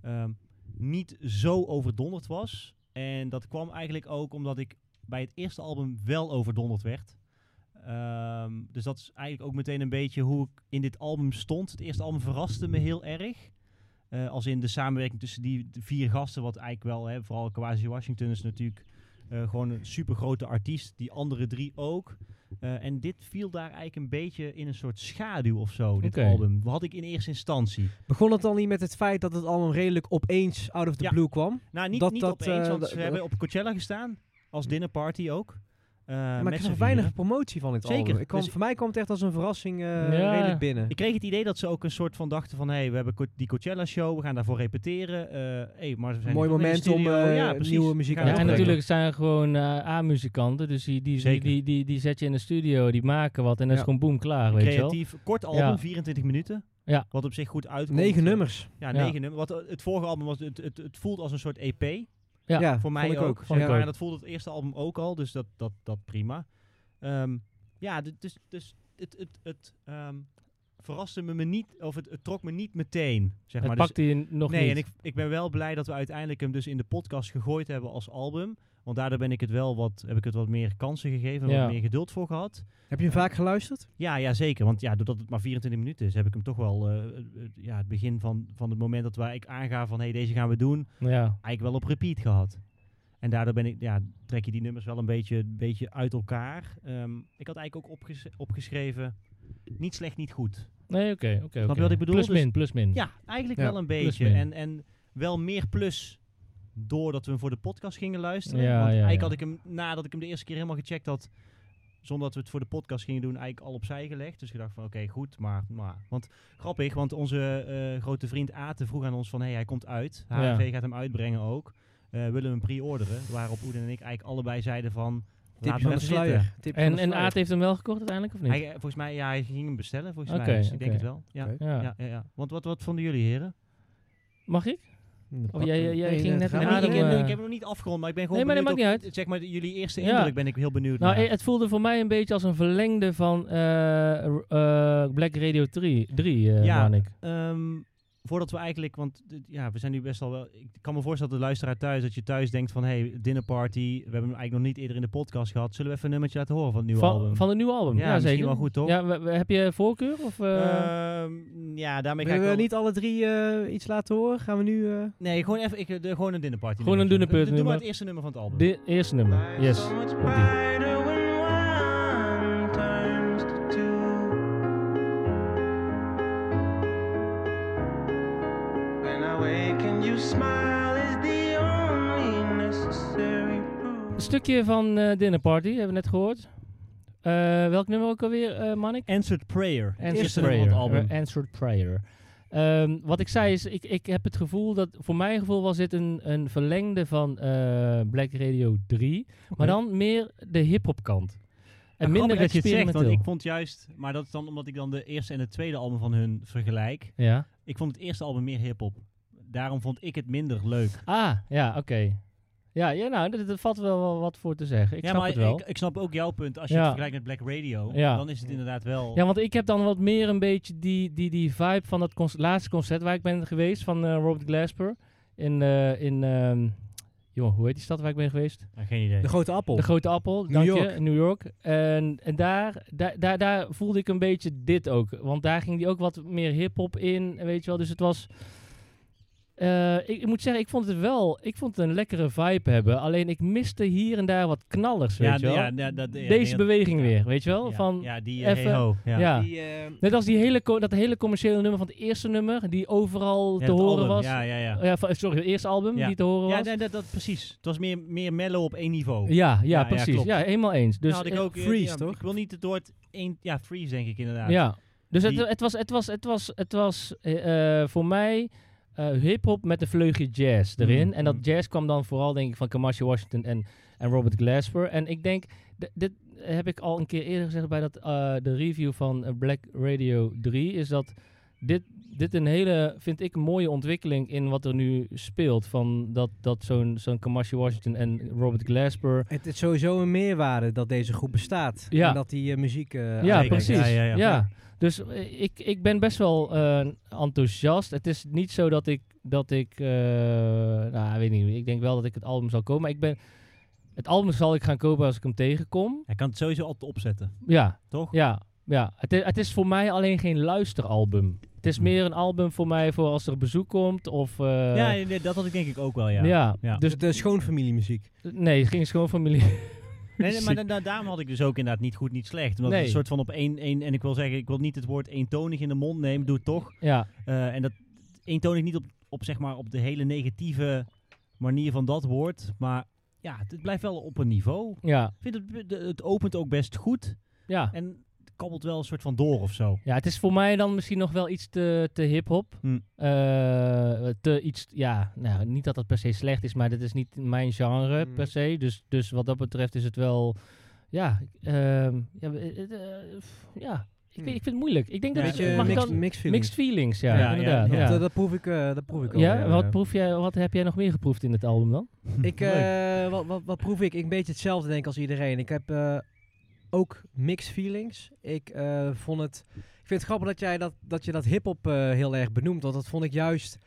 Speaker 1: ehm, niet zo overdonderd was. En dat kwam eigenlijk ook omdat ik bij het eerste album wel overdonderd werd. Ehm, dus dat is eigenlijk ook meteen een beetje hoe ik in dit album stond. Het eerste album verraste me heel erg. Eh, als in de samenwerking tussen die vier gasten, wat eigenlijk wel, hè, vooral Quasi Washington is natuurlijk eh, gewoon een super grote artiest. Die andere drie ook. Eh, en dit viel daar eigenlijk een beetje in een soort schaduw of zo, dit
Speaker 5: Oké.
Speaker 1: album. Wat had ik in eerste instantie.
Speaker 2: Begon het dan niet met het feit dat het album redelijk opeens out of the
Speaker 1: Ja.
Speaker 2: blue kwam?
Speaker 1: Nou, niet,
Speaker 2: Dat-
Speaker 1: niet
Speaker 2: dat,
Speaker 1: opeens,
Speaker 2: eh,
Speaker 1: want
Speaker 2: dat-
Speaker 1: we hebben op Coachella gestaan. Als dinnerparty ook. Eh,
Speaker 2: maar
Speaker 1: met
Speaker 2: ik
Speaker 1: z'n
Speaker 2: kreeg
Speaker 1: vieren.
Speaker 2: weinig promotie van dit
Speaker 1: Zeker.
Speaker 2: album. Ik kwam,
Speaker 1: Dus-
Speaker 2: voor mij kwam het echt als een verrassing eh,
Speaker 5: Ja.
Speaker 2: redelijk binnen.
Speaker 1: Ik kreeg het idee dat ze ook een soort van dachten van... hé, hey, we hebben Co- die Coachella-show, we gaan daarvoor repeteren. eh hey, maar we zijn
Speaker 2: Mooi
Speaker 1: nu toch in de
Speaker 2: moment om,
Speaker 1: studio.
Speaker 2: eh,
Speaker 1: ja, precies.
Speaker 2: nieuwe muziek
Speaker 1: We
Speaker 5: Ja,
Speaker 1: gaan
Speaker 2: aan te
Speaker 5: en
Speaker 1: opbrengen.
Speaker 5: natuurlijk zijn er gewoon eh, A-muzikanten, dus die, die, die,
Speaker 1: Zeker.
Speaker 5: die, die, die zet je in de studio, die maken wat en dat
Speaker 2: Ja.
Speaker 5: is gewoon boem klaar, weet je wel.
Speaker 1: Creatief, kort album,
Speaker 5: Ja.
Speaker 1: 24 minuten.
Speaker 5: Ja.
Speaker 1: Wat op zich goed uitkomt.
Speaker 2: Negen nummers.
Speaker 1: Ja,
Speaker 5: Ja.
Speaker 1: eh, negen nummers. Want eh, het vorige album was... Het, het, het voelt als een soort EP.
Speaker 2: Ja,
Speaker 5: Ja,
Speaker 1: Voor mij
Speaker 2: vond ik
Speaker 1: ook.
Speaker 2: ook.
Speaker 1: Zeg
Speaker 2: Ja.
Speaker 1: maar. En dat voelde het eerste album ook al, dus dat, dat, dat prima. Ehm, ja, d- dus, dus het, het, het ehm, verraste me, me niet, of het, het trok me niet meteen. Zeg
Speaker 5: het
Speaker 1: maar. Dus-
Speaker 5: pakt hij nog
Speaker 1: nee,
Speaker 5: niet.
Speaker 1: en ik, ik ben wel blij dat we uiteindelijk hem dus in de podcast gegooid hebben als album. Want daardoor ben ik het wel wat, heb ik het wat meer kansen gegeven en
Speaker 5: Ja.
Speaker 1: wat meer geduld voor gehad.
Speaker 2: Heb je hem vaak geluisterd?
Speaker 1: Ja, ja, zeker. Want ja, doordat het maar 24 minuten is, heb ik hem toch wel eh, eh, ja, het begin van, van het moment dat wij ik aanga van hé, hey, deze gaan we doen,
Speaker 5: ja.
Speaker 1: eigenlijk wel op repeat gehad. En daardoor ben ik, ja, trek je die nummers wel een beetje, een beetje uit elkaar. Ehm, ik had eigenlijk ook opges- opgeschreven, niet slecht, niet goed.
Speaker 5: Nee, oké. oké. oké.
Speaker 1: je wat ik bedoel?
Speaker 5: Plus
Speaker 1: Dus-
Speaker 5: min, plus min.
Speaker 1: Ja, eigenlijk
Speaker 2: Ja,
Speaker 1: wel een
Speaker 5: plus
Speaker 1: beetje.
Speaker 5: min.
Speaker 1: En, en wel meer plus doordat we hem voor de podcast gingen luisteren. Want
Speaker 5: Ja, ja,
Speaker 1: eigenlijk
Speaker 5: ja.
Speaker 1: had ik hem, nadat ik hem de eerste keer helemaal gecheckt had, zonder dat we het voor de podcast gingen doen, eigenlijk al opzij gelegd. Dus ik dacht van, oké, goed, maar, maar... Want grappig, want onze eh, grote vriend Aten vroeg aan ons van, hé, hey, hij komt uit.
Speaker 5: Ja.
Speaker 1: HRV gaat hem uitbrengen ook. Eh, willen we hem pre-orderen? Waarop Oeden en ik eigenlijk allebei zeiden van, laat
Speaker 2: Tipje
Speaker 1: maar
Speaker 2: van de
Speaker 1: even zitten.
Speaker 2: sluier. Tipje van
Speaker 5: En,
Speaker 2: de
Speaker 5: en
Speaker 2: sluier.
Speaker 5: Aad heeft hem wel gekocht uiteindelijk, of niet?
Speaker 1: Hij, eh, volgens mij, ja, hij ging hem bestellen, volgens
Speaker 5: Oké,
Speaker 1: mij. Dus ik
Speaker 5: oké.
Speaker 1: denk het wel. Ja,
Speaker 2: Oké.
Speaker 5: ja.
Speaker 1: ja, ja, ja. Want wat, wat vonden jullie, heren?
Speaker 5: Mag ik?
Speaker 2: Oh,
Speaker 5: Of jij- jij- jij ging net
Speaker 2: dat
Speaker 5: in
Speaker 2: gaat
Speaker 1: Ja,
Speaker 5: adem,
Speaker 1: ik, heb, ik
Speaker 5: eh.
Speaker 1: heb hem nog niet afgerond, maar ik ben gewoon
Speaker 5: Nee, maar dat
Speaker 1: benieuwd
Speaker 5: maakt
Speaker 1: of- Zeg maar, jullie eerste
Speaker 5: Ja.
Speaker 1: indruk ben ik heel benieuwd
Speaker 5: Nou,
Speaker 1: naar.
Speaker 5: eh, het voelde voor mij een beetje als een verlengde van eh, r- eh, Black Radio 3, 3 eh
Speaker 1: Ja.
Speaker 5: Marnik.
Speaker 1: Ehm, voordat we eigenlijk, want dit- ja, we zijn nu best al wel... Ik kan me voorstellen dat de luisteraar thuis, dat je thuis denkt van... Hé, hey, dinnerparty, we hebben hem eigenlijk nog niet eerder in de podcast gehad. Zullen we even een nummertje laten horen van het nieuwe album?
Speaker 5: Van, van het nieuwe album.
Speaker 1: Ja,
Speaker 5: Ja,
Speaker 1: misschien
Speaker 5: zeker.
Speaker 1: wel goed, toch?
Speaker 5: Ja, we- we- heb je voorkeur? Of, eh,
Speaker 1: Ehm, ja, daarmee ga ik
Speaker 2: Willen
Speaker 1: wel...
Speaker 2: we niet alle drie eh, iets laten horen? Gaan we nu... eh,
Speaker 1: Nee, gewoon even ik, de, gewoon een dinnerparty.
Speaker 5: Gewoon een
Speaker 1: nummertje. Eh, Doe
Speaker 5: dinnerparty
Speaker 1: maar
Speaker 5: nummer.
Speaker 1: het eerste nummer van het album.
Speaker 5: Dit eerste
Speaker 1: eh,
Speaker 5: nummer. Yes. Komt-ie. Een stukje van eh Dinner Party hebben we net gehoord. Eh, welk nummer ook alweer, eh Manik?
Speaker 1: Answered Prayer. Het
Speaker 5: Answered
Speaker 1: eerste nummer
Speaker 5: Prayer.
Speaker 1: van het album.
Speaker 5: Eh, Answered Prayer. Ehm, wat ik zei is, ik, ik heb het gevoel dat, voor mijn gevoel was dit een, een verlengde van eh, Black Radio 3. Maar dan meer de hip-hop kant. En
Speaker 1: Grappig
Speaker 5: minder
Speaker 1: dat je het zegt, want
Speaker 5: experimenteel.
Speaker 1: ik vond juist... Maar dat is dan omdat ik dan de eerste en het tweede album van hun vergelijk.
Speaker 5: Ja.
Speaker 1: Ik vond het eerste album meer hip-hop. Daarom vond ik het minder leuk.
Speaker 5: Ah, ja, oké. Ja, ja, nou, er- er valt wel wel wat voor te zeggen. Ik
Speaker 1: ja,
Speaker 5: snap
Speaker 1: maar
Speaker 5: het wel.
Speaker 1: Ik, ik snap ook jouw punt. Als je
Speaker 5: Ja.
Speaker 1: het vergelijkt met Black Radio,
Speaker 5: Ja.
Speaker 1: dan is het inderdaad wel.
Speaker 5: Ja, want ik heb dan wat meer een beetje die, die, die vibe van dat conc- laatste concert waar ik ben geweest van eh, Robert Glasper. In, eh, in ehm, joh, hoe heet die stad waar ik ben geweest?
Speaker 1: Nou, geen idee.
Speaker 2: De Grote Appel.
Speaker 5: De Grote Appel,
Speaker 2: New
Speaker 5: dank
Speaker 2: York.
Speaker 5: je, New York. En, en daar, daar, daar, daar voelde ik een beetje dit ook. Want daar ging die ook wat meer hip-hop in, weet je wel. Dus het was. eh, ik, ik moet zeggen, ik vond het wel. Ik vond het een lekkere vibe hebben. Alleen ik miste hier en daar wat knallers, weet
Speaker 1: ja,
Speaker 5: je wel.
Speaker 1: ja, ja, dat, ja,
Speaker 5: Deze
Speaker 1: ja,
Speaker 5: beweging weer, weet je wel?
Speaker 1: ja,
Speaker 5: van,
Speaker 1: ja, die
Speaker 5: even-
Speaker 1: hey ho, ja.
Speaker 5: ja.
Speaker 2: Die, eh,
Speaker 5: Net als die hele, co- dat hele commerciële nummer van het eerste nummer, die overal
Speaker 1: Ja,
Speaker 5: te
Speaker 1: het
Speaker 5: horen
Speaker 1: album,
Speaker 5: was.
Speaker 1: Ja, ja, ja.
Speaker 5: Oh ja, van- sorry, het eerste album
Speaker 1: Ja.
Speaker 5: die te horen
Speaker 1: ja
Speaker 5: was.
Speaker 1: nee, dat, dat, precies. Het was meer, meer mellow op één niveau.
Speaker 5: ja, ja,
Speaker 1: ja,
Speaker 5: precies. Ja,
Speaker 1: klopt.
Speaker 5: helemaal eens. Dus,
Speaker 1: Nou, had ik
Speaker 5: eh,
Speaker 1: ook, eh,
Speaker 2: Freeze,
Speaker 1: ja,
Speaker 2: toch?
Speaker 1: Ik wil niet het woord één. Ja, freeze denk ik inderdaad.
Speaker 5: ja. dus het,
Speaker 1: Die-
Speaker 5: het was, het was, het was, het was eh, eh, voor mij eh hip-hop met een vleugje jazz erin.
Speaker 1: Mm,
Speaker 5: En dat
Speaker 1: mm.
Speaker 5: jazz kwam dan vooral, denk ik, van Kamasi Washington en, en Robert Glasper. En ik denk, d- dit heb ik al een keer eerder gezegd bij dat, eh, de review van eh, Black Radio 3, is dat dit, dit een hele, vind ik, mooie ontwikkeling in wat er nu speelt. Van dat, dat zo'n zo'n Kamasi Washington en Robert Glasper.
Speaker 2: Het is sowieso een meerwaarde dat deze groep bestaat.
Speaker 5: Ja.
Speaker 2: En dat die eh, muziek... eh,
Speaker 5: Ja,
Speaker 1: zeker.
Speaker 2: aanbrengt.
Speaker 1: Ja,
Speaker 5: precies. Ja,
Speaker 1: ja, ja.
Speaker 5: Dus eh, ik, ik ben best wel eh, enthousiast. Het is niet zo dat ik, dat ik eh, nou, ik weet niet, ik denk wel dat ik het album zal kopen. Maar ik ben, het album zal ik gaan kopen als ik hem tegenkom.
Speaker 1: Hij kan het sowieso altijd opzetten,
Speaker 5: Ja,
Speaker 1: toch?
Speaker 5: ja, ja. Het is, het is voor mij alleen geen luisteralbum. Het
Speaker 1: Hm.
Speaker 5: is meer een album voor mij voor als er bezoek komt of... eh,
Speaker 1: Ja, nee, dat had ik denk ik ook wel, ja.
Speaker 5: ja.
Speaker 1: Ja.
Speaker 2: Dus
Speaker 5: Dus
Speaker 2: het is gewoon familiemuziek.
Speaker 5: nee, het ging gewoon familie.
Speaker 1: Nee, nee, maar da- da- daarom had ik dus ook inderdaad niet goed, niet slecht. Omdat
Speaker 5: Nee.
Speaker 1: het een soort van op één, één... En ik wil zeggen, ik wil niet het woord eentonig in de mond nemen. Doe het toch.
Speaker 5: Ja,
Speaker 1: Eh, en dat eentonig niet op, op, zeg maar, op de hele negatieve manier van dat woord. Maar ja, het, het blijft wel op een niveau.
Speaker 5: ja,
Speaker 1: Ik vind het, de- het opent ook best goed.
Speaker 5: ja.
Speaker 1: En het kabbelt wel een soort van door of zo.
Speaker 5: Ja, het is voor mij dan misschien nog wel iets te, te hip-hop.
Speaker 1: Hm.
Speaker 5: Eh, te iets, ja, nou, niet dat dat per se slecht is, maar dat is niet mijn genre
Speaker 2: Hm.
Speaker 5: per se. Dus, dus wat dat betreft is het wel, ja, ehm, ja, eh, eh, eh, ja.
Speaker 2: Hm.
Speaker 5: Ik, weet- ik vind het moeilijk. Ik denk
Speaker 2: Een
Speaker 5: dat
Speaker 2: beetje
Speaker 5: het mag
Speaker 2: mixed,
Speaker 5: dan
Speaker 2: mixed feelings.
Speaker 5: mixed feelings, ja,
Speaker 1: Ja, ja,
Speaker 5: inderdaad. Ja,
Speaker 1: ja.
Speaker 2: Dat, dat proef ik, eh, dat proef ik ook.
Speaker 5: Ja, wat, proef jij, wat heb jij nog meer geproefd in het album dan?
Speaker 2: Ik, eh, wat, wat, wat proef ik? Ik een beetje hetzelfde denk ik als iedereen. Ik heb eh, ook mixed feelings. Ik eh, vond het... Ik vind het grappig dat, jij dat, dat je dat hiphop eh heel erg benoemt. Want dat vond ik juist...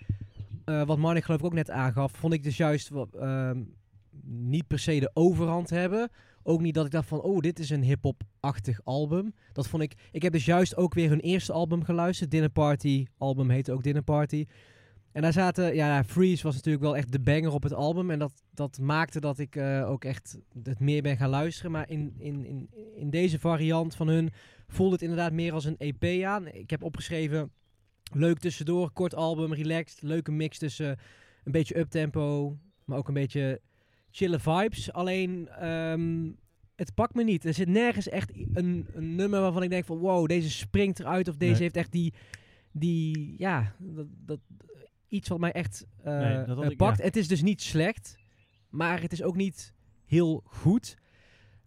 Speaker 2: eh, wat Marnik geloof ik ook net aangaf. Vond ik dus juist wat, ehm, niet per se de overhand hebben. Ook niet dat ik dacht van... Oh, dit is een hiphop-achtig album. Dat vond ik... Ik heb dus juist ook weer hun eerste album geluisterd. Dinner Party. Album heette ook Dinner Party. En daar zaten, ja, Freeze was natuurlijk wel echt de banger op het album. En dat, dat maakte dat ik eh, ook echt het meer ben gaan luisteren. Maar in, in, in, in deze variant van hun voelde het inderdaad meer als een EP aan. Ik heb opgeschreven, leuk tussendoor, kort album, relaxed. Leuke mix tussen een beetje uptempo, maar ook een beetje chille vibes. Alleen, ehm, het pakt me niet. Er zit nergens echt i- een, een nummer waarvan ik denk van... wow, deze springt eruit of deze
Speaker 1: Nee.
Speaker 2: heeft echt die... die ja, dat, dat, iets wat mij echt eh,
Speaker 1: Nee, dat had
Speaker 2: eh,
Speaker 1: ik-
Speaker 2: pakt.
Speaker 1: ja.
Speaker 2: Het is dus niet slecht, maar het is ook niet heel goed.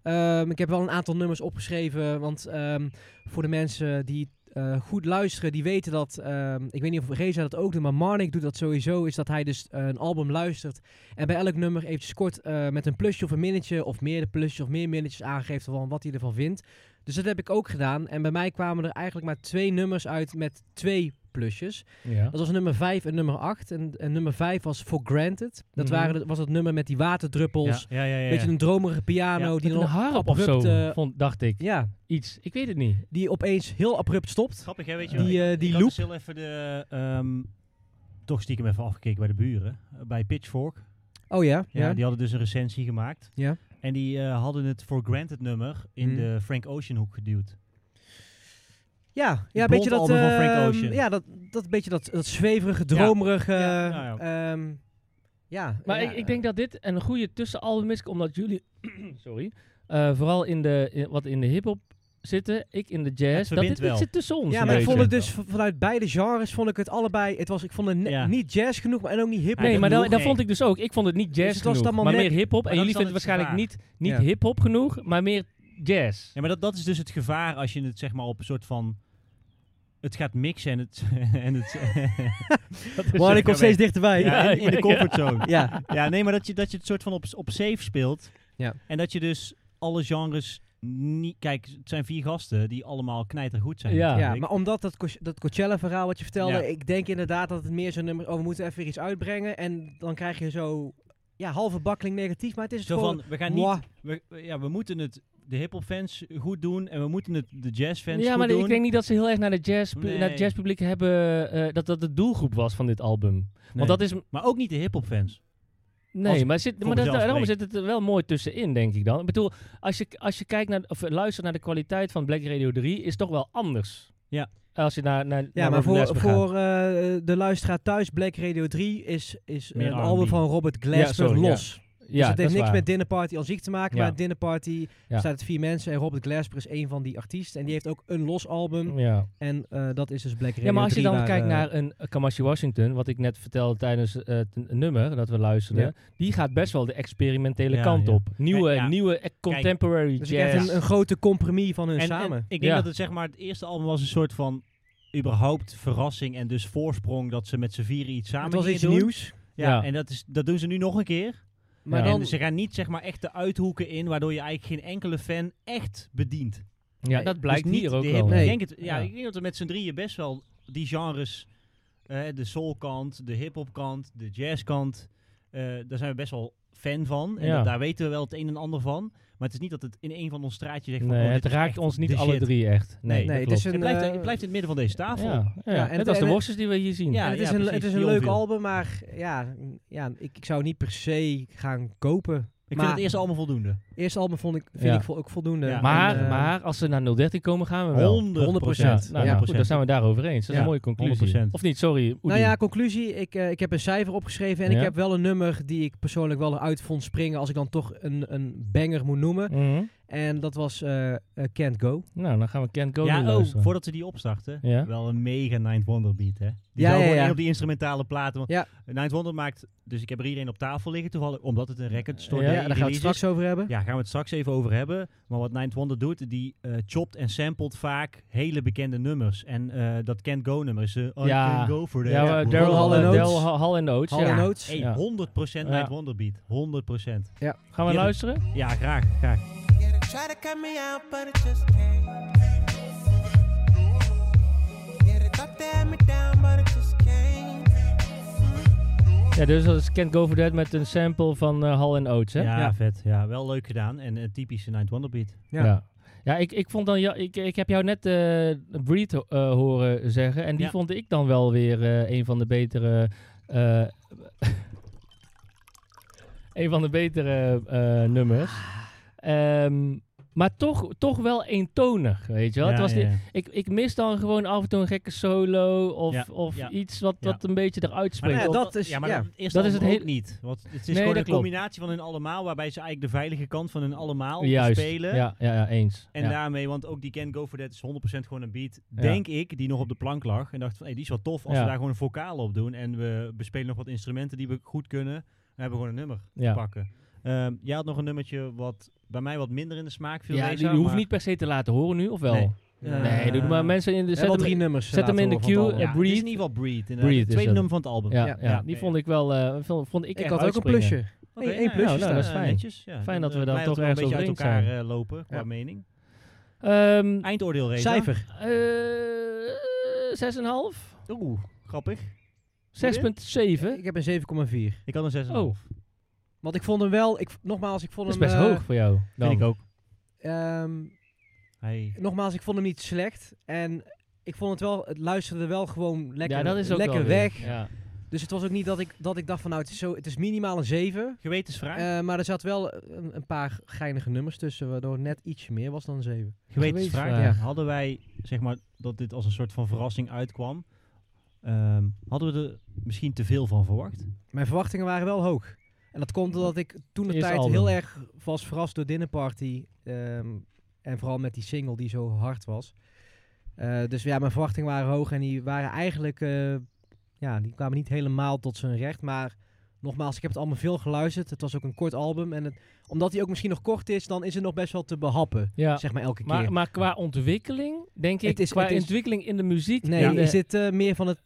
Speaker 2: Ehm, ik heb wel een aantal nummers opgeschreven, want ehm, voor de mensen die eh, goed luisteren, die weten dat. ehm, ik weet niet of Reza dat ook doet, maar Marnik doet dat sowieso. Is dat hij dus eh, een album luistert en bij elk nummer eventjes kort eh, met een plusje of een minnetje, of meerdere plusjes of meer minnetjes aangeeft van wat hij ervan vindt. Dus dat heb ik ook gedaan. En bij mij kwamen er eigenlijk maar twee nummers uit met twee plusjes.
Speaker 5: Ja.
Speaker 2: Dat was nummer 5 en nummer 8. En, en nummer 5 was For Granted. Dat
Speaker 5: Mhm.
Speaker 2: waren, de- was het nummer met die
Speaker 1: Ja,
Speaker 2: waterdruppels.
Speaker 1: ja, ja. ja,
Speaker 2: Beetje
Speaker 1: ja.
Speaker 2: een dromerige piano.
Speaker 1: Ja,
Speaker 2: die
Speaker 5: Met een
Speaker 2: dan
Speaker 5: harp of
Speaker 2: abrupt,
Speaker 5: zo,
Speaker 2: eh,
Speaker 5: vond, dacht ik.
Speaker 2: ja,
Speaker 5: Iets, ik weet het niet.
Speaker 2: die opeens heel abrupt stopt.
Speaker 1: Grappig, hè, weet je
Speaker 2: Die,
Speaker 1: wel.
Speaker 2: eh,
Speaker 1: Ik-
Speaker 2: die
Speaker 1: ik had
Speaker 2: loop.
Speaker 1: dus heel even de... ehm, toch stiekem even afgekeken bij de buren. eh, Bij Pitchfork.
Speaker 2: Oh ja,
Speaker 1: Ja,
Speaker 2: ja.
Speaker 1: die hadden dus een recensie gemaakt.
Speaker 2: Ja.
Speaker 1: En die eh, hadden het For Granted nummer in
Speaker 2: Mhm.
Speaker 1: de Frank Ocean hoek geduwd.
Speaker 2: Ja, ja, een
Speaker 1: Het
Speaker 2: beetje dat...
Speaker 1: blond album van Frank
Speaker 2: ehm,
Speaker 1: Ocean.
Speaker 2: ja, dat, dat beetje dat, dat zweverige, dromerige...
Speaker 1: Ja,
Speaker 2: Ja,
Speaker 1: nou
Speaker 2: ja.
Speaker 5: Maar
Speaker 2: ja,
Speaker 5: ik, ik denk dat dit een goede tussenalbum is, omdat jullie, sorry, eh, vooral in de, in- wat in de hip-hop zitten, ik in de jazz. Dat
Speaker 1: verbindt
Speaker 5: dit, dit
Speaker 1: wel.
Speaker 5: zit tussen ons.
Speaker 2: Ja,
Speaker 5: een
Speaker 2: maar ik
Speaker 5: beetje.
Speaker 2: vond het dus v- vanuit beide genres vond ik het allebei... Het was, ik vond het ne-
Speaker 1: Ja.
Speaker 2: niet jazz genoeg, maar en ook niet hip.
Speaker 1: Ja,
Speaker 5: Nee,
Speaker 1: dat
Speaker 5: maar dat,
Speaker 1: nog
Speaker 5: dat
Speaker 1: één.
Speaker 5: vond ik dus ook. Ik vond het niet jazz
Speaker 2: Dus het was
Speaker 5: genoeg,
Speaker 2: dan
Speaker 5: maar,
Speaker 2: maar
Speaker 5: meer
Speaker 2: net-
Speaker 5: hip-hop. En
Speaker 1: dat
Speaker 5: jullie
Speaker 1: is dan
Speaker 5: vinden
Speaker 1: het
Speaker 5: waarschijnlijk niet, niet
Speaker 2: Ja.
Speaker 5: hip-hop genoeg, maar meer jazz.
Speaker 1: Ja, maar dat, dat is dus het gevaar als je het zeg maar op een soort van... Het gaat mixen en het... en het
Speaker 5: Dat is-
Speaker 2: Maar ik kom steeds dichterbij.
Speaker 1: ja, in, in de
Speaker 5: ik-
Speaker 1: comfortzone.
Speaker 2: ja.
Speaker 1: ja, nee, maar dat je, dat je het soort van op, op safe speelt.
Speaker 2: Ja.
Speaker 1: En dat je dus alle genres niet... Kijk, het zijn vier gasten die allemaal knijtergoed zijn.
Speaker 5: Ja.
Speaker 1: natuurlijk.
Speaker 2: Ja, maar omdat dat, Coach- dat Coachella-verhaal wat je vertelde,
Speaker 1: Ja.
Speaker 2: ik denk inderdaad dat het meer zo'n nummer, oh, we moeten even weer iets uitbrengen. En dan krijg je zo, ja, halve bakkeling negatief, maar het is
Speaker 1: Zo
Speaker 2: gewoon...
Speaker 1: van, we gaan niet...
Speaker 2: mwah.
Speaker 1: We, we- ja, we moeten het de hip-hop fans goed doen en we moeten het de jazz fans
Speaker 5: Ja,
Speaker 1: goed
Speaker 5: maar
Speaker 1: doen.
Speaker 5: ik denk niet dat ze heel erg naar, de jazz,
Speaker 1: Nee.
Speaker 5: naar het jazzpubliek hebben, eh, dat dat de doelgroep was van dit album.
Speaker 1: Nee.
Speaker 5: Want dat is,
Speaker 1: Maar ook niet de hip-hop fans.
Speaker 5: Nee,
Speaker 1: Als-
Speaker 5: maar, zit, maar
Speaker 1: voor
Speaker 5: dat,
Speaker 1: mezelf
Speaker 5: daarom
Speaker 1: spreek.
Speaker 5: zit het er wel mooi tussenin, denk ik dan. Ik bedoel, als je, als je kijkt naar, of luistert naar de kwaliteit van Black Radio 3, is het toch wel anders.
Speaker 1: Ja.
Speaker 5: Als je naar, naar,
Speaker 2: Ja,
Speaker 5: naar
Speaker 2: maar
Speaker 5: Robert
Speaker 2: voor,
Speaker 5: Glasper gaat.
Speaker 2: voor eh, de luisteraar thuis, Black Radio 3 is, is
Speaker 1: Meer
Speaker 2: een
Speaker 1: R&B.
Speaker 2: album van Robert Glasper
Speaker 5: sorry, ja.
Speaker 2: los.
Speaker 5: ja,
Speaker 2: dus het
Speaker 5: dat
Speaker 2: heeft
Speaker 5: is
Speaker 2: niks
Speaker 5: waar.
Speaker 2: met Dinner Party als ziek te maken,
Speaker 5: Ja.
Speaker 2: maar Dinner Party bestaat uit vier mensen en Robert Glasper is één van die artiesten. En die heeft ook een los album
Speaker 5: Ja.
Speaker 2: en eh, dat is dus Black Radio 3.
Speaker 5: ja, maar als je dan
Speaker 2: waar,
Speaker 5: kijkt
Speaker 2: eh,
Speaker 5: naar een eh, Kamasi Washington, wat ik net vertelde tijdens eh, het n- nummer dat we luisterden,
Speaker 2: Ja.
Speaker 5: die gaat best wel de experimentele
Speaker 1: Ja,
Speaker 5: kant
Speaker 1: ja.
Speaker 5: op. Nieuwe,
Speaker 1: Nee, ja.
Speaker 5: nieuwe eh, contemporary
Speaker 2: Dus ik
Speaker 5: jazz.
Speaker 2: heb een, een grote compromis van hun samen.
Speaker 1: ik denk
Speaker 5: Ja.
Speaker 1: dat het zeg maar het eerste album was een soort van überhaupt verrassing en dus voorsprong dat ze met z'n vieren iets samen
Speaker 2: het was
Speaker 1: gingen
Speaker 2: iets
Speaker 1: doen.
Speaker 2: nieuws.
Speaker 1: Ja,
Speaker 5: Ja.
Speaker 1: en dat, is, dat doen ze nu nog een keer.
Speaker 2: Maar
Speaker 5: Ja.
Speaker 1: En
Speaker 2: dan,
Speaker 1: ze gaan niet zeg maar echt de uithoeken in, waardoor je eigenlijk geen enkele fan echt bedient.
Speaker 5: ja, dat blijkt
Speaker 1: Dus niet
Speaker 5: hier ook
Speaker 1: de
Speaker 5: wel.
Speaker 1: hip-
Speaker 2: Nee.
Speaker 1: Ik denk het, ja,
Speaker 5: Ja.
Speaker 1: ik denk dat we met z'n drieën best wel die genres, eh, de soulkant, de hip-hop kant, de jazzkant, eh, daar zijn we best wel fan van. En
Speaker 5: Ja.
Speaker 1: dat- daar weten we wel het een en ander van. Maar het is niet dat het in een van ons straatje zegt van,
Speaker 5: Nee,
Speaker 1: oh, dit
Speaker 5: het
Speaker 1: is
Speaker 5: raakt
Speaker 1: echt
Speaker 5: ons
Speaker 1: de
Speaker 5: niet alle
Speaker 1: shit.
Speaker 5: drie echt. Nee,
Speaker 1: Nee,
Speaker 5: dat
Speaker 2: nee, het
Speaker 5: klopt.
Speaker 2: is een,
Speaker 1: Het blijft,
Speaker 2: eh,
Speaker 1: het blijft in het midden van deze tafel.
Speaker 5: Ja, ja.
Speaker 2: Ja, en
Speaker 5: net
Speaker 2: het-
Speaker 5: als
Speaker 2: en
Speaker 5: de
Speaker 2: het-
Speaker 5: worstjes die we hier zien.
Speaker 1: Ja,
Speaker 2: En het, is een,
Speaker 1: precies,
Speaker 2: het is
Speaker 1: die
Speaker 2: een leuk
Speaker 1: onviel.
Speaker 2: album, maar ja, ja ik, ik zou niet per se gaan kopen.
Speaker 1: Ik
Speaker 2: Maar-
Speaker 1: vind het eerst allemaal voldoende.
Speaker 2: Eerste album vond ik, vind
Speaker 5: Ja.
Speaker 2: ik vo- ook voldoende.
Speaker 1: Ja.
Speaker 5: Maar,
Speaker 2: En, eh,
Speaker 5: maar als ze naar 013 komen, gaan we wel.
Speaker 1: 100
Speaker 5: Ja,
Speaker 2: procent.
Speaker 5: nou,
Speaker 2: Ja,
Speaker 5: goed, dan zijn we daarover eens. Dat is
Speaker 1: Ja,
Speaker 5: een mooie conclusie.
Speaker 1: 100%.
Speaker 5: Of niet, sorry. Oedi.
Speaker 2: Nou ja, conclusie. Ik, eh, ik heb een cijfer opgeschreven en
Speaker 5: Ja.
Speaker 2: ik heb wel een nummer die ik persoonlijk wel eruit vond springen als ik dan toch een, een banger moet noemen.
Speaker 5: Mhm.
Speaker 2: En dat was eh, eh, Can't Go.
Speaker 5: Nou, dan gaan we Kent Go
Speaker 1: Ja,
Speaker 5: nu
Speaker 1: oh,
Speaker 5: luisteren.
Speaker 1: voordat we die opstarten,
Speaker 5: Ja.
Speaker 1: wel een mega Ninth Wonder beat, hè? Die
Speaker 2: Ja,
Speaker 1: zou
Speaker 2: ja,
Speaker 1: gewoon
Speaker 2: ja.
Speaker 1: één op die instrumentale platen. Want
Speaker 2: Ja.
Speaker 1: Ninth Wonder maakt, dus ik heb er iedereen op tafel liggen toevallig, omdat het een record store
Speaker 5: Ja,
Speaker 2: Ja,
Speaker 1: day
Speaker 2: daar gaan we het
Speaker 1: release is.
Speaker 2: straks over hebben.
Speaker 1: Ja, gaan we het straks even over hebben. Maar wat Ninth Wonder doet, die eh chopt en samplet vaak hele bekende nummers. En eh, dat Can't Go nummer is eh, I
Speaker 5: Ja.
Speaker 1: Can Go For That.
Speaker 5: Ja, maar Daryl
Speaker 2: Hall and
Speaker 5: Hall,
Speaker 2: Oates.
Speaker 5: Daryl Hall and Oates.
Speaker 2: Hall
Speaker 5: ja.
Speaker 2: and Oates.
Speaker 1: Hey,
Speaker 5: Ja.
Speaker 1: 100%
Speaker 5: Ja.
Speaker 1: Night Wonder Beat. 100%.
Speaker 5: Gaan we
Speaker 1: Ja.
Speaker 5: luisteren?
Speaker 1: Ja, graag, graag.
Speaker 6: Yeah, they try to cut me out, but it just can't. Yeah, they thought they had me down, but it just can't.
Speaker 5: Ja, dus dat is Can't Go For That met een sample van eh, Hall and Oates, hè?
Speaker 1: Ja,
Speaker 2: Ja.
Speaker 1: vet. Ja, wel leuk gedaan. En een typische Night Wonder Beat.
Speaker 2: Ja.
Speaker 5: Ja, Ja, ik, ik vond dan, ja, ik, ik heb jou net eh Breed ho- eh, horen zeggen. En die
Speaker 1: Ja.
Speaker 5: vond ik dan wel weer eh, een van de betere. eh, een van de betere eh, nummers. Ehm, maar toch, toch wel eentonig, weet je wel.
Speaker 1: Ja,
Speaker 5: het was
Speaker 1: ja,
Speaker 5: niet,
Speaker 1: ja.
Speaker 5: ik, ik mis dan gewoon af en toe een gekke solo of,
Speaker 1: Ja,
Speaker 5: of
Speaker 1: ja,
Speaker 5: iets wat,
Speaker 1: ja.
Speaker 5: wat een beetje eruit
Speaker 1: Maar
Speaker 5: springt.
Speaker 2: ja,
Speaker 1: dat-
Speaker 2: dat is-
Speaker 1: ja, maar
Speaker 2: ja.
Speaker 1: dat is,
Speaker 5: Dat
Speaker 1: dan
Speaker 5: is het
Speaker 1: ook
Speaker 5: hele-
Speaker 1: niet. Want het is
Speaker 5: Nee,
Speaker 1: gewoon
Speaker 5: dat
Speaker 1: een
Speaker 5: klopt.
Speaker 1: combinatie van hun allemaal, waarbij ze eigenlijk de veilige kant van hun allemaal
Speaker 5: Juist,
Speaker 1: spelen.
Speaker 5: Ja, ja, ja, eens.
Speaker 1: En
Speaker 5: ja.
Speaker 1: daarmee, want ook die Can Go For That is 100% gewoon een beat,
Speaker 5: Ja.
Speaker 1: denk ik, die nog op de plank lag. En dacht van, hé, die is wel tof als
Speaker 5: Ja.
Speaker 1: we daar gewoon een vocaal op doen. En we bespelen nog wat instrumenten die we goed kunnen. En hebben we gewoon een nummer
Speaker 5: Ja.
Speaker 1: te pakken. Ehm, jij had nog een nummertje wat bij mij wat minder in de smaak viel.
Speaker 5: Ja,
Speaker 1: deze,
Speaker 5: die hoeft
Speaker 1: maar-
Speaker 5: niet per se te laten horen nu, of wel?
Speaker 1: Nee. Eh,
Speaker 5: Nee, doe het maar mensen in de
Speaker 2: Er zijn
Speaker 5: zet
Speaker 2: al
Speaker 5: hem-
Speaker 2: Eh, drie nummers. eh,
Speaker 5: zet hem
Speaker 2: laten
Speaker 5: in de
Speaker 2: horen van het
Speaker 5: queue,
Speaker 1: Ja,
Speaker 2: album.
Speaker 1: dit
Speaker 5: eh,
Speaker 1: is
Speaker 5: Breed.
Speaker 1: in ieder geval Breed. inderdaad.
Speaker 5: Breed
Speaker 1: het
Speaker 5: is
Speaker 1: tweede
Speaker 5: dat.
Speaker 1: nummer van het album.
Speaker 5: Ja,
Speaker 2: Ja.
Speaker 5: ja,
Speaker 1: Ja,
Speaker 5: die
Speaker 1: oké.
Speaker 5: vond ik wel. eh, vond, vond ik
Speaker 2: Ik
Speaker 5: echt
Speaker 2: had ook een
Speaker 5: uitspringen.
Speaker 2: plusje.
Speaker 1: Oké,
Speaker 2: Eén
Speaker 1: nou,
Speaker 2: plusje
Speaker 1: nou,
Speaker 5: staan.
Speaker 1: dat is fijn. Netjes, ja.
Speaker 5: Fijn dat we
Speaker 1: eh,
Speaker 5: dan
Speaker 1: blij
Speaker 5: toch
Speaker 1: we een
Speaker 5: ergens
Speaker 1: beetje uit elkaar
Speaker 5: overeen
Speaker 1: eh, lopen, qua
Speaker 2: Ja.
Speaker 1: mening.
Speaker 5: Ehm,
Speaker 1: Eindoordeel, Reza.
Speaker 2: Cijfer.
Speaker 5: eh, 6,5?
Speaker 1: Oeh, grappig.
Speaker 5: 6,7?
Speaker 2: Ik heb een 7,4.
Speaker 1: Ik had een 6,5.
Speaker 5: Oh,
Speaker 2: Want ik vond hem wel... Ik, nogmaals, ik vond
Speaker 5: dat is
Speaker 2: hem...
Speaker 5: best
Speaker 2: eh,
Speaker 5: hoog voor jou. Dan.
Speaker 1: Vind ik ook.
Speaker 2: ehm,
Speaker 1: Hij
Speaker 2: nogmaals, ik vond hem niet slecht. En ik vond het wel... Het luisterde wel gewoon lekker,
Speaker 5: ja, dat is ook
Speaker 2: lekker
Speaker 5: wel weer.
Speaker 2: weg.
Speaker 5: Ja.
Speaker 2: Dus het was ook niet dat ik, dat ik dacht van... Nou, het is, zo, het is minimaal een 7.
Speaker 1: Gewetensvraag.
Speaker 2: Eh, maar er zat wel een, een paar geinige nummers tussen, waardoor het net ietsje meer was dan 7.
Speaker 1: Gewetensvraag.
Speaker 5: Gewetensvraag.
Speaker 1: Ja. Hadden wij, zeg maar, dat dit als een soort van verrassing uitkwam, ehm, hadden we er misschien te veel van verwacht?
Speaker 2: Mijn verwachtingen waren wel hoog. En dat komt omdat ik toen de
Speaker 5: Eerste
Speaker 2: tijd
Speaker 5: album.
Speaker 2: heel erg was verrast door Dinner Party. ehm, en vooral met die single die zo hard was. Eh, dus ja, mijn verwachtingen waren hoog en die waren eigenlijk... eh, ja, die kwamen niet helemaal tot zijn recht. Maar nogmaals, ik heb het allemaal veel geluisterd. Het was ook een kort album. En het, omdat die ook misschien nog kort is, dan is het nog best wel te behappen.
Speaker 5: Ja.
Speaker 2: Zeg maar elke keer.
Speaker 5: Maar, maar qua ontwikkeling, denk ik,
Speaker 2: Het is-
Speaker 5: qua
Speaker 2: het is-
Speaker 5: ontwikkeling in de muziek.
Speaker 2: Nee,
Speaker 5: in de-
Speaker 2: is dit eh, meer van het...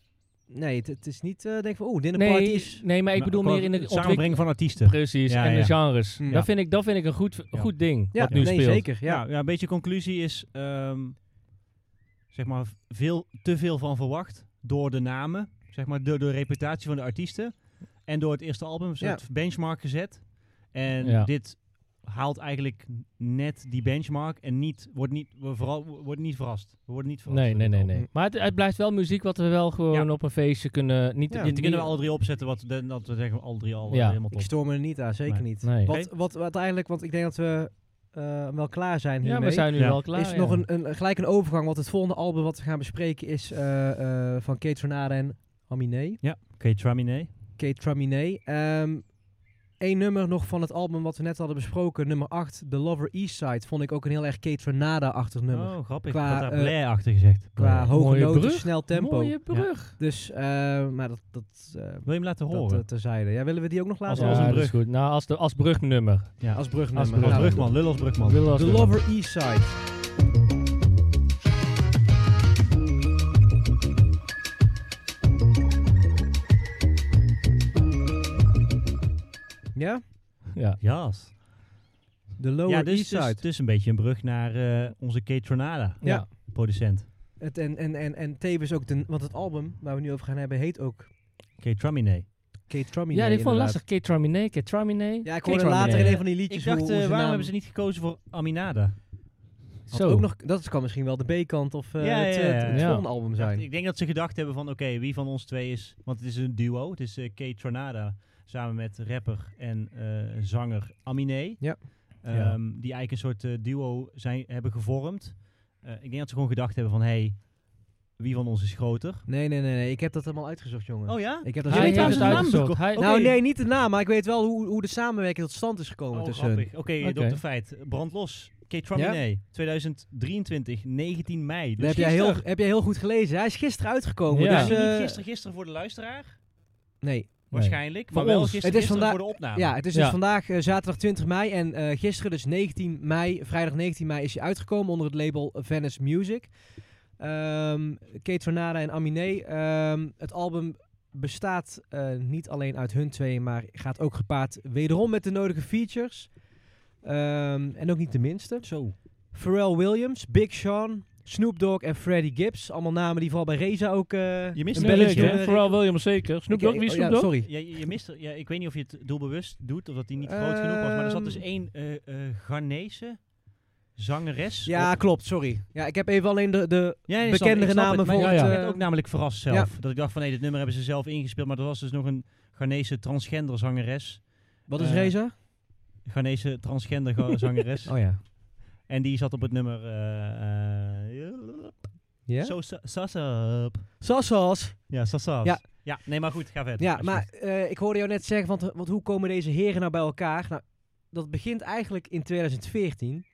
Speaker 2: Nee, het, het is niet eh, denk van, oeh, Dinner Party
Speaker 5: nee,
Speaker 2: is...
Speaker 5: nee, maar ik
Speaker 1: Nou,
Speaker 5: bedoel
Speaker 1: qua
Speaker 5: meer in de
Speaker 1: het
Speaker 5: ontwikkeling.
Speaker 1: samenbrengen van artiesten.
Speaker 5: Precies,
Speaker 1: Ja,
Speaker 5: en de
Speaker 1: ja.
Speaker 5: genres.
Speaker 2: Ja.
Speaker 5: Dat, vind ik, dat vind ik een goed,
Speaker 1: Ja.
Speaker 5: goed ding,
Speaker 2: Ja,
Speaker 5: wat nu
Speaker 2: nee,
Speaker 5: speelt.
Speaker 2: zeker. Ja.
Speaker 1: Ja. Nou, Ja, een beetje conclusie is, ehm, zeg maar, v- veel, te veel van verwacht door de namen, zeg maar, door de reputatie van de artiesten en door het eerste album, een soort benchmark gezet. En
Speaker 5: Ja.
Speaker 1: dit haalt eigenlijk net die benchmark en niet, wordt niet, we vooral, we worden niet verrast. We worden niet verrast.
Speaker 5: Nee,
Speaker 1: door
Speaker 5: nee,
Speaker 1: dit
Speaker 5: nee,
Speaker 1: album.
Speaker 2: Mm.
Speaker 5: nee. Maar het, het blijft wel muziek wat we wel gewoon
Speaker 1: Ja.
Speaker 5: op een feestje kunnen... Niet,
Speaker 2: Ja.
Speaker 5: niet-
Speaker 1: Die kunnen we alle drie opzetten, wat, de- dat we zeggen, alle drie al eh,
Speaker 5: Ja.
Speaker 1: helemaal
Speaker 2: Ik
Speaker 1: top.
Speaker 2: storm er niet aan, zeker
Speaker 1: Nee.
Speaker 2: niet.
Speaker 5: Nee.
Speaker 2: Wat, wat, wat eigenlijk, want ik denk dat we eh, wel klaar zijn
Speaker 5: Ja,
Speaker 2: hiermee.
Speaker 5: we zijn nu
Speaker 1: Ja.
Speaker 5: wel klaar.
Speaker 2: is
Speaker 5: ja.
Speaker 2: nog een, een, gelijk een overgang, want het volgende album wat we gaan bespreken is eh, eh, van Kate Tornade en Aminé.
Speaker 1: Oké, Tramine.
Speaker 2: Kate Traminé. Ehm Eén nummer nog van het album wat we net hadden besproken, nummer 8, The Lover East Side, vond ik ook een heel erg Kate Tornade-achtig nummer.
Speaker 1: Oh, grappig.
Speaker 2: Qua,
Speaker 1: Qua, ik had daar
Speaker 2: eh,
Speaker 1: Blair achter gezegd.
Speaker 2: Qua
Speaker 1: Blair.
Speaker 2: hoge
Speaker 5: Mooie
Speaker 2: noten,
Speaker 5: brug.
Speaker 2: snel tempo.
Speaker 5: Mooie brug.
Speaker 2: Dus, eh, maar dat, dat, eh,
Speaker 1: Wil je hem laten
Speaker 2: dat
Speaker 1: horen?
Speaker 2: eh, terzijde. Ja, willen we die ook nog
Speaker 5: Als,
Speaker 2: laten
Speaker 1: Ja,
Speaker 5: als
Speaker 2: horen?
Speaker 5: een
Speaker 1: dat
Speaker 5: brug.
Speaker 1: is
Speaker 5: goed. Nou, als, de, als brugnummer.
Speaker 1: ja.
Speaker 2: Als
Speaker 5: als
Speaker 2: brugnummer.
Speaker 5: brug-
Speaker 1: Als
Speaker 2: Nou,
Speaker 1: Brugman, lul als Brugman.
Speaker 5: Wil als
Speaker 2: The
Speaker 5: brug.
Speaker 2: Lover East Side. Ja?
Speaker 5: Ja.
Speaker 1: Yes.
Speaker 2: The Lower
Speaker 1: Ja, dus
Speaker 2: East
Speaker 1: het is
Speaker 2: Side.
Speaker 1: dus, dus een beetje een brug naar eh, onze Kate Tornada,
Speaker 2: Ja.
Speaker 1: producent.
Speaker 2: Het, en, en, en, en tevens ook, de, want het album waar we nu over gaan hebben heet ook
Speaker 1: Kate Tramine.
Speaker 2: Kate Traminé.
Speaker 5: Ja, die vond ik
Speaker 2: inderdaad.
Speaker 5: lastig. Ketramine, Ketramine.
Speaker 2: Ja, ik hoorde later in een van die liedjes
Speaker 1: Ik dacht,
Speaker 2: hoe, hoe
Speaker 1: eh,
Speaker 2: ze
Speaker 1: waarom
Speaker 2: naam-
Speaker 1: hebben ze niet gekozen voor Aminada?
Speaker 2: had
Speaker 5: Zo.
Speaker 2: Ook nog, dat kan misschien wel de B-kant of eh,
Speaker 1: Ja,
Speaker 2: het,
Speaker 1: ja,
Speaker 2: eh, het-
Speaker 1: ja.
Speaker 2: het
Speaker 5: Ja.
Speaker 2: volgende album zijn.
Speaker 1: Ik denk dat ze gedacht hebben van, oké, wie van ons twee is... Want het is een duo, het is eh, Kate Tornada samen met rapper en eh, zanger Aminé.
Speaker 2: Ja.
Speaker 1: Ehm, Die eigenlijk een soort eh, duo zijn, hebben gevormd. Eh, ik denk dat ze gewoon gedacht hebben van, hey, wie van ons is groter?
Speaker 2: Nee, nee, nee, nee. Ik heb dat helemaal uitgezocht, jongen.
Speaker 1: Oh ja?
Speaker 2: Ik heb dat
Speaker 5: Hij
Speaker 1: weet
Speaker 5: heeft
Speaker 1: waar
Speaker 2: helemaal
Speaker 1: ze
Speaker 5: het
Speaker 1: naam
Speaker 2: uitgezocht.
Speaker 5: uitgezocht.
Speaker 1: bekomen.
Speaker 5: Hij-
Speaker 1: Oké.
Speaker 2: Nou, nee, niet de naam, maar ik weet wel hoe, hoe de samenwerking tot stand is gekomen
Speaker 1: Oh,
Speaker 2: tussen.
Speaker 1: grappig. Oké,
Speaker 5: Oké.
Speaker 1: dokter Feit. Brand los. Kate Traminé, 2023, 19 mei. Dus
Speaker 2: Dat heb jij, heel,
Speaker 1: gisteren.
Speaker 2: heb jij heel goed gelezen. Hij is gisteren uitgekomen.
Speaker 5: Ja.
Speaker 2: Dus,
Speaker 1: Misschien
Speaker 2: eh,
Speaker 1: niet gisteren, gisteren voor de luisteraar,
Speaker 2: nee.
Speaker 1: waarschijnlijk.
Speaker 3: Van
Speaker 1: Maar wel
Speaker 3: ons.
Speaker 1: gisteren,
Speaker 2: Het is
Speaker 1: gisteren
Speaker 2: vanda-
Speaker 1: voor de opname.
Speaker 2: Ja, het is dus
Speaker 3: Ja.
Speaker 2: vandaag eh, zaterdag 20 mei. En eh, gisteren, dus 19 mei, vrijdag 19 mei, is hij uitgekomen onder het label Venice Music. Ehm, Kate Tornada en Aminé. Ehm, het album bestaat eh, niet alleen uit hun twee, maar gaat ook gepaard wederom met de nodige features. Ehm, en ook niet de minste.
Speaker 1: Zo.
Speaker 2: Pharrell Williams, Big Sean, Snoop Dogg en Freddie Gibbs. Allemaal namen die vooral bij Reza ook... eh,
Speaker 1: Je mist
Speaker 2: een
Speaker 1: er
Speaker 2: belletje
Speaker 1: eentje, hè?
Speaker 2: doen.
Speaker 5: Vooral Williams zeker. Snoop Dogg,
Speaker 2: Ik-
Speaker 5: wie
Speaker 2: oh
Speaker 5: is
Speaker 2: ja,
Speaker 5: Snoop Dogg?
Speaker 2: Sorry.
Speaker 1: Ja, je je mist, er- ja, ik weet niet of je het doelbewust doet of dat die niet groot genoeg was. Maar er zat dus
Speaker 2: Ehm.
Speaker 1: één eh eh, Ghanese zangeres.
Speaker 2: Ja,
Speaker 1: op-
Speaker 2: klopt, sorry. Ja, ik heb even alleen de, de
Speaker 1: ja nee,
Speaker 2: bekendere
Speaker 1: ik snap het,
Speaker 2: namen
Speaker 1: maar
Speaker 2: voor
Speaker 1: ja,
Speaker 2: het,
Speaker 1: Ik
Speaker 2: eh,
Speaker 1: werd ook namelijk verrast zelf. Dat ik dacht van nee, dit nummer hebben ze zelf ingespeeld. Maar er was dus nog een Ghanese transgender zangeres.
Speaker 2: Wat is
Speaker 1: Eh,
Speaker 2: Reza?
Speaker 1: Ghanese transgender ga- zangeres.
Speaker 2: Oh ja.
Speaker 1: En die zat op het nummer... eh, eh,
Speaker 2: Ja?
Speaker 1: So Sa- Sasap.
Speaker 2: Sassas.
Speaker 1: Ja, Sasap.
Speaker 2: Ja.
Speaker 1: ja, nee, maar goed, ga verder.
Speaker 2: Ja,
Speaker 1: Alsjeblieft.
Speaker 2: maar eh, ik hoorde jou net zeggen, want, want hoe komen deze heren nou bij elkaar? Nou, dat begint eigenlijk in 2014.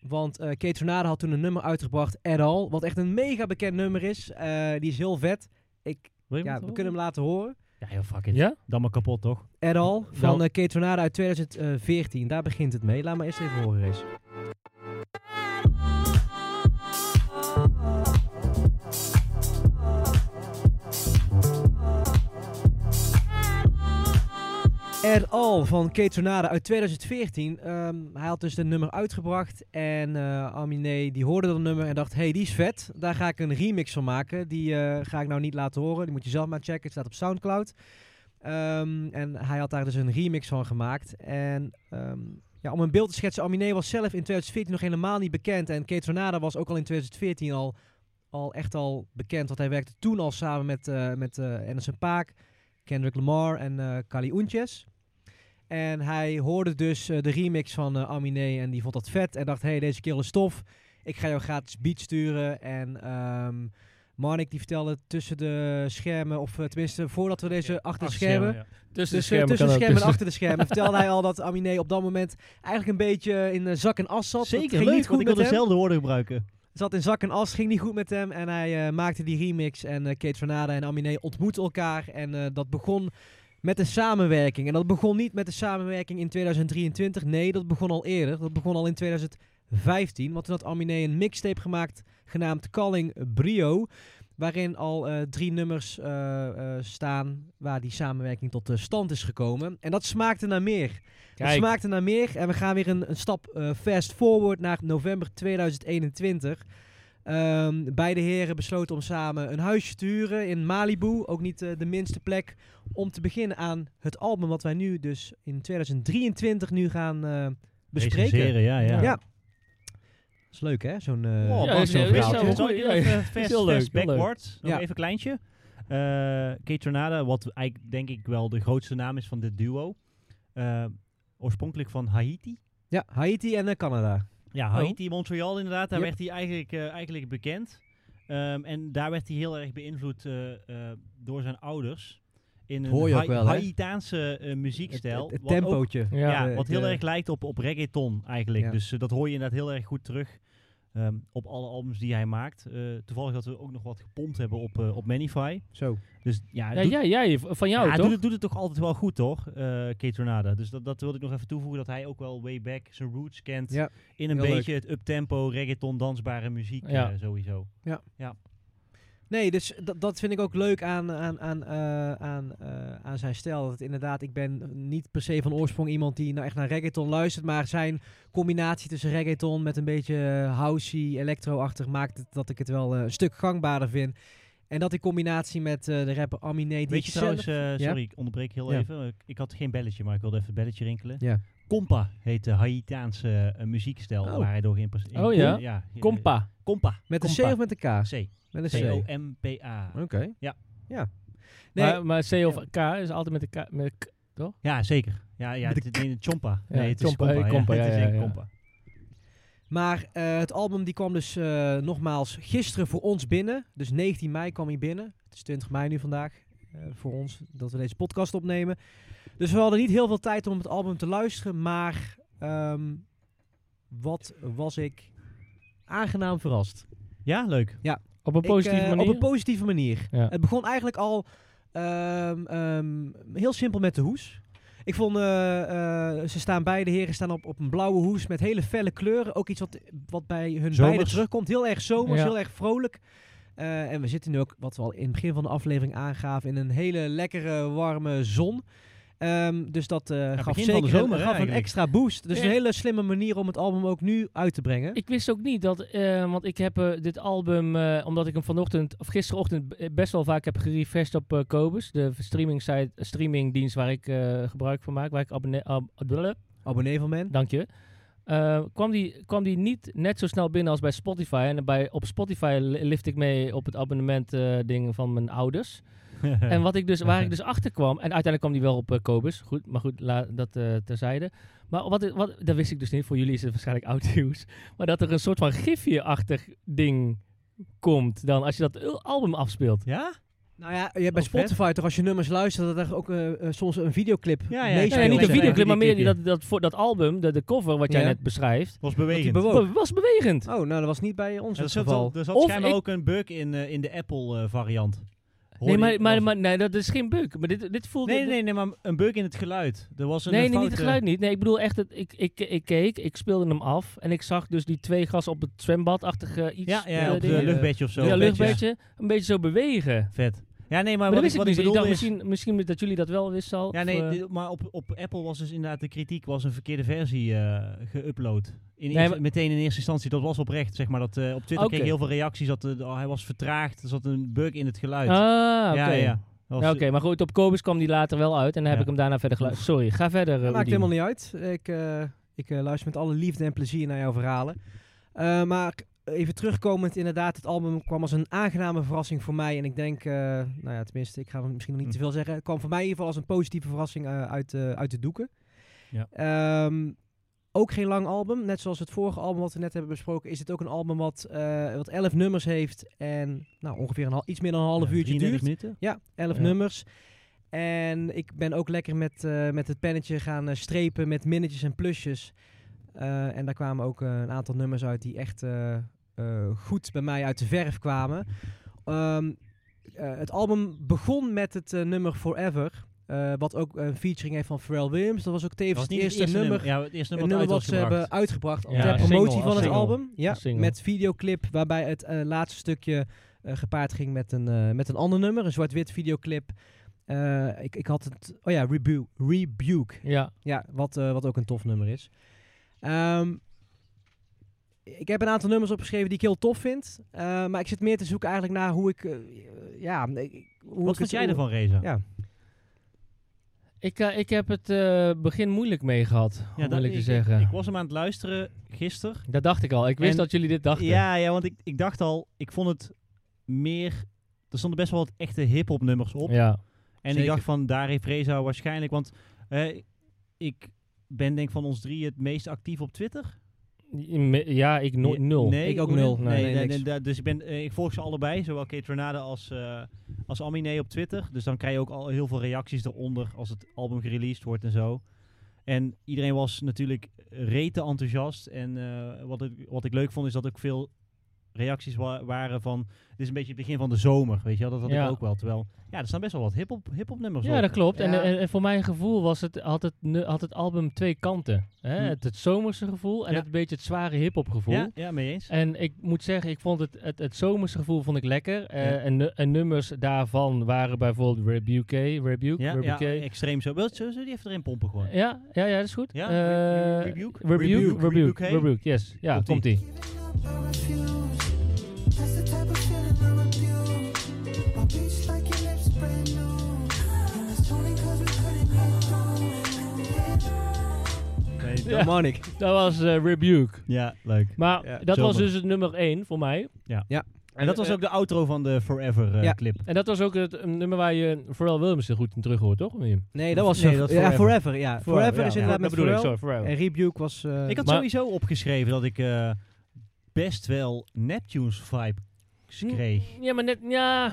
Speaker 2: Want eh Kate Tornado had toen een nummer uitgebracht, At All. Wat echt een mega bekend nummer is. Eh, die is heel vet. Ik,
Speaker 3: Wil je
Speaker 2: ja,
Speaker 3: hem
Speaker 2: we
Speaker 3: horen?
Speaker 2: kunnen hem laten horen.
Speaker 1: Ja, heel fuck it.
Speaker 3: Ja?
Speaker 1: Dan maar kapot, toch?
Speaker 2: At All van
Speaker 3: Wel-
Speaker 2: eh Kate Tornado uit 2014. Daar begint het mee. Laat maar eerst even horen, Rees. At All van Kate Tornado uit 2014. Ehm, hij had dus dat nummer uitgebracht. En eh Aminé die hoorde dat nummer en dacht... hey, die is vet. Daar ga ik een remix van maken. Die eh, ga ik nou niet laten horen. Die moet je zelf maar checken. Het staat op Soundcloud. Ehm, en hij had daar dus een remix van gemaakt. En ehm, ja, om een beeld te schetsen... Aminé was zelf in 2014 nog helemaal niet bekend. En Kate Tornado was ook al in 2014 al, al echt al bekend. Want hij werkte toen al samen met, eh met eh Anderson Paak... Kendrick Lamar en eh Kali Untjes. En hij hoorde dus eh, de remix van eh Aminé en die vond dat vet. En dacht, hey, deze kerel is tof. Ik ga jou gratis beat sturen. En ehm Marnik die vertelde tussen de schermen, of eh, tenminste voordat we deze achter de schermen...
Speaker 3: Tussen
Speaker 2: Dus, eh, tussen de schermen en achter de schermen vertelde hij al dat Aminé op dat moment eigenlijk een beetje in eh, zak en as zat. Dat
Speaker 1: Zeker,
Speaker 2: ging
Speaker 1: leuk,
Speaker 2: niet goed
Speaker 1: want ik
Speaker 2: met
Speaker 1: wilde
Speaker 2: hem.
Speaker 1: dezelfde woorden gebruiken.
Speaker 2: Zat in zak en as, ging niet goed met hem. En hij eh, maakte die remix. En eh, Kate Tornada en Aminé ontmoeten elkaar. En eh, dat begon met een samenwerking. En dat begon niet met de samenwerking in 2023. Nee, dat begon al eerder. Dat begon al in 2015. Want toen had Aminé een mixtape gemaakt genaamd Calling Brio. Waarin al eh, drie nummers eh, eh, staan waar die samenwerking tot eh, stand is gekomen. En dat smaakte naar meer. Het
Speaker 3: Kijk,
Speaker 2: smaakte naar meer. En we gaan weer een, een stap eh, fast forward naar november 2021. Ehm, beide heren besloten om samen een huisje te huren in Malibu. Ook niet eh, de minste plek om te beginnen aan het album wat wij nu dus in 2023 nu gaan eh, bespreken.
Speaker 1: Recenseren, ja, ja.
Speaker 2: Ja. is leuk hè, zo'n... eh,
Speaker 1: Oh,
Speaker 3: Ja,
Speaker 1: Bas,
Speaker 3: is-
Speaker 1: zo'n
Speaker 3: is-
Speaker 1: verhaaltje.
Speaker 3: is- is-
Speaker 1: Zal ik
Speaker 3: ja,
Speaker 1: even
Speaker 3: ja.
Speaker 1: fast-
Speaker 3: Is heel
Speaker 1: fast
Speaker 3: leuk, heel leuk.
Speaker 1: backwards. Nog
Speaker 2: Ja.
Speaker 1: even een kleintje. Eh Kate Tornada, wat eigenlijk denk ik wel de grootste naam is van dit duo. Eh, oorspronkelijk van Haiti.
Speaker 2: Ja, Haiti en eh, Canada.
Speaker 1: Ja,
Speaker 3: Oh.
Speaker 1: Haiti, Montreal inderdaad. Daar
Speaker 2: Yep.
Speaker 1: werd hij eigenlijk, eh, eigenlijk bekend. Ehm, en daar werd hij heel erg beïnvloed eh, eh, door zijn ouders. In een
Speaker 2: Hoor je ook
Speaker 1: Hai-
Speaker 2: wel, hè?
Speaker 1: Haïtaanse eh, muziekstijl.
Speaker 2: Het, het
Speaker 1: wat ook-
Speaker 2: tempootje.
Speaker 3: ja.
Speaker 1: ja,
Speaker 2: eh,
Speaker 1: wat heel
Speaker 2: de-
Speaker 1: erg lijkt op, op reggaeton eigenlijk.
Speaker 2: Ja.
Speaker 1: Dus eh, dat hoor je inderdaad heel erg goed terug ehm, op alle albums die hij maakt. Eh, toevallig dat we ook nog wat gepompt hebben op, eh, op Manify.
Speaker 2: Zo.
Speaker 1: Dus ja,
Speaker 3: ja,
Speaker 1: doet-
Speaker 3: jij, jij, v- van jou
Speaker 1: ja,
Speaker 3: toch?
Speaker 1: Doet, het, doet het toch altijd wel goed, toch? eh Kate Tornada. Dus dat, dat wilde ik nog even toevoegen. Dat hij ook wel way back zijn roots kent.
Speaker 2: Ja,
Speaker 1: In een
Speaker 2: heel
Speaker 1: beetje het uptempo, reggaeton, dansbare muziek
Speaker 3: Ja.
Speaker 1: eh, sowieso.
Speaker 2: Nee, dus dat, dat vind ik ook leuk aan, aan, aan, eh, aan, eh, aan zijn stijl. Dat het inderdaad, ik ben niet per se van oorsprong iemand die nou echt naar reggaeton luistert. Maar zijn combinatie tussen reggaeton met een beetje eh, housey, electro-achtig maakt het dat ik het wel eh, een stuk gangbaarder vind. En dat in combinatie met eh, de rapper Aminé. die
Speaker 1: Weet je
Speaker 2: zelf-
Speaker 1: trouwens, eh,
Speaker 2: Ja?
Speaker 1: sorry, ik onderbreek heel
Speaker 2: Ja.
Speaker 1: even. Ik- Ik had geen belletje, maar ik wilde even het belletje rinkelen.
Speaker 2: Ja.
Speaker 1: Compa heet de Haitiaanse eh, muziekstijl
Speaker 2: Oh.
Speaker 1: waar hij door geïmpresseerd
Speaker 3: Oh ja?
Speaker 1: eh,
Speaker 3: Compa.
Speaker 1: Compa.
Speaker 2: Met een C
Speaker 1: Compa.
Speaker 2: of met een K?
Speaker 1: C.
Speaker 2: Met een C. Oké.
Speaker 1: C-O-M-P-A. Ja.
Speaker 2: Ja. Nee,
Speaker 3: maar, maar C of K is altijd met de K. Met de K.
Speaker 1: Ja, zeker. Ja, ja het, nee, Chompa.
Speaker 3: Ja,
Speaker 1: Nee, het
Speaker 3: Chompa,
Speaker 1: is
Speaker 3: eh,
Speaker 1: Compa.
Speaker 3: Compa,
Speaker 1: ja,
Speaker 3: ja,
Speaker 1: het is
Speaker 3: ja,
Speaker 1: echt
Speaker 3: ja.
Speaker 1: Compa.
Speaker 2: Maar eh, het album die kwam dus eh, nogmaals gisteren voor ons binnen. Dus 19 mei kwam hij binnen. Het is 20 mei nu vandaag eh, voor ons dat we deze podcast opnemen. Dus we hadden niet heel veel tijd om het album te luisteren. Maar ehm, Wat was ik aangenaam verrast.
Speaker 1: Ja, leuk.
Speaker 5: Op een
Speaker 2: Ik,
Speaker 5: positieve
Speaker 2: eh,
Speaker 5: manier.
Speaker 2: Op een positieve manier.
Speaker 5: Ja.
Speaker 2: Het begon eigenlijk al ehm, ehm, heel simpel met de hoes. Ik vond, eh, eh, ze staan beide heren staan op, op een blauwe hoes met hele felle kleuren. Ook iets wat, wat bij hun beiden
Speaker 1: Zomers.
Speaker 2: terugkomt. Heel erg zomers,
Speaker 5: Ja.
Speaker 2: heel erg vrolijk. Eh, en we zitten nu ook, wat we al in het begin van de aflevering aangaven, in een hele lekkere warme zon. Ehm, dus dat eh, gaf
Speaker 1: begin van de
Speaker 2: zeker
Speaker 1: zomer, hè,
Speaker 2: een, gaf een
Speaker 1: eigenlijk.
Speaker 2: extra boost. Dus
Speaker 5: Ja.
Speaker 2: een hele slimme manier om het album ook nu uit te brengen.
Speaker 5: Ik wist ook niet dat, eh, want ik heb eh, dit album, eh, omdat ik hem vanochtend of gisterochtend b- best wel vaak heb gerefreshed op eh Kobus, de streaming site, streamingdienst waar ik eh, gebruik van maak, waar ik abonnee, ab, blub,
Speaker 2: Abonnee van men.
Speaker 5: dank je. Eh, kwam, die, kwam die niet net zo snel binnen als bij Spotify. En bij, op Spotify li- lift ik mee op het abonnement eh, ding van mijn ouders. En wat ik dus, waar ik dus achter kwam, en uiteindelijk kwam die wel op eh, Kobus, goed, maar goed, la- dat eh, terzijde. Maar wat, ik- wat, dat wist ik dus niet, voor jullie is het waarschijnlijk oud nieuws. Maar dat er een soort van gifje-achtig ding komt dan, als je dat ul- album afspeelt.
Speaker 1: ja?
Speaker 2: Nou ja, je hebt bij
Speaker 1: Oh, vet.
Speaker 2: Spotify toch als je nummers luistert, dat er ook eh, eh, soms een videoclip
Speaker 1: Ja, ja,
Speaker 2: meespeelt.
Speaker 1: ja,
Speaker 5: Nee, niet
Speaker 1: zeggen,
Speaker 5: een videoclip, maar meer die,
Speaker 1: videoclipje.
Speaker 5: dat, dat, voor, dat album, de, de cover wat jij
Speaker 2: Ja.
Speaker 5: net beschrijft,
Speaker 1: Was
Speaker 2: Dat die
Speaker 1: bewegend.
Speaker 2: bewoog.
Speaker 5: be- was bewegend.
Speaker 2: Oh, nou dat was niet bij ons
Speaker 1: Ja, Er
Speaker 2: het
Speaker 1: zat,
Speaker 2: geval.
Speaker 1: wel- er zat
Speaker 5: Of
Speaker 1: schijnbaar
Speaker 5: ik-
Speaker 1: ook een bug in, eh, in de Apple-variant.
Speaker 5: Nee, maar, maar, maar, nee, dat is geen bug. Maar dit, dit voelde...
Speaker 1: nee, nee, nee, maar een bug in het geluid. Er was een
Speaker 5: Nee,
Speaker 1: een
Speaker 5: nee, niet
Speaker 1: fout,
Speaker 5: het
Speaker 1: eh,
Speaker 5: geluid niet. Nee, ik bedoel echt, het, ik, ik, ik keek, ik speelde hem af en ik zag dus die twee gasten op het zwembadachtige iets.
Speaker 1: Ja, ja
Speaker 5: eh,
Speaker 1: op
Speaker 5: dingen.
Speaker 1: het luchtbedje of zo.
Speaker 5: ja,
Speaker 1: Een beetje.
Speaker 5: luchtbedje, een beetje zo bewegen. Maar,
Speaker 1: Vet. Ja, nee, maar,
Speaker 5: dat
Speaker 1: wat, ik,
Speaker 5: wist ik
Speaker 1: wat
Speaker 5: dus.
Speaker 1: ik
Speaker 5: Ik,
Speaker 1: bedoelde
Speaker 5: dacht
Speaker 1: is...
Speaker 5: misschien, misschien dat jullie dat wel wisten al.
Speaker 1: Ja,
Speaker 5: of,
Speaker 1: nee,
Speaker 5: eh,
Speaker 1: dit- maar op, op Apple was dus inderdaad de kritiek was een verkeerde versie eh geüpload. In
Speaker 5: Nee,
Speaker 1: eerste-
Speaker 5: maar-
Speaker 1: meteen in eerste instantie, dat was oprecht, zeg maar. Dat, eh, op Twitter kreeg
Speaker 5: Oké.
Speaker 1: je heel veel reacties dat eh, oh, hij was vertraagd, er zat een bug in het geluid.
Speaker 5: Ah, oké.
Speaker 1: Ja, ja. Dat was-
Speaker 5: Ja, Oké, maar goed, op Kobus kwam die later wel uit en dan heb
Speaker 1: Ja.
Speaker 5: ik hem daarna verder geluisterd. Sorry, ga verder. eh,
Speaker 2: Dat maakt
Speaker 5: Oedien.
Speaker 2: helemaal niet uit. Ik, eh, ik eh, luister met alle liefde en plezier naar jouw verhalen. Eh, maar even terugkomend, inderdaad, het album kwam als een aangename verrassing voor mij. En ik denk, eh, nou ja, tenminste, ik ga er misschien nog
Speaker 1: Hm.
Speaker 2: niet te veel zeggen. Het kwam voor mij in ieder geval als een positieve verrassing eh, uit, eh, uit de doeken.
Speaker 1: Ja.
Speaker 2: Ehm, ook geen lang album. Net zoals het vorige album wat we net hebben besproken, is dit ook een album wat, eh wat elf nummers heeft. En nou, ongeveer een, hal- iets meer dan een half
Speaker 1: ja,
Speaker 2: uurtje
Speaker 1: 33
Speaker 2: duurt.
Speaker 1: minuten.
Speaker 2: Ja, elf
Speaker 5: Ja.
Speaker 2: nummers. En ik ben ook lekker met, eh, met het pennetje gaan eh, strepen met minnetjes en plusjes. Eh, en daar kwamen ook eh, een aantal nummers uit die echt eh, eh, goed bij mij uit de verf kwamen. Ehm, eh, het album begon met het eh, nummer Forever. eh, wat ook een featuring heeft van Pharrell Williams. Dat was ook
Speaker 1: Dat
Speaker 2: tevens
Speaker 1: was
Speaker 2: het
Speaker 1: niet
Speaker 2: eerste nummer
Speaker 1: Ja, het eerste
Speaker 2: een
Speaker 1: nummer,
Speaker 2: nummer
Speaker 1: dat uit
Speaker 2: wat ze
Speaker 1: was gebracht.
Speaker 2: hebben uitgebracht
Speaker 5: Ja,
Speaker 2: ter
Speaker 5: als
Speaker 2: promotie
Speaker 5: single,
Speaker 2: van
Speaker 5: als
Speaker 2: het
Speaker 5: single.
Speaker 2: album. Ja,
Speaker 5: Als single.
Speaker 2: met videoclip waarbij het eh, laatste stukje eh, gepaard ging met een, eh, met een ander nummer. Een zwart-wit videoclip. Eh, ik, ik had het... Oh ja, Rebu Rebuke.
Speaker 5: Ja,
Speaker 2: Ja, wat, eh, wat ook een tof nummer is. Ehm, ik heb een aantal nummers opgeschreven die ik heel tof vind. eh, maar ik zit meer te zoeken eigenlijk naar hoe ik... eh, ja, ik- hoe ik
Speaker 1: Wat
Speaker 2: het-
Speaker 1: vond jij
Speaker 2: hoe-
Speaker 1: ervan, Reza?
Speaker 2: Ja.
Speaker 5: ik, eh, ik heb het eh, begin moeilijk mee gehad,
Speaker 1: Ja,
Speaker 5: wil ik
Speaker 1: ik,
Speaker 5: je zeggen.
Speaker 1: ik was hem aan het luisteren gisteren.
Speaker 5: dat dacht ik al. Ik wist
Speaker 1: En-
Speaker 5: dat jullie dit dachten.
Speaker 1: Ja, ja, want ik, ik dacht al, ik vond het meer... Er stonden best wel wat echte hip-hop nummers op.
Speaker 5: ja.
Speaker 1: En
Speaker 5: Zeker.
Speaker 1: ik dacht van, daar heeft Reza waarschijnlijk... Want eh, ik ben denk van ons drie het meest actief op Twitter.
Speaker 5: Ja, ik nooit nul.
Speaker 1: Nee,
Speaker 2: Ik ook
Speaker 1: Oedin?
Speaker 2: nul.
Speaker 1: Nee,
Speaker 2: Nee,
Speaker 1: nee,
Speaker 2: niks.
Speaker 1: nee, da- dus ik, ben, eh, ik volg ze allebei, zowel Kate Renade als, eh als Aminé op Twitter. Dus dan krijg je ook al heel veel reacties eronder als het album gereleased wordt en zo. En iedereen was natuurlijk rete enthousiast. En eh, wat, ik, wat ik leuk vond is dat ook veel reacties wa- waren van... Dit is een beetje het begin van de zomer, weet je wel? Dat had
Speaker 5: Ja.
Speaker 1: ik ook wel. Terwijl, ja, er staan best wel wat hip-hop hip-hop nummers
Speaker 5: Ja,
Speaker 1: op.
Speaker 5: dat klopt. En,
Speaker 2: Ja.
Speaker 5: en, en voor mijn gevoel was het, had, het, nu- had het album twee kanten. Hè?
Speaker 1: Hm.
Speaker 5: Het, het zomerse gevoel en
Speaker 1: Ja.
Speaker 5: het beetje het zware hip-hop gevoel.
Speaker 1: Ja, ja, mee eens.
Speaker 5: En ik moet zeggen, ik vond het, het, het zomerse gevoel vond ik lekker. Eh,
Speaker 1: Ja.
Speaker 5: en, nu- en nummers daarvan waren bijvoorbeeld Rebuke. Rebuke.
Speaker 1: Ja, ja,
Speaker 5: Rebuke. Ja,
Speaker 1: extreem zo. Wil zullen we die even erin pompen gewoon?
Speaker 5: ja, ja, dat is goed.
Speaker 1: Ja,
Speaker 5: Eh,
Speaker 1: Re- Re-
Speaker 5: Rebuke.
Speaker 1: Rebuke?
Speaker 5: Rebuke.
Speaker 1: Rebuke,
Speaker 5: Rebuke.
Speaker 1: Rebuke, hey?
Speaker 5: yes. Ja,
Speaker 1: Komt-ie.
Speaker 5: komt-ie.
Speaker 1: Nee,
Speaker 5: Ja.
Speaker 2: Dat man ik.
Speaker 5: Dat was eh, Rebuke.
Speaker 1: ja, leuk.
Speaker 5: Maar
Speaker 2: Ja,
Speaker 5: dat was
Speaker 1: zomer.
Speaker 5: dus het nummer één voor mij.
Speaker 1: En dat was ook de outro van de Forever eh,
Speaker 2: Ja.
Speaker 1: clip.
Speaker 5: En dat was ook het eh, nummer waar je vooral Williams er goed in terug hoort, toch? Of niet?
Speaker 2: Nee, dat was...
Speaker 1: Nee,
Speaker 2: eh,
Speaker 1: dat
Speaker 2: ja,
Speaker 1: Forever.
Speaker 2: Forever, ja. Forever,
Speaker 1: ja.
Speaker 2: is inderdaad met
Speaker 5: dat bedoel ik,
Speaker 2: Pharrell.
Speaker 5: sorry, Pharrell.
Speaker 2: En Rebuke was... eh,
Speaker 1: Ik had
Speaker 5: Maar-
Speaker 1: sowieso opgeschreven dat ik eh, best wel Neptunes vibes kreeg.
Speaker 5: Ja, maar net, ja,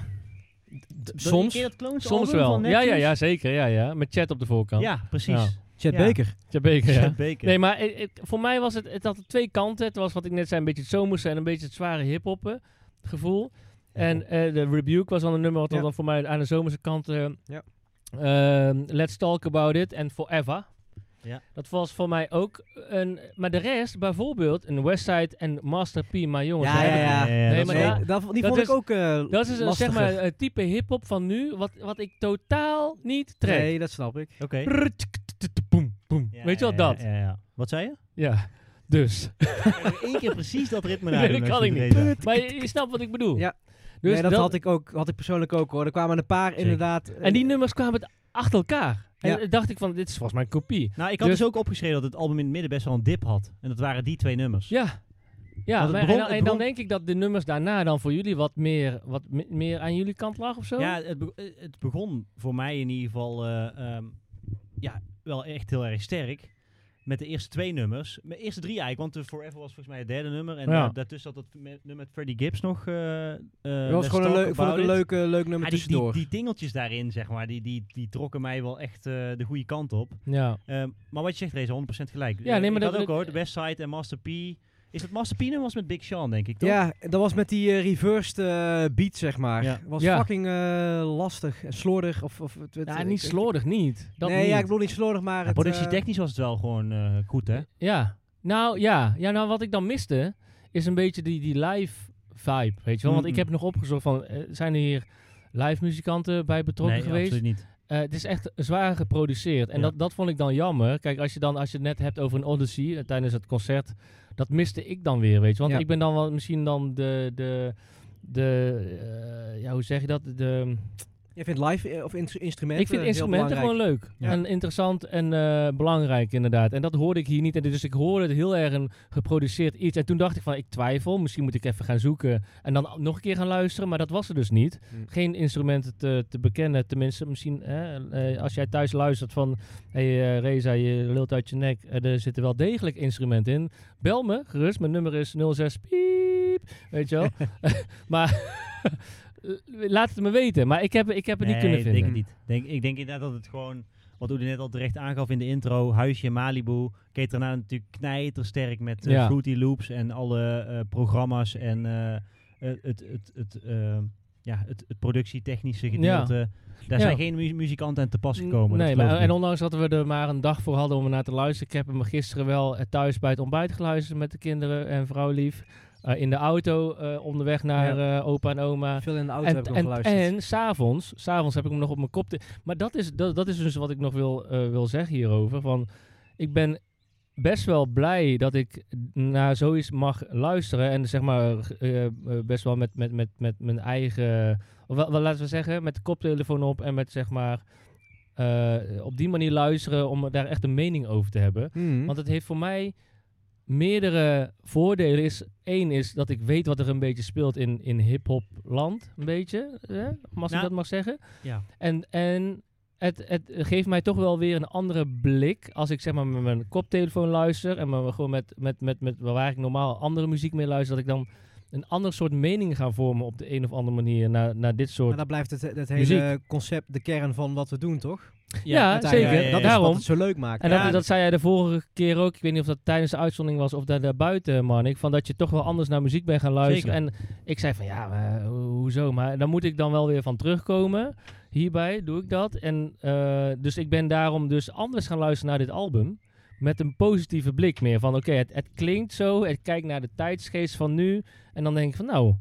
Speaker 1: Dat-
Speaker 2: soms.
Speaker 1: ken je Hm. dat Clones
Speaker 5: soms
Speaker 1: album
Speaker 5: wel.
Speaker 1: van
Speaker 5: Ja, ja,
Speaker 1: Neptunes?
Speaker 5: ja, zeker, ja, ja. Met chat op de voorkant.
Speaker 1: Ja, precies.
Speaker 5: Ja.
Speaker 2: Chet
Speaker 1: Ja.
Speaker 2: Baker.
Speaker 5: Tja, Beker, ja.
Speaker 1: Chet Baker.
Speaker 5: Nee, maar het- het- voor mij was het, het had twee kanten. Het was wat ik net zei, een beetje het zomerse en een beetje het zware hip-hoppen gevoel. En eh, de Rebuke was dan een nummer wat
Speaker 2: Ja.
Speaker 5: dan voor mij aan de zomerse kant... eh,
Speaker 2: Ja.
Speaker 5: ehm, Let's Talk About It en Forever.
Speaker 1: Ja.
Speaker 5: Dat was voor mij ook een... Maar de rest, bijvoorbeeld een Westside en Master P, maar jongens...
Speaker 2: Ja,
Speaker 5: daar heb ik-
Speaker 2: ja.
Speaker 1: Nee,
Speaker 5: Nee,
Speaker 1: dat
Speaker 5: maar
Speaker 1: is
Speaker 5: ja,
Speaker 1: wel-
Speaker 2: dat, die
Speaker 5: dat
Speaker 2: vond
Speaker 5: is-
Speaker 2: ik ook eh
Speaker 5: Dat is een, zeg maar
Speaker 2: lastiger.
Speaker 5: het type hip-hop van nu, wat, wat ik totaal niet trek.
Speaker 2: Nee, dat snap ik.
Speaker 1: Oké.
Speaker 5: Prrr, tsk, tsk, tsk, boem, boem.
Speaker 1: Ja,
Speaker 5: Weet je wel,
Speaker 1: ja,
Speaker 5: dat?
Speaker 1: Ja, ja, ja. Wat zei je?
Speaker 5: Ja, dus.
Speaker 1: Eén keer precies dat ritme
Speaker 5: Nee,
Speaker 1: nadoen
Speaker 5: dat
Speaker 1: als
Speaker 5: kan
Speaker 1: je
Speaker 5: ik
Speaker 1: het
Speaker 5: niet.
Speaker 1: weet.
Speaker 5: Maar je, je snapt wat ik bedoel.
Speaker 2: Ja.
Speaker 5: Dus
Speaker 2: nee, dat, had, ik ook, had ik persoonlijk ook hoor. Er kwamen een paar inderdaad. eh,
Speaker 5: En die nummers kwamen achter elkaar.
Speaker 2: Ja.
Speaker 5: En eh, dacht ik van, dit is volgens mij een kopie.
Speaker 1: Nou, ik had dus,
Speaker 5: Dus-
Speaker 1: ook opgeschreven dat het album in het midden best wel een dip had. En dat waren die twee nummers.
Speaker 5: Ja.
Speaker 1: Want
Speaker 5: Ja,
Speaker 1: het
Speaker 5: maar-
Speaker 1: bron-
Speaker 5: en, dan-
Speaker 1: het
Speaker 5: en dan
Speaker 1: bron-
Speaker 5: denk ik dat de nummers daarna dan voor jullie wat meer, wat me- meer aan jullie kant lag of zo.
Speaker 1: Ja, het, be- eh, het begon voor mij in ieder geval eh, ehm, ja, wel echt heel erg sterk. Met de eerste twee nummers. De eerste drie eigenlijk, want de Forever was volgens mij het derde nummer. En
Speaker 5: Ja.
Speaker 1: daar- daartussen had dat me- nummer met Freddie Gibbs nog. eh eh,
Speaker 2: dat was
Speaker 1: Let's
Speaker 2: gewoon een,
Speaker 1: Talk
Speaker 2: leuk, vond ik
Speaker 1: About
Speaker 2: een
Speaker 1: It.
Speaker 2: leuk, eh, leuk nummer
Speaker 1: Ah, die,
Speaker 2: tussendoor.
Speaker 1: die, die dingeltjes daarin, zeg maar, die, die, die trokken mij wel echt eh, de goede kant op.
Speaker 5: ja.
Speaker 1: Ehm, maar wat je zegt, Reza, 100% gelijk.
Speaker 5: Ja, nee,
Speaker 1: Eh,
Speaker 5: maar
Speaker 1: ik
Speaker 5: dat-
Speaker 1: had ook
Speaker 5: dat-
Speaker 1: hoor, de Westside en Master P. Is dat Master P nummer was met Big Sean, denk ik, toch?
Speaker 2: ja, dat was met die eh, reversed eh, beat, zeg maar.
Speaker 1: Ja.
Speaker 2: Was
Speaker 5: Ja.
Speaker 2: fucking eh, lastig en slordig. Of, of, het, het-
Speaker 5: Ja,
Speaker 2: ik-
Speaker 5: niet
Speaker 2: ik-
Speaker 5: slordig, niet. Dat
Speaker 2: eh, nee,
Speaker 5: niet.
Speaker 2: ja, ik bedoel niet slordig, maar.
Speaker 1: Ja,
Speaker 2: het, eh,
Speaker 1: Productietechnisch was het wel gewoon eh, goed, hè?
Speaker 5: Ja. Nou ja. ja, nou wat ik dan miste is een beetje die, die live vibe, weet je wel. Want ik
Speaker 1: Mhm.
Speaker 5: heb nog opgezocht van, eh, zijn er hier live muzikanten bij betrokken
Speaker 1: nee,
Speaker 5: geweest?
Speaker 1: absoluut niet.
Speaker 5: Eh, het is echt zwaar geproduceerd. En
Speaker 1: Ja.
Speaker 5: dat, dat vond ik dan jammer. Kijk, als je, dan, als je het net hebt over een Odyssey eh, tijdens het concert, dat miste ik dan weer, weet je. Want
Speaker 2: Ja.
Speaker 5: ik ben dan wel misschien dan de... de de, eh, ja, hoe zeg je dat? De,
Speaker 2: Je vindt live eh, of instru- instrumenten.
Speaker 5: ik vind
Speaker 2: heel
Speaker 5: instrumenten
Speaker 2: belangrijk.
Speaker 5: gewoon leuk.
Speaker 1: Ja.
Speaker 5: En interessant en eh, belangrijk inderdaad. En dat hoorde ik hier niet. En dus ik hoorde het heel erg een geproduceerd iets. En toen dacht ik van, ik twijfel. Misschien moet ik even gaan zoeken. En dan nog een keer gaan luisteren. Maar dat was er dus niet.
Speaker 1: Hm.
Speaker 2: Hmm.
Speaker 5: Geen instrumenten te, te bekennen. Tenminste, misschien hè, eh, als jij thuis luistert van... Hé hey, eh, Reza, je lult uit je nek. Eh, er zitten wel degelijk instrumenten in. Bel me gerust. Mijn nummer is 06 piep. Weet je wel. maar... eh, Laat het me weten, maar ik heb, ik heb het niet kunnen
Speaker 1: Nee,
Speaker 5: vinden.
Speaker 1: denk ik niet. Denk, ik denk inderdaad dat het gewoon, wat Oede net al terecht aangaf in de intro, Huisje in Malibu, keek daarna natuurlijk knijtersterk met eh,
Speaker 5: Ja.
Speaker 1: Fruity Loops en alle eh, programma's en eh, eh, het, het, het, eh, ja, het, het productietechnische gedeelte. Daar
Speaker 5: Ja.
Speaker 1: zijn geen mu- muzikanten aan te pas
Speaker 5: N-
Speaker 1: gekomen.
Speaker 5: Nee,
Speaker 1: dat geloof ik
Speaker 5: maar, en
Speaker 1: niet.
Speaker 5: ondanks dat we er maar een dag voor hadden om ernaar te luisteren. Ik heb hem gisteren wel eh, thuis bij het ontbijt geluisterd met de kinderen en vrouw lief. Eh, in de auto eh, onderweg naar eh, opa en oma.
Speaker 2: Veel in de auto
Speaker 5: En,
Speaker 2: heb ik nog
Speaker 5: en,
Speaker 2: geluisterd.
Speaker 5: en s'avonds, s'avonds heb ik hem nog op mijn kop. te- maar dat is, dat, dat is dus wat ik nog wil, eh, wil zeggen hierover. Van, ik ben best wel blij dat ik naar zoiets mag luisteren. En zeg maar eh, eh, best wel met, met, met, met mijn eigen. Of wel, wel, laten we zeggen, met de koptelefoon op en met zeg maar. eh, op die manier luisteren om daar echt een mening over te hebben.
Speaker 1: Mhm.
Speaker 2: Hmm.
Speaker 5: Want het heeft voor mij meerdere voordelen. Is, Eén is dat ik weet wat er een beetje speelt in, in hip-hop land. Een beetje, hè? als
Speaker 1: Nou,
Speaker 5: ik dat mag zeggen.
Speaker 1: ja.
Speaker 5: En, en het, het geeft mij toch wel weer een andere blik. Als ik zeg maar met mijn koptelefoon luister. En me- gewoon met, met, met, met waar ik normaal andere muziek mee luister. Dat ik dan een ander soort mening ga vormen op de een of andere manier. Naar, naar dit soort.
Speaker 2: Maar daar blijft het, het
Speaker 5: Muziek.
Speaker 2: hele concept de kern van wat we doen, toch?
Speaker 5: Ja,
Speaker 2: Uiteindelijk,
Speaker 1: zeker.
Speaker 2: eh, Dat is
Speaker 5: Daarom.
Speaker 2: wat het zo leuk maakt.
Speaker 5: En
Speaker 1: Ja,
Speaker 5: dat, dat zei jij de vorige keer ook. Ik weet niet of dat tijdens de uitzending was of daar, daarbuiten, Marnik. Van dat je toch wel anders naar muziek bent gaan luisteren. En ik zei van ja, maar ho- hoezo? Maar dan moet ik dan wel weer van terugkomen. Hierbij doe ik dat. En eh, dus ik ben daarom dus anders gaan luisteren naar dit album. Met een positieve blik meer. Van oké, het, het klinkt zo. Ik kijk naar de tijdsgeest van nu. En dan denk ik van nou,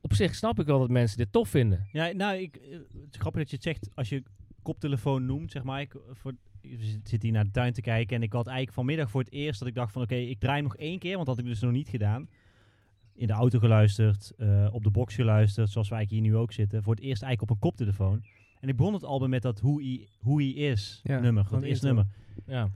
Speaker 5: op zich snap ik wel dat mensen dit tof vinden.
Speaker 1: Ja, nou, ik, eh, het is grappig dat je het zegt. Als je koptelefoon noemt, zeg maar. Ik, eh, voor, ik zit- zit hier naar de tuin te kijken. En ik had eigenlijk vanmiddag voor het eerst dat ik dacht van... Oké, ik draai hem nog één keer. Want dat had ik dus nog niet gedaan. In de auto geluisterd. eh, op de box geluisterd. Zoals wij hier nu ook zitten. Voor het eerst eigenlijk op een koptelefoon. En ik begon het album met dat Hoe I, Hoe I Is
Speaker 2: Ja,
Speaker 1: nummer.
Speaker 2: van
Speaker 1: Dat
Speaker 2: de
Speaker 1: eerste
Speaker 2: intro.
Speaker 1: nummer.
Speaker 5: Ja,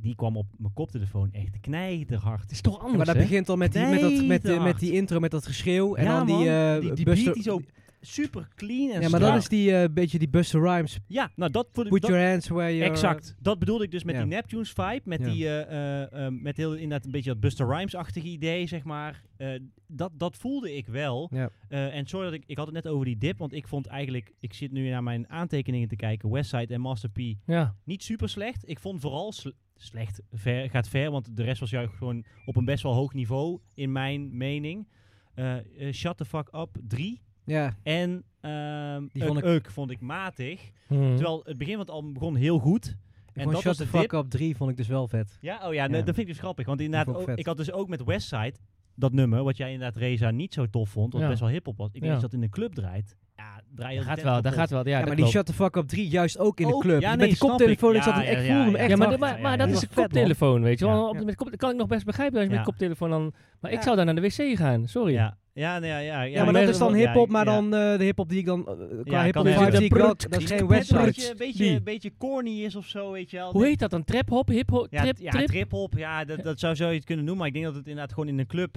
Speaker 1: Die kwam op mijn koptelefoon echt knijterhard.
Speaker 5: is toch
Speaker 2: Ja,
Speaker 5: anders
Speaker 2: maar dat begint al met die, met, dat, met, die- met die intro, met dat geschreeuw. En
Speaker 1: Ja,
Speaker 2: dan die,
Speaker 1: man.
Speaker 2: eh,
Speaker 1: Die, die
Speaker 2: Buster-
Speaker 1: beat die zo super clean en
Speaker 2: Ja, maar
Speaker 1: strak.
Speaker 2: dat is die eh, beetje die Buster Rhymes.
Speaker 1: Ja, nou dat vond ik...
Speaker 2: Put
Speaker 1: dat-
Speaker 2: your hands where your...
Speaker 1: Exact. Dat bedoelde ik dus met
Speaker 2: eh, Ja.
Speaker 1: die Neptunes vibe. Met,
Speaker 2: Ja.
Speaker 1: die, eh, eh, eh, met heel, inderdaad een beetje dat Buster Rhymes-achtige idee, zeg maar. Eh, dat, dat voelde ik wel.
Speaker 2: Ja.
Speaker 1: Eh, en sorry dat ik... Ik had het net over die dip, want ik vond eigenlijk... Ik zit nu naar mijn aantekeningen te kijken. Westside en Master P
Speaker 5: Ja.
Speaker 1: niet super slecht. Ik vond vooral sle- slecht ver, gaat ver, want de rest was juist gewoon op een best wel hoog niveau, in mijn mening. Eh, eh, Shut the fuck up 3.
Speaker 2: Ja,
Speaker 1: En ehm
Speaker 2: Die
Speaker 1: Uk
Speaker 2: vond ik- Hm.
Speaker 1: Uk vond ik matig.
Speaker 5: Mhm.
Speaker 1: Terwijl het begin van het album begon heel goed.
Speaker 2: en vond
Speaker 1: dat
Speaker 2: Shut
Speaker 1: was
Speaker 2: the
Speaker 1: de
Speaker 2: Fuck
Speaker 1: dip.
Speaker 2: Up 3 vond ik dus wel vet.
Speaker 1: Ja, oh ja, nee,
Speaker 2: Ja.
Speaker 1: dat vind ik dus grappig. Want
Speaker 2: Die
Speaker 1: inderdaad,
Speaker 2: vond ik
Speaker 1: ook-
Speaker 2: vet.
Speaker 1: ik had dus ook met Westside dat nummer, wat jij inderdaad Reza niet zo tof vond, wat
Speaker 5: Ja.
Speaker 1: best wel hip-hop was. Ik
Speaker 5: Ja.
Speaker 1: denk als dat in de club draait. Ja, draai je
Speaker 5: Dat
Speaker 1: de
Speaker 5: gaat
Speaker 1: tent
Speaker 5: wel, dat
Speaker 1: kapot.
Speaker 5: gaat wel. Ja,
Speaker 2: Ja,
Speaker 5: dat
Speaker 2: maar die
Speaker 5: klopt.
Speaker 2: Shut the Fuck Up 3 juist ook in de
Speaker 1: Ook,
Speaker 2: club.
Speaker 1: ja, nee,
Speaker 2: Je met de
Speaker 1: snap
Speaker 2: koptelefoon,
Speaker 1: ik.
Speaker 2: ik, zat
Speaker 1: Ja,
Speaker 2: hem
Speaker 1: ja,
Speaker 2: echt, voelde
Speaker 1: ja,
Speaker 2: hem
Speaker 1: ja.
Speaker 2: echt
Speaker 5: Ja, maar,
Speaker 2: hard.
Speaker 5: dit- maar,
Speaker 1: Ja,
Speaker 5: maar
Speaker 1: ja,
Speaker 5: dat
Speaker 1: dat
Speaker 5: is
Speaker 1: was
Speaker 5: een
Speaker 2: vet, man.
Speaker 5: koptelefoon, weet je wel.
Speaker 2: Ja.
Speaker 5: Op, met kop, dat kan ik nog best begrijpen als je
Speaker 1: Ja.
Speaker 5: met koptelefoon dan... Maar
Speaker 1: Ja.
Speaker 5: ik zou dan naar de wc gaan, sorry.
Speaker 1: Ja, ja, nee, ja, ja,
Speaker 2: Ja, maar dat
Speaker 5: maar-
Speaker 2: is dan
Speaker 1: ja,
Speaker 2: hip-hop, maar
Speaker 1: ja.
Speaker 2: dan eh, de hip-hop die ik dan... eh, qua
Speaker 1: Ja,
Speaker 2: hip-hop
Speaker 1: kan
Speaker 2: vibe
Speaker 1: even.
Speaker 2: die ik wel...
Speaker 5: Product-
Speaker 2: Dat is geen
Speaker 1: Net een beetje,
Speaker 2: website.
Speaker 1: een beetje,
Speaker 5: Die.
Speaker 1: een beetje corny is of zo, weet je wel.
Speaker 5: Hoe heet dat dan? Trap hop, hip hop,
Speaker 1: ja,
Speaker 5: trip,
Speaker 1: ja,
Speaker 5: trip?
Speaker 1: trip-hop, ja, dat, dat zou zo je het kunnen noemen. Maar ik denk dat het inderdaad gewoon in een club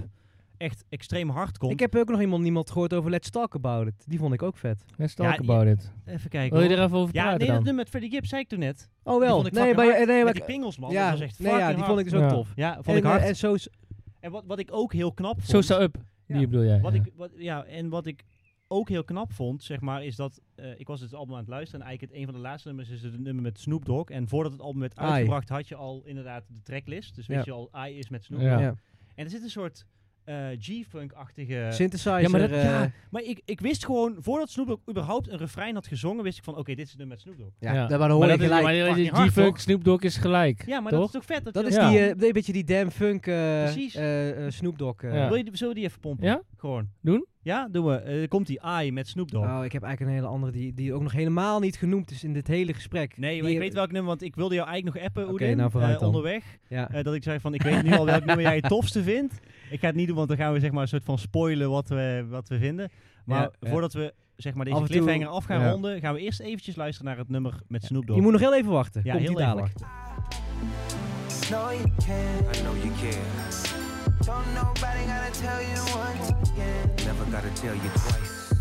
Speaker 1: echt extreem hard komt.
Speaker 2: Ik heb ook nog iemand, niemand gehoord over Let's Talk About It. Die vond ik ook vet.
Speaker 5: Let's talk
Speaker 1: Ja, je-
Speaker 5: about it.
Speaker 1: Even kijken.
Speaker 5: Wil je
Speaker 1: hoor.
Speaker 5: er even over
Speaker 1: ja,
Speaker 5: praten
Speaker 1: nee, dat
Speaker 5: dan?
Speaker 1: nummer met Freddie Gibbs zei ik toen net.
Speaker 2: Oh
Speaker 1: Die
Speaker 2: wel.
Speaker 1: vond ik
Speaker 2: Nee,
Speaker 1: fucking
Speaker 2: maar,
Speaker 1: hard.
Speaker 2: nee, maar
Speaker 1: Met die pingels, man.
Speaker 2: ja,
Speaker 1: dat was echt
Speaker 2: nee, ja,
Speaker 1: fucking
Speaker 2: die vond ik
Speaker 1: hard.
Speaker 2: dus ook
Speaker 5: Ja.
Speaker 2: tof.
Speaker 1: Ja, vond ik
Speaker 2: En, eh,
Speaker 1: hard.
Speaker 2: En zo is-
Speaker 1: En wat, wat ik ook heel knap vond...
Speaker 5: Sosa Up,
Speaker 2: Ja.
Speaker 5: die bedoel jij.
Speaker 1: Wat
Speaker 5: ja.
Speaker 1: ik, wat, ja, en wat ik ook heel knap vond, zeg maar, is dat... eh, ik was het album aan het luisteren en eigenlijk het, een van de laatste nummers is het nummer met Snoop Dogg. En voordat het album werd
Speaker 2: Ai.
Speaker 1: uitgebracht had je al inderdaad de tracklist. Dus wist
Speaker 2: Ja.
Speaker 1: je al, I is met Snoop
Speaker 5: Ja.
Speaker 1: Dogg.
Speaker 2: ja.
Speaker 1: En er zit een soort eh, G-funk-achtige...
Speaker 2: Synthesizer.
Speaker 5: Ja, maar dat-
Speaker 2: eh,
Speaker 1: ja. Maar ik, ik wist gewoon, voordat Snoop Dogg überhaupt een refrein had gezongen, wist ik van, oké, dit is het nummer met Snoop Dogg.
Speaker 2: ja,
Speaker 5: Ja.
Speaker 2: daar- maar dan hoor
Speaker 5: Maar
Speaker 2: je
Speaker 5: dat is-
Speaker 2: gelijk.
Speaker 5: maar dat is-
Speaker 1: fucking hard,
Speaker 5: G-Funk,
Speaker 1: toch?
Speaker 5: Snoop Dogg is gelijk,
Speaker 1: Ja, maar dat
Speaker 5: toch?
Speaker 1: is toch vet? Dat,
Speaker 2: Dat
Speaker 1: je
Speaker 2: is
Speaker 1: dat-
Speaker 2: die,
Speaker 5: Ja.
Speaker 2: eh, een beetje die damn funk eh,
Speaker 1: Precies.
Speaker 2: eh, eh, Snoop Dogg. eh.
Speaker 5: Ja.
Speaker 1: Wil je, die- zullen we die even pompen?
Speaker 5: Ja?
Speaker 1: Gewoon.
Speaker 5: Doen?
Speaker 1: Ja, doen we. Eh, Er komt die I met Snoop Dogg.
Speaker 2: Oh, ik heb eigenlijk een hele andere die, die ook nog helemaal niet genoemd is in dit hele gesprek.
Speaker 1: Nee, maar
Speaker 2: Die-
Speaker 1: ik weet welk nummer, want ik wilde jou eigenlijk nog appen, Oedin,
Speaker 2: nou vooruit
Speaker 1: eh,
Speaker 2: dan.
Speaker 1: onderweg.
Speaker 2: Ja.
Speaker 1: Eh, dat ik zei van, ik weet nu al welk nummer jij het tofste vindt. Ik ga het niet doen, want dan gaan we zeg maar een soort van spoilen wat we, wat we vinden. Maar
Speaker 2: Ja, ja.
Speaker 1: voordat we zeg maar
Speaker 2: Af
Speaker 1: deze
Speaker 2: en toe-
Speaker 1: cliffhanger af gaan
Speaker 2: ja.
Speaker 1: ronden, gaan we eerst eventjes luisteren naar het nummer met Snoop Dogg.
Speaker 2: Je moet nog heel even wachten.
Speaker 1: ja,
Speaker 2: Komt
Speaker 1: heel
Speaker 2: die
Speaker 1: even
Speaker 2: dadelijk.
Speaker 1: wachten.
Speaker 6: No, you can't.
Speaker 8: I know you care.
Speaker 6: Don't nobody gotta tell you once again. Ah,
Speaker 8: Never gotta tell you twice.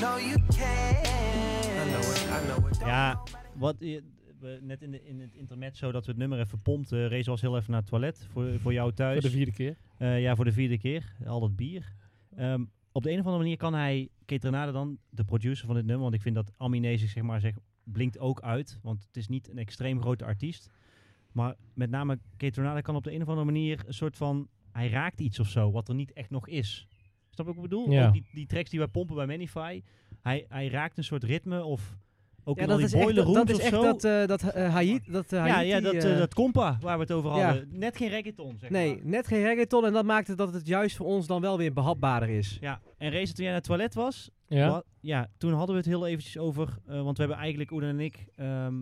Speaker 6: No, you can't.
Speaker 8: I know it. I know it.
Speaker 1: Ja, wat, eh, we- net in, de, in het internet zo dat we het nummer even pompten. Race was heel even naar het toilet voor, voor jou thuis.
Speaker 5: Voor de vierde keer.
Speaker 1: Eh, ja, voor de vierde keer. Al dat bier. Ehm, op de een of andere manier kan hij, Ketrenade dan, de producer van dit nummer, want ik vind dat Aminé zich zeg maar zeg, blinkt ook uit, want het is niet een extreem grote artiest. Maar met name Ketrenade kan op de een of andere manier een soort van, hij raakt iets of zo, wat er niet echt nog is. Snap je wat ik bedoel?
Speaker 5: Ja.
Speaker 1: Ook die, die tracks die wij pompen bij Manify, hij, hij raakt een soort ritme of ook
Speaker 2: Ja,
Speaker 1: in al die
Speaker 2: dat is echt
Speaker 1: boiler
Speaker 2: dat,
Speaker 1: rooms
Speaker 2: dat, is
Speaker 1: of zo.
Speaker 2: echt dat, eh, dat eh, Haiti. Dat, eh,
Speaker 1: ja,
Speaker 2: Haiti,
Speaker 1: ja, dat, eh,
Speaker 2: eh,
Speaker 1: dat compa waar we het over
Speaker 2: ja.
Speaker 1: hadden. Net geen reggaeton, zeg maar.
Speaker 2: Nee, net geen reggaeton en dat maakt het dat het juist voor ons dan wel weer behapbaarder is.
Speaker 1: Ja, en Race, toen jij naar het toilet was,
Speaker 5: Ja.
Speaker 1: wa- ja toen hadden we het heel eventjes over, eh, want we hebben eigenlijk, Oeden en ik, ehm,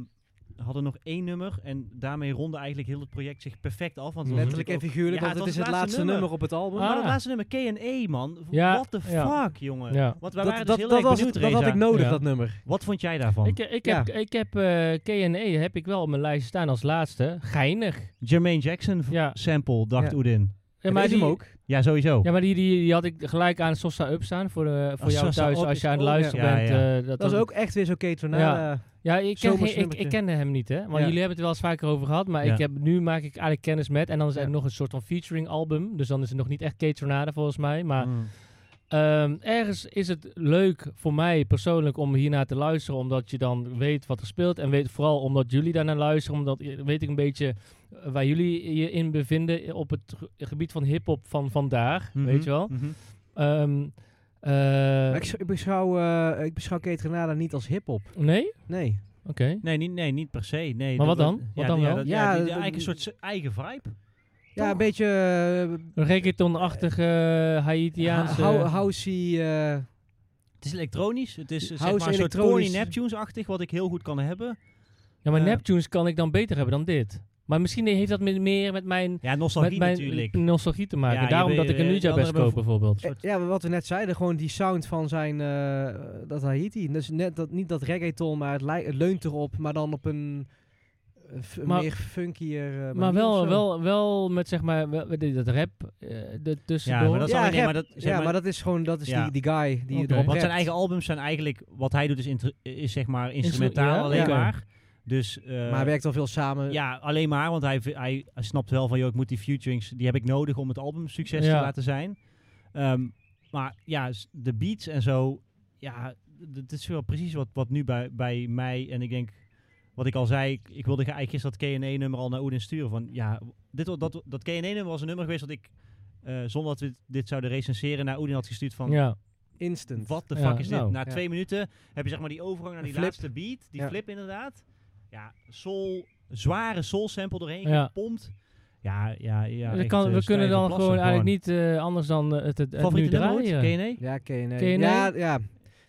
Speaker 1: hadden nog één nummer en daarmee ronde eigenlijk heel het project zich perfect af. Want het was
Speaker 2: Letterlijk en
Speaker 1: natuurlijk
Speaker 2: figuurlijk,
Speaker 1: Mhm. Ja,
Speaker 2: want het is het laatste nummer, op het album.
Speaker 1: ook- Maar dat
Speaker 5: Ah.
Speaker 1: laatste nummer, K&E man,
Speaker 5: Ja,
Speaker 1: what the
Speaker 5: ja.
Speaker 1: fuck jongen.
Speaker 5: Ja.
Speaker 1: Want wij
Speaker 2: dat,
Speaker 1: waren
Speaker 2: dat,
Speaker 1: dus heel
Speaker 2: dat,
Speaker 1: erg
Speaker 2: was
Speaker 1: benieuwd,
Speaker 2: het, dat had
Speaker 1: Reza.
Speaker 2: ik nodig,
Speaker 5: Ja.
Speaker 2: dat nummer.
Speaker 1: Wat vond jij daarvan?
Speaker 5: Ik, ik heb, ik heb eh, K&E heb ik wel op mijn lijst staan als laatste. Geinig.
Speaker 1: Jermaine Jackson v-
Speaker 5: Ja.
Speaker 1: sample, dacht
Speaker 2: Ja.
Speaker 1: Oedin.
Speaker 5: Ja,
Speaker 2: maar
Speaker 5: maar
Speaker 2: is hem
Speaker 5: die,
Speaker 2: ook.
Speaker 1: Ja, sowieso.
Speaker 5: Ja, maar die, die, die had ik gelijk aan Sosa Up staan voor, eh, voor
Speaker 1: Ah,
Speaker 5: jou
Speaker 1: Sosa
Speaker 5: thuis.
Speaker 1: Up
Speaker 5: Als
Speaker 1: is
Speaker 5: je aan het
Speaker 1: ook-
Speaker 5: luisteren
Speaker 1: ja.
Speaker 5: bent.
Speaker 1: Ja, ja.
Speaker 5: eh, dat
Speaker 2: Dat is
Speaker 5: was-
Speaker 2: ook echt weer zo'n
Speaker 5: Ja.
Speaker 2: Ketronada.
Speaker 5: Ja, ik ken,
Speaker 2: zomers
Speaker 5: ik, ik,
Speaker 2: nummertje.
Speaker 5: ken hem niet, hè. Want
Speaker 2: Ja.
Speaker 5: jullie hebben het er wel eens vaker over gehad. Maar
Speaker 1: Ja.
Speaker 5: ik heb, nu maak ik eigenlijk kennis met. En dan is
Speaker 2: Ja.
Speaker 5: het nog een soort van featuring album. Dus dan is het nog niet echt Kate Tornado volgens mij. Maar
Speaker 1: Mm.
Speaker 5: Ehm, ergens is het leuk voor mij persoonlijk om hiernaar te luisteren, omdat je dan weet wat er speelt. En weet, vooral omdat jullie daarnaar luisteren, omdat eh, weet ik een beetje eh, waar jullie je in bevinden op het ge- gebied van hip-hop van vandaag.
Speaker 1: Mhm,
Speaker 5: Weet je wel?
Speaker 1: mhm.
Speaker 5: Ehm, eh,
Speaker 2: Maar ik, s- ik beschouw, eh ik beschouw Kate Renata niet als hip-hop.
Speaker 5: nee? Oké.
Speaker 2: Nee.
Speaker 1: Nee, niet, nee, niet per se. Nee,
Speaker 5: Maar
Speaker 1: dat-
Speaker 5: wat dan? Wat dan
Speaker 1: ja,
Speaker 5: wel?
Speaker 1: dat- ja,
Speaker 2: Ja,
Speaker 1: die- die-
Speaker 2: dat-
Speaker 1: eigenlijk een soort s- eigen vibe.
Speaker 2: Ja,
Speaker 1: Toch?
Speaker 2: een beetje eh,
Speaker 5: Reggaeton-achtige eh, Haitiaanse...
Speaker 2: hou- housey. eh,
Speaker 1: Het is elektronisch. Het is eh, zeg
Speaker 2: House
Speaker 1: maar een soort corny
Speaker 2: elektronisch.
Speaker 1: Neptunes-achtig, wat ik heel goed kan hebben.
Speaker 5: ja, maar
Speaker 1: eh.
Speaker 5: Neptunes kan ik dan beter hebben dan dit. Maar misschien heeft dat met- meer met mijn,
Speaker 1: Ja, nostalgie
Speaker 5: met mijn
Speaker 1: natuurlijk.
Speaker 5: nostalgie te maken.
Speaker 1: Ja, je
Speaker 5: Daarom
Speaker 1: weet-
Speaker 5: dat ik een
Speaker 1: eh,
Speaker 5: Ninja
Speaker 1: die
Speaker 5: best
Speaker 1: anderen
Speaker 5: koop bijvoorbeeld.
Speaker 1: soort-
Speaker 2: eh, ja, wat we net zeiden, gewoon die sound van zijn eh, dat Haiti. Dus net dat, niet dat reggaeton, maar het, lei- het leunt erop, maar dan op een eh, f-
Speaker 5: Maar-
Speaker 2: meer funkier eh,
Speaker 5: Maar
Speaker 2: manier of
Speaker 5: wel,
Speaker 2: zo.
Speaker 5: wel, wel met zeg maar wel, met die- dat rap eh tussendoor.
Speaker 1: Ja, maar dat is
Speaker 2: Ja,
Speaker 1: alleen- nee,
Speaker 2: rap.
Speaker 1: maar dat, zeg
Speaker 2: ja,
Speaker 1: maar-
Speaker 2: maar dat is gewoon dat is
Speaker 1: Ja.
Speaker 2: die, die guy die
Speaker 5: Oké.
Speaker 1: Want
Speaker 2: erop
Speaker 1: zijn
Speaker 2: rapt.
Speaker 1: eigen albums zijn eigenlijk, wat hij doet is, intru- is zeg maar instrumentaal
Speaker 5: ja,
Speaker 1: alleen
Speaker 5: oké.
Speaker 1: maar. Dus, eh,
Speaker 2: Maar hij werkt al veel samen.
Speaker 1: ja, alleen maar, want hij, v- hij snapt wel van, joh, ik moet die featurings, die heb ik nodig om het album succes te
Speaker 5: Ja.
Speaker 1: laten zijn. Ehm, maar ja, s- de beats en zo, ja, d- dat is wel precies wat, wat nu bij, bij mij en ik denk, wat ik al zei, ik, ik wilde ge- eigenlijk gisteren dat KNE-nummer al naar Oedin sturen. Van ja, dit, wa- dat, dat KNE-nummer was een nummer geweest dat ik, eh, zonder dat we dit zouden recenseren, naar Oedin had gestuurd van,
Speaker 5: ja.
Speaker 2: Instant.
Speaker 1: wat de
Speaker 5: Ja,
Speaker 1: fuck is dit?
Speaker 5: nou.
Speaker 1: Na
Speaker 2: Ja.
Speaker 1: twee minuten heb je zeg maar die overgang naar die
Speaker 2: Flip.
Speaker 1: laatste beat. Die
Speaker 2: Ja.
Speaker 1: flip inderdaad. Ja, soul, zware soul sample doorheen
Speaker 5: Ja.
Speaker 1: gepompt. Ja, ja, ja.
Speaker 5: Dat
Speaker 1: echt,
Speaker 5: kan,
Speaker 1: eh,
Speaker 5: we kunnen
Speaker 1: stijve
Speaker 5: dan
Speaker 1: plassen
Speaker 5: gewoon eigenlijk niet eh, anders dan eh, het, het, het nu
Speaker 1: Favoriete nummer ooit?
Speaker 5: draaien.
Speaker 1: KNE?
Speaker 2: Ja, KNE.
Speaker 5: KNE?
Speaker 2: Ja, ja.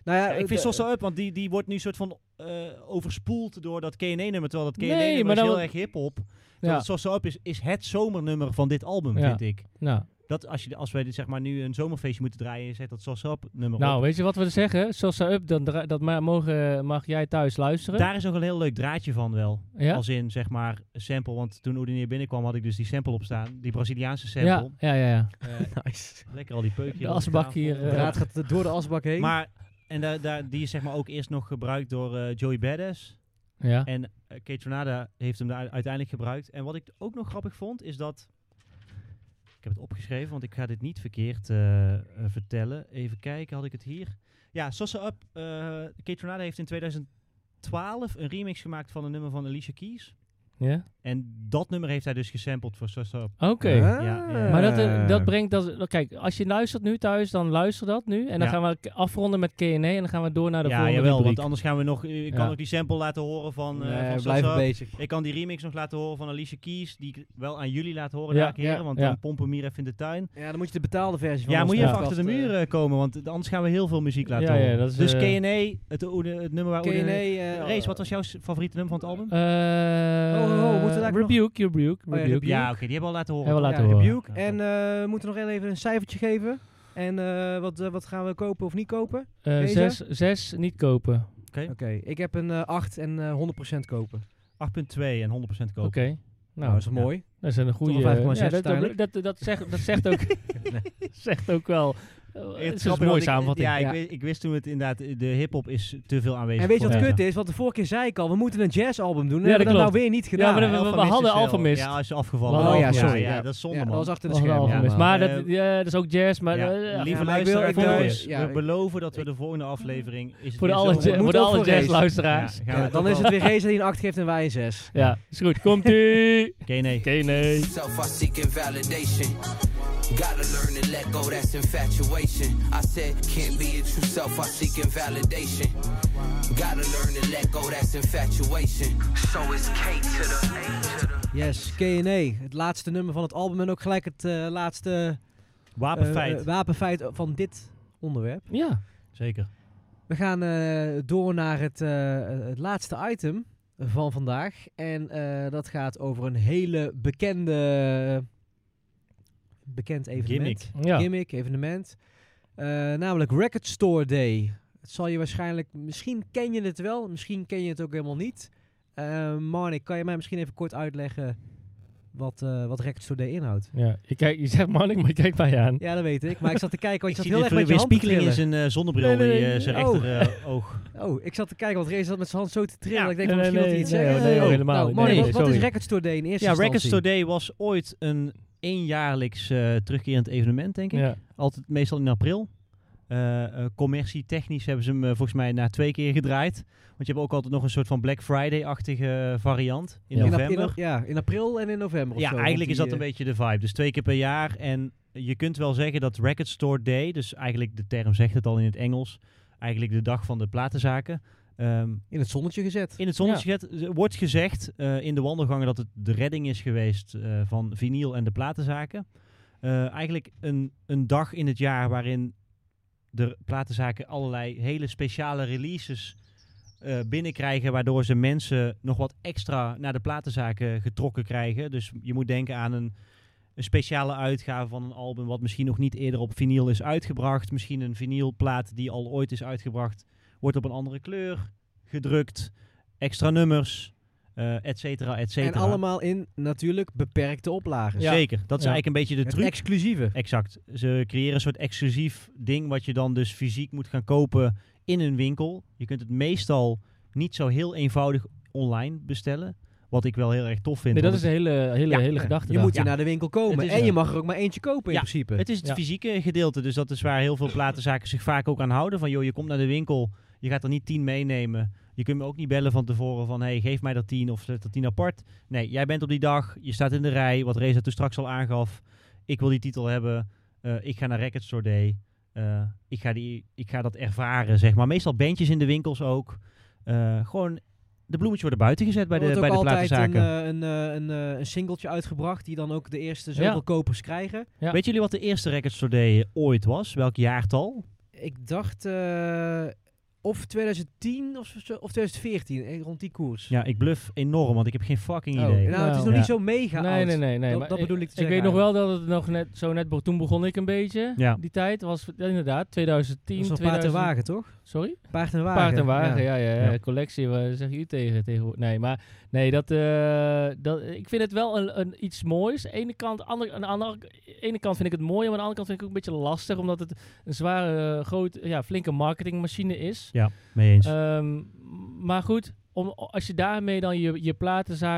Speaker 2: Nou ja,
Speaker 1: Ja, ik
Speaker 2: de-
Speaker 1: vind Sosa Up, want die, die wordt nu soort van eh, overspoeld door dat KNE-nummer. Terwijl dat
Speaker 5: Nee,
Speaker 1: KNE-nummer
Speaker 5: maar
Speaker 1: is
Speaker 5: dan-
Speaker 1: heel erg hip-hop.
Speaker 5: Ja.
Speaker 1: Ja. Sosa Up is, is het zomernummer van dit album,
Speaker 5: Ja.
Speaker 1: vind ik.
Speaker 5: Nou,
Speaker 1: Dat als, je, de- als wij dit, zeg maar, nu een zomerfeestje moeten draaien, je zet dat Sosa Up nummer
Speaker 5: nou,
Speaker 1: op.
Speaker 5: weet je wat we zeggen? Sosa Up, dan dra- dat ma- mogen, mag jij thuis luisteren.
Speaker 1: Daar is nog een heel leuk draadje van wel.
Speaker 5: ja?
Speaker 1: Als in, zeg maar, sample. Want toen Oudin hier binnenkwam, had ik dus die sample op staan. Die Braziliaanse
Speaker 5: ja,
Speaker 1: sample.
Speaker 5: ja, ja, ja.
Speaker 2: Nice.
Speaker 1: Lekker al die peukjes.
Speaker 5: De asbak hier,
Speaker 2: De
Speaker 5: eh,
Speaker 2: draad gaat er door de asbak heen.
Speaker 1: Maar, en daar daar die is zeg maar ook eerst nog gebruikt door eh, Joey Badass.
Speaker 5: ja.
Speaker 1: En eh, Kate Tornada heeft hem daar uiteindelijk gebruikt. En wat ik ook nog grappig vond, is dat... Ik heb het opgeschreven, want ik ga dit niet verkeerd eh, eh, vertellen. Even kijken, had ik het hier? Ja, Sosa Up. eh Kate Tornada heeft in 2012 een remix gemaakt van een nummer van Alicia Keys.
Speaker 5: ja.
Speaker 1: En dat nummer heeft hij dus gesampled voor Sosa Up.
Speaker 5: Oké.
Speaker 2: Ah.
Speaker 1: ja, ja.
Speaker 5: Maar dat, eh,
Speaker 1: Ehm.
Speaker 5: dat brengt dat. Kijk, als je luistert nu thuis, dan luister dat nu. En dan
Speaker 1: Ja.
Speaker 5: gaan we k- afronden met KNE en dan gaan we door naar de
Speaker 1: Ja,
Speaker 5: volgende
Speaker 1: jawel,
Speaker 5: rubriek.
Speaker 1: want anders gaan we nog... Ik kan
Speaker 5: Ja.
Speaker 1: ook die sample laten horen van, eh
Speaker 2: Nee,
Speaker 1: van
Speaker 2: blijf
Speaker 1: Sasa.
Speaker 2: bezig.
Speaker 1: Ik kan die remix nog laten horen van Alicia Keys, die ik wel aan jullie laat horen,
Speaker 5: Ja,
Speaker 1: ja, heren,
Speaker 5: ja,
Speaker 1: want
Speaker 5: ja.
Speaker 1: dan pompen we hem hier even in de tuin.
Speaker 2: Ja, dan moet je de betaalde versie van
Speaker 1: Ja,
Speaker 2: ons
Speaker 1: moet je even
Speaker 2: podcast,
Speaker 1: achter de
Speaker 2: eh,
Speaker 1: muren komen, want anders gaan we heel veel muziek laten
Speaker 5: Ja, ja,
Speaker 1: horen.
Speaker 5: dat is,
Speaker 1: dus
Speaker 5: eh,
Speaker 1: KNE, het, Oede- het nummer waar
Speaker 2: KNE.
Speaker 1: Oede...
Speaker 2: eh,
Speaker 1: Race, wat was jouw s- favoriete nummer van het album?
Speaker 5: Eh,
Speaker 2: Oh, oh, oh, moeten we daar nog-
Speaker 5: rebuke, rebuke,
Speaker 2: Oh ja,
Speaker 5: rebuke.
Speaker 1: ja, oké, die hebben we al laten horen.
Speaker 5: Hebben we
Speaker 2: ja,
Speaker 5: laten horen.
Speaker 2: Rebuke.
Speaker 1: Ja.
Speaker 2: En eh, we moeten nog heel even een cijfertje geven. En eh, wat, eh, wat gaan we kopen of niet kopen? Oké,
Speaker 5: Eh,
Speaker 2: Deze?
Speaker 5: zes, zes niet kopen.
Speaker 1: Oh.
Speaker 5: Oké.
Speaker 2: ik heb een eh, 8 en eh 100% kopen. Nou,
Speaker 1: 8.2 en 100% kopen.
Speaker 5: Nou,
Speaker 2: dat is toch mooi.
Speaker 5: dat is een goede.
Speaker 2: Toch wel 5,6
Speaker 5: ja, dat, dat,
Speaker 2: uiteindelijk.
Speaker 5: dat, dat zegt, dat zegt ook, zegt ook wel. eh, het is
Speaker 1: grappig,
Speaker 5: een
Speaker 1: want
Speaker 5: mooie
Speaker 1: ik-
Speaker 5: samenvatting.
Speaker 1: Ja, ik,
Speaker 2: Ja.
Speaker 1: wist, ik wist toen het inderdaad, de hip-hop is te veel aanwezig.
Speaker 2: En weet je wat
Speaker 1: voor
Speaker 2: kut
Speaker 1: deze.
Speaker 2: is? Want de vorige keer zei ik al, we moeten een jazzalbum doen.
Speaker 5: Ja,
Speaker 2: Dat hebben we
Speaker 5: dat
Speaker 2: dat nou weer niet
Speaker 5: Ja,
Speaker 2: gedaan.
Speaker 5: maar
Speaker 1: Ja,
Speaker 5: we- we,
Speaker 1: Alpha
Speaker 5: we
Speaker 1: Mist
Speaker 5: hadden
Speaker 1: is
Speaker 5: al
Speaker 1: wel-
Speaker 5: vermist.
Speaker 1: Ja, hij is afgevallen.
Speaker 2: Oh, ja, sorry.
Speaker 1: Ja, dat is zonde,
Speaker 2: Ja,
Speaker 1: man.
Speaker 2: dat was achter
Speaker 5: We
Speaker 2: de
Speaker 5: hadden
Speaker 2: schermen.
Speaker 5: al
Speaker 1: ja,
Speaker 5: vermist.
Speaker 1: man.
Speaker 5: Maar
Speaker 1: Eh,
Speaker 5: dat, ja, dat is ook jazz. Maar,
Speaker 1: Ja,
Speaker 5: eh, ja,
Speaker 1: lieve
Speaker 2: maar ik wil-
Speaker 1: luisteraar,
Speaker 2: ik
Speaker 1: volg
Speaker 2: wil-
Speaker 1: ons.
Speaker 2: ja,
Speaker 1: we
Speaker 2: ik-
Speaker 1: beloven dat we de volgende aflevering... Is het
Speaker 5: voor de
Speaker 1: weer
Speaker 5: alle,
Speaker 1: zo-
Speaker 5: ja- voor
Speaker 2: moet
Speaker 5: de
Speaker 2: ook
Speaker 5: alle
Speaker 2: voor race.
Speaker 1: Ja,
Speaker 5: jazzluisteraars.
Speaker 1: gaan we
Speaker 2: Ja, dan is het weer Race die een 8 geeft en wij een 6.
Speaker 5: Ja. is goed. Komt-ie!
Speaker 1: Oké, nee.
Speaker 5: KNE.
Speaker 9: Self, I seek invalidation. Gotta learn to let go, that's infatuation. I said, can't be a true self, I seek invalidation. Gotta learn to let go, that's infatuation. So it's K to the A to the.
Speaker 2: Yes, KNE. Het laatste nummer van het album en ook gelijk het eh, laatste eh,
Speaker 1: Wapenfeit.
Speaker 2: eh, wapenfeit van dit onderwerp.
Speaker 5: Ja.
Speaker 1: Zeker.
Speaker 2: We gaan eh, door naar het, eh, het laatste item van vandaag. En eh, dat gaat over een hele bekende... Bekend evenement.
Speaker 1: Gimmick.
Speaker 5: Ja.
Speaker 2: gimmick, evenement. Eh, namelijk Record Store Day. Het zal je waarschijnlijk, misschien ken je het wel, misschien ken je het ook helemaal niet. Eh Marnik, kan je mij misschien even kort uitleggen wat, eh, wat Record Store Day inhoudt?
Speaker 5: ja. Je, kijkt, je zegt Marnik, maar je kijkt mij aan.
Speaker 2: Ja, dat weet ik. Maar ik zat te kijken, want
Speaker 1: Ik
Speaker 2: je
Speaker 1: zie
Speaker 2: zat heel
Speaker 1: dit
Speaker 2: erg
Speaker 1: weer-
Speaker 2: met je
Speaker 1: weer
Speaker 2: hand
Speaker 1: spiekeling
Speaker 2: te
Speaker 1: in
Speaker 2: trillen.
Speaker 1: zijn eh, zonnebril,
Speaker 5: Nee, nee,
Speaker 1: die, eh,
Speaker 5: nee.
Speaker 1: zijn
Speaker 2: Oh.
Speaker 1: rechter eh, oog.
Speaker 2: Oh, ik zat te kijken, want Rees zat met zijn hand zo te trillen.
Speaker 1: Ja.
Speaker 2: Ik denk, van
Speaker 5: Nee,
Speaker 2: misschien wil hij
Speaker 5: nee,
Speaker 2: iets
Speaker 5: nee,
Speaker 2: zeggen.
Speaker 5: nee,
Speaker 2: Eh,
Speaker 5: helemaal
Speaker 2: nou,
Speaker 5: niet.
Speaker 2: Marnik,
Speaker 5: Nee,
Speaker 2: wat, wat is
Speaker 5: sorry.
Speaker 2: Record Store Day in eerste
Speaker 1: Ja,
Speaker 2: instantie?
Speaker 1: Records Today was ooit een eenjaarlijks eh, terugkerend evenement, denk ik.
Speaker 5: Ja.
Speaker 1: Altijd meestal in april. Eh, eh, commercie technisch hebben ze hem eh, volgens mij na twee keer gedraaid. Want je hebt ook altijd nog een soort van Black Friday-achtige eh, variant in
Speaker 5: Ja.
Speaker 2: In ap- in
Speaker 1: november.
Speaker 2: ap- ja, in april en in november of
Speaker 1: Ja,
Speaker 2: zo,
Speaker 1: eigenlijk
Speaker 2: want
Speaker 1: is
Speaker 2: die,
Speaker 1: dat een
Speaker 2: eh,
Speaker 1: beetje de vibe. Dus twee keer per jaar. En je kunt wel zeggen dat Record Store Day, dus eigenlijk de term zegt het al in het Engels, eigenlijk de dag van de platenzaken. ehm,
Speaker 2: In het zonnetje gezet.
Speaker 1: in het zonnetje gezet, eh, wordt gezegd eh, in de wandelgangen dat het de redding is geweest eh, van vinyl en de platenzaken. Eh, eigenlijk een, een dag in het jaar waarin de platenzaken allerlei hele speciale releases eh, binnenkrijgen, waardoor ze mensen nog wat extra naar de platenzaken getrokken krijgen. Dus je moet denken aan een, een speciale uitgave van een album wat misschien nog niet eerder op vinyl is uitgebracht. Misschien een vinylplaat die al ooit is uitgebracht, wordt op een andere kleur gedrukt. Extra nummers, eh et cetera, et cetera.
Speaker 2: En allemaal in natuurlijk beperkte oplagen.
Speaker 5: Ja.
Speaker 1: Zeker, dat is
Speaker 5: Ja.
Speaker 1: eigenlijk een beetje de
Speaker 2: Het
Speaker 1: truc.
Speaker 2: exclusieve.
Speaker 1: Exact. Ze creëren een soort exclusief ding wat je dan dus fysiek moet gaan kopen in een winkel. Je kunt het meestal niet zo heel eenvoudig online bestellen. Wat ik wel heel erg tof vind.
Speaker 5: Nee, dat
Speaker 1: want
Speaker 5: is een hele, hele,
Speaker 1: Ja.
Speaker 5: hele gedachte.
Speaker 2: Je moet
Speaker 1: Ja.
Speaker 2: je naar de winkel komen.
Speaker 1: Het is
Speaker 2: En je
Speaker 1: zo.
Speaker 2: mag er ook maar eentje kopen in
Speaker 1: Ja,
Speaker 2: principe.
Speaker 1: Het is het
Speaker 5: Ja.
Speaker 1: fysieke gedeelte, dus dat is waar heel veel platenzaken zich vaak ook aan houden. Van joh, je komt naar de winkel, je gaat er niet tien meenemen. Je kunt me ook niet bellen van tevoren van hey, geef mij dat tien of zet dat tien apart. Nee, jij bent op die dag, je staat in de rij, wat Reza toen straks al aangaf. Ik wil die titel hebben, eh, ik ga naar Record Store Day. Eh, ik, ga die, ik ga dat ervaren, zeg maar. Meestal bandjes in de winkels ook. Eh, gewoon, de bloemetjes worden buiten gezet bij
Speaker 2: Er
Speaker 1: de,
Speaker 2: wordt
Speaker 1: bij de
Speaker 2: ook altijd een,
Speaker 1: platenzaken.
Speaker 2: eh, een, eh, een, eh, een singeltje uitgebracht die dan ook de eerste zoveel
Speaker 5: Ja.
Speaker 2: kopers krijgen.
Speaker 5: Ja.
Speaker 1: Weet jullie wat de eerste Record Store Day ooit was? Welk jaartal?
Speaker 2: Ik dacht eh, of 2010 of, zo- of 2014, eh, rond die koers.
Speaker 1: Ja, ik bluff enorm, want ik heb geen fucking
Speaker 5: Oh,
Speaker 1: idee.
Speaker 2: Nou, het is nog
Speaker 5: Nou,
Speaker 2: niet zo mega
Speaker 5: Nee,
Speaker 2: oud.
Speaker 5: nee, nee. nee
Speaker 2: Dat-
Speaker 5: maar
Speaker 2: dat bedoel ik te
Speaker 5: Ik
Speaker 2: zeggen
Speaker 5: weet nog wel dat het nog net, zo net, be- toen begon ik een beetje.
Speaker 1: Ja.
Speaker 5: Die tijd was, ja, inderdaad, 2010,
Speaker 2: Dat is nog
Speaker 5: 2000
Speaker 2: paard en wagen, toch?
Speaker 5: Sorry?
Speaker 2: Paard en wagen.
Speaker 5: Paard en wagen, ja, ja. ja,
Speaker 1: Ja.
Speaker 5: Collectie, waar zeg je tegen? tegenwoordig? Nee, maar nee, dat, eh, dat, ik vind het wel een, een iets moois. Ene kant, ander, aan de andere, ene kant vind ik het mooi, maar aan de andere kant vind ik het ook een beetje lastig, omdat het een zware, eh, groot, ja, flinke marketingmachine is.
Speaker 1: Ja, mee eens.
Speaker 5: Ehm, maar goed, om, als je daarmee dan je, je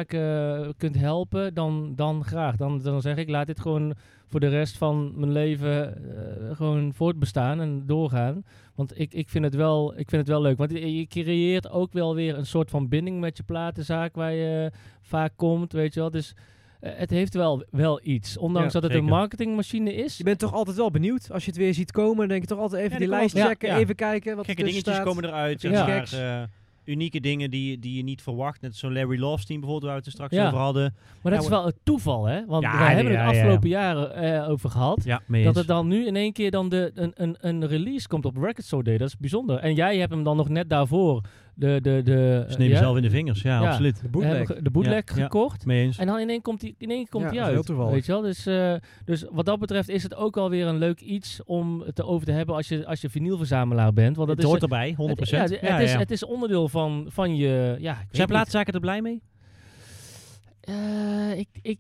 Speaker 5: platenzaken kunt helpen, dan, dan graag. Dan, dan zeg ik, laat dit gewoon voor de rest van mijn leven eh, gewoon voortbestaan en doorgaan. Want ik, ik, vind het wel, ik vind het wel leuk. Want je je creëert ook wel weer een soort van binding met je platenzaak waar je vaak komt, weet je wel. Dus eh, het heeft wel, wel iets. Ondanks
Speaker 1: Ja,
Speaker 5: dat het
Speaker 1: zeker.
Speaker 5: een marketingmachine is.
Speaker 2: Je bent toch altijd wel benieuwd als je het weer ziet komen. Dan denk je toch altijd even
Speaker 1: Ja,
Speaker 2: die
Speaker 1: die
Speaker 2: lijst
Speaker 1: komen-
Speaker 2: checken,
Speaker 1: ja, ja.
Speaker 2: even kijken wat er
Speaker 1: Gekke
Speaker 5: dus
Speaker 2: tussen
Speaker 1: dingetjes
Speaker 2: staat.
Speaker 1: komen eruit.
Speaker 5: Ja.
Speaker 1: Zeg maar,
Speaker 2: Geks.
Speaker 1: eh, unieke dingen die, die je niet verwacht. Net zo'n Larry Lovestein bijvoorbeeld, waar we het er straks
Speaker 5: Ja.
Speaker 1: over hadden.
Speaker 5: maar dat is wel het toeval, hè? Want
Speaker 1: Ja,
Speaker 5: we hebben
Speaker 1: ja,
Speaker 5: het
Speaker 1: ja, ja.
Speaker 5: afgelopen jaren eh, over gehad.
Speaker 1: Ja, mee
Speaker 5: Dat het dan nu in één keer dan de, een, een, een release komt op Record Store Day. Dat is bijzonder. En jij hebt hem dan nog net daarvoor de... de,
Speaker 1: Ze
Speaker 5: de
Speaker 1: nemen
Speaker 5: eh, ja,
Speaker 1: Dus jezelf in de vingers, ja,
Speaker 5: Ja.
Speaker 1: absoluut.
Speaker 2: De
Speaker 5: hebben
Speaker 2: bootleg.
Speaker 5: ge- de bootleg
Speaker 1: Ja, ja.
Speaker 5: gekocht.
Speaker 1: Mee eens.
Speaker 5: En dan in één komt die, in één komt
Speaker 2: Ja,
Speaker 5: die
Speaker 2: dat is
Speaker 5: uit.
Speaker 2: heel toevallig.
Speaker 5: Weet je wel? Dus, eh, dus wat dat betreft is het ook alweer een leuk iets om het over te hebben als je, als je vinylverzamelaar bent. Want dat
Speaker 1: het
Speaker 5: is,
Speaker 1: hoort erbij, 100%.
Speaker 5: het, ja, het,
Speaker 1: Ja,
Speaker 5: is,
Speaker 1: ja.
Speaker 5: het is onderdeel van, van je... Ja, ik
Speaker 1: Zijn
Speaker 5: weet niet.
Speaker 1: plaatzaken er blij mee?
Speaker 5: Eh, ik, ik,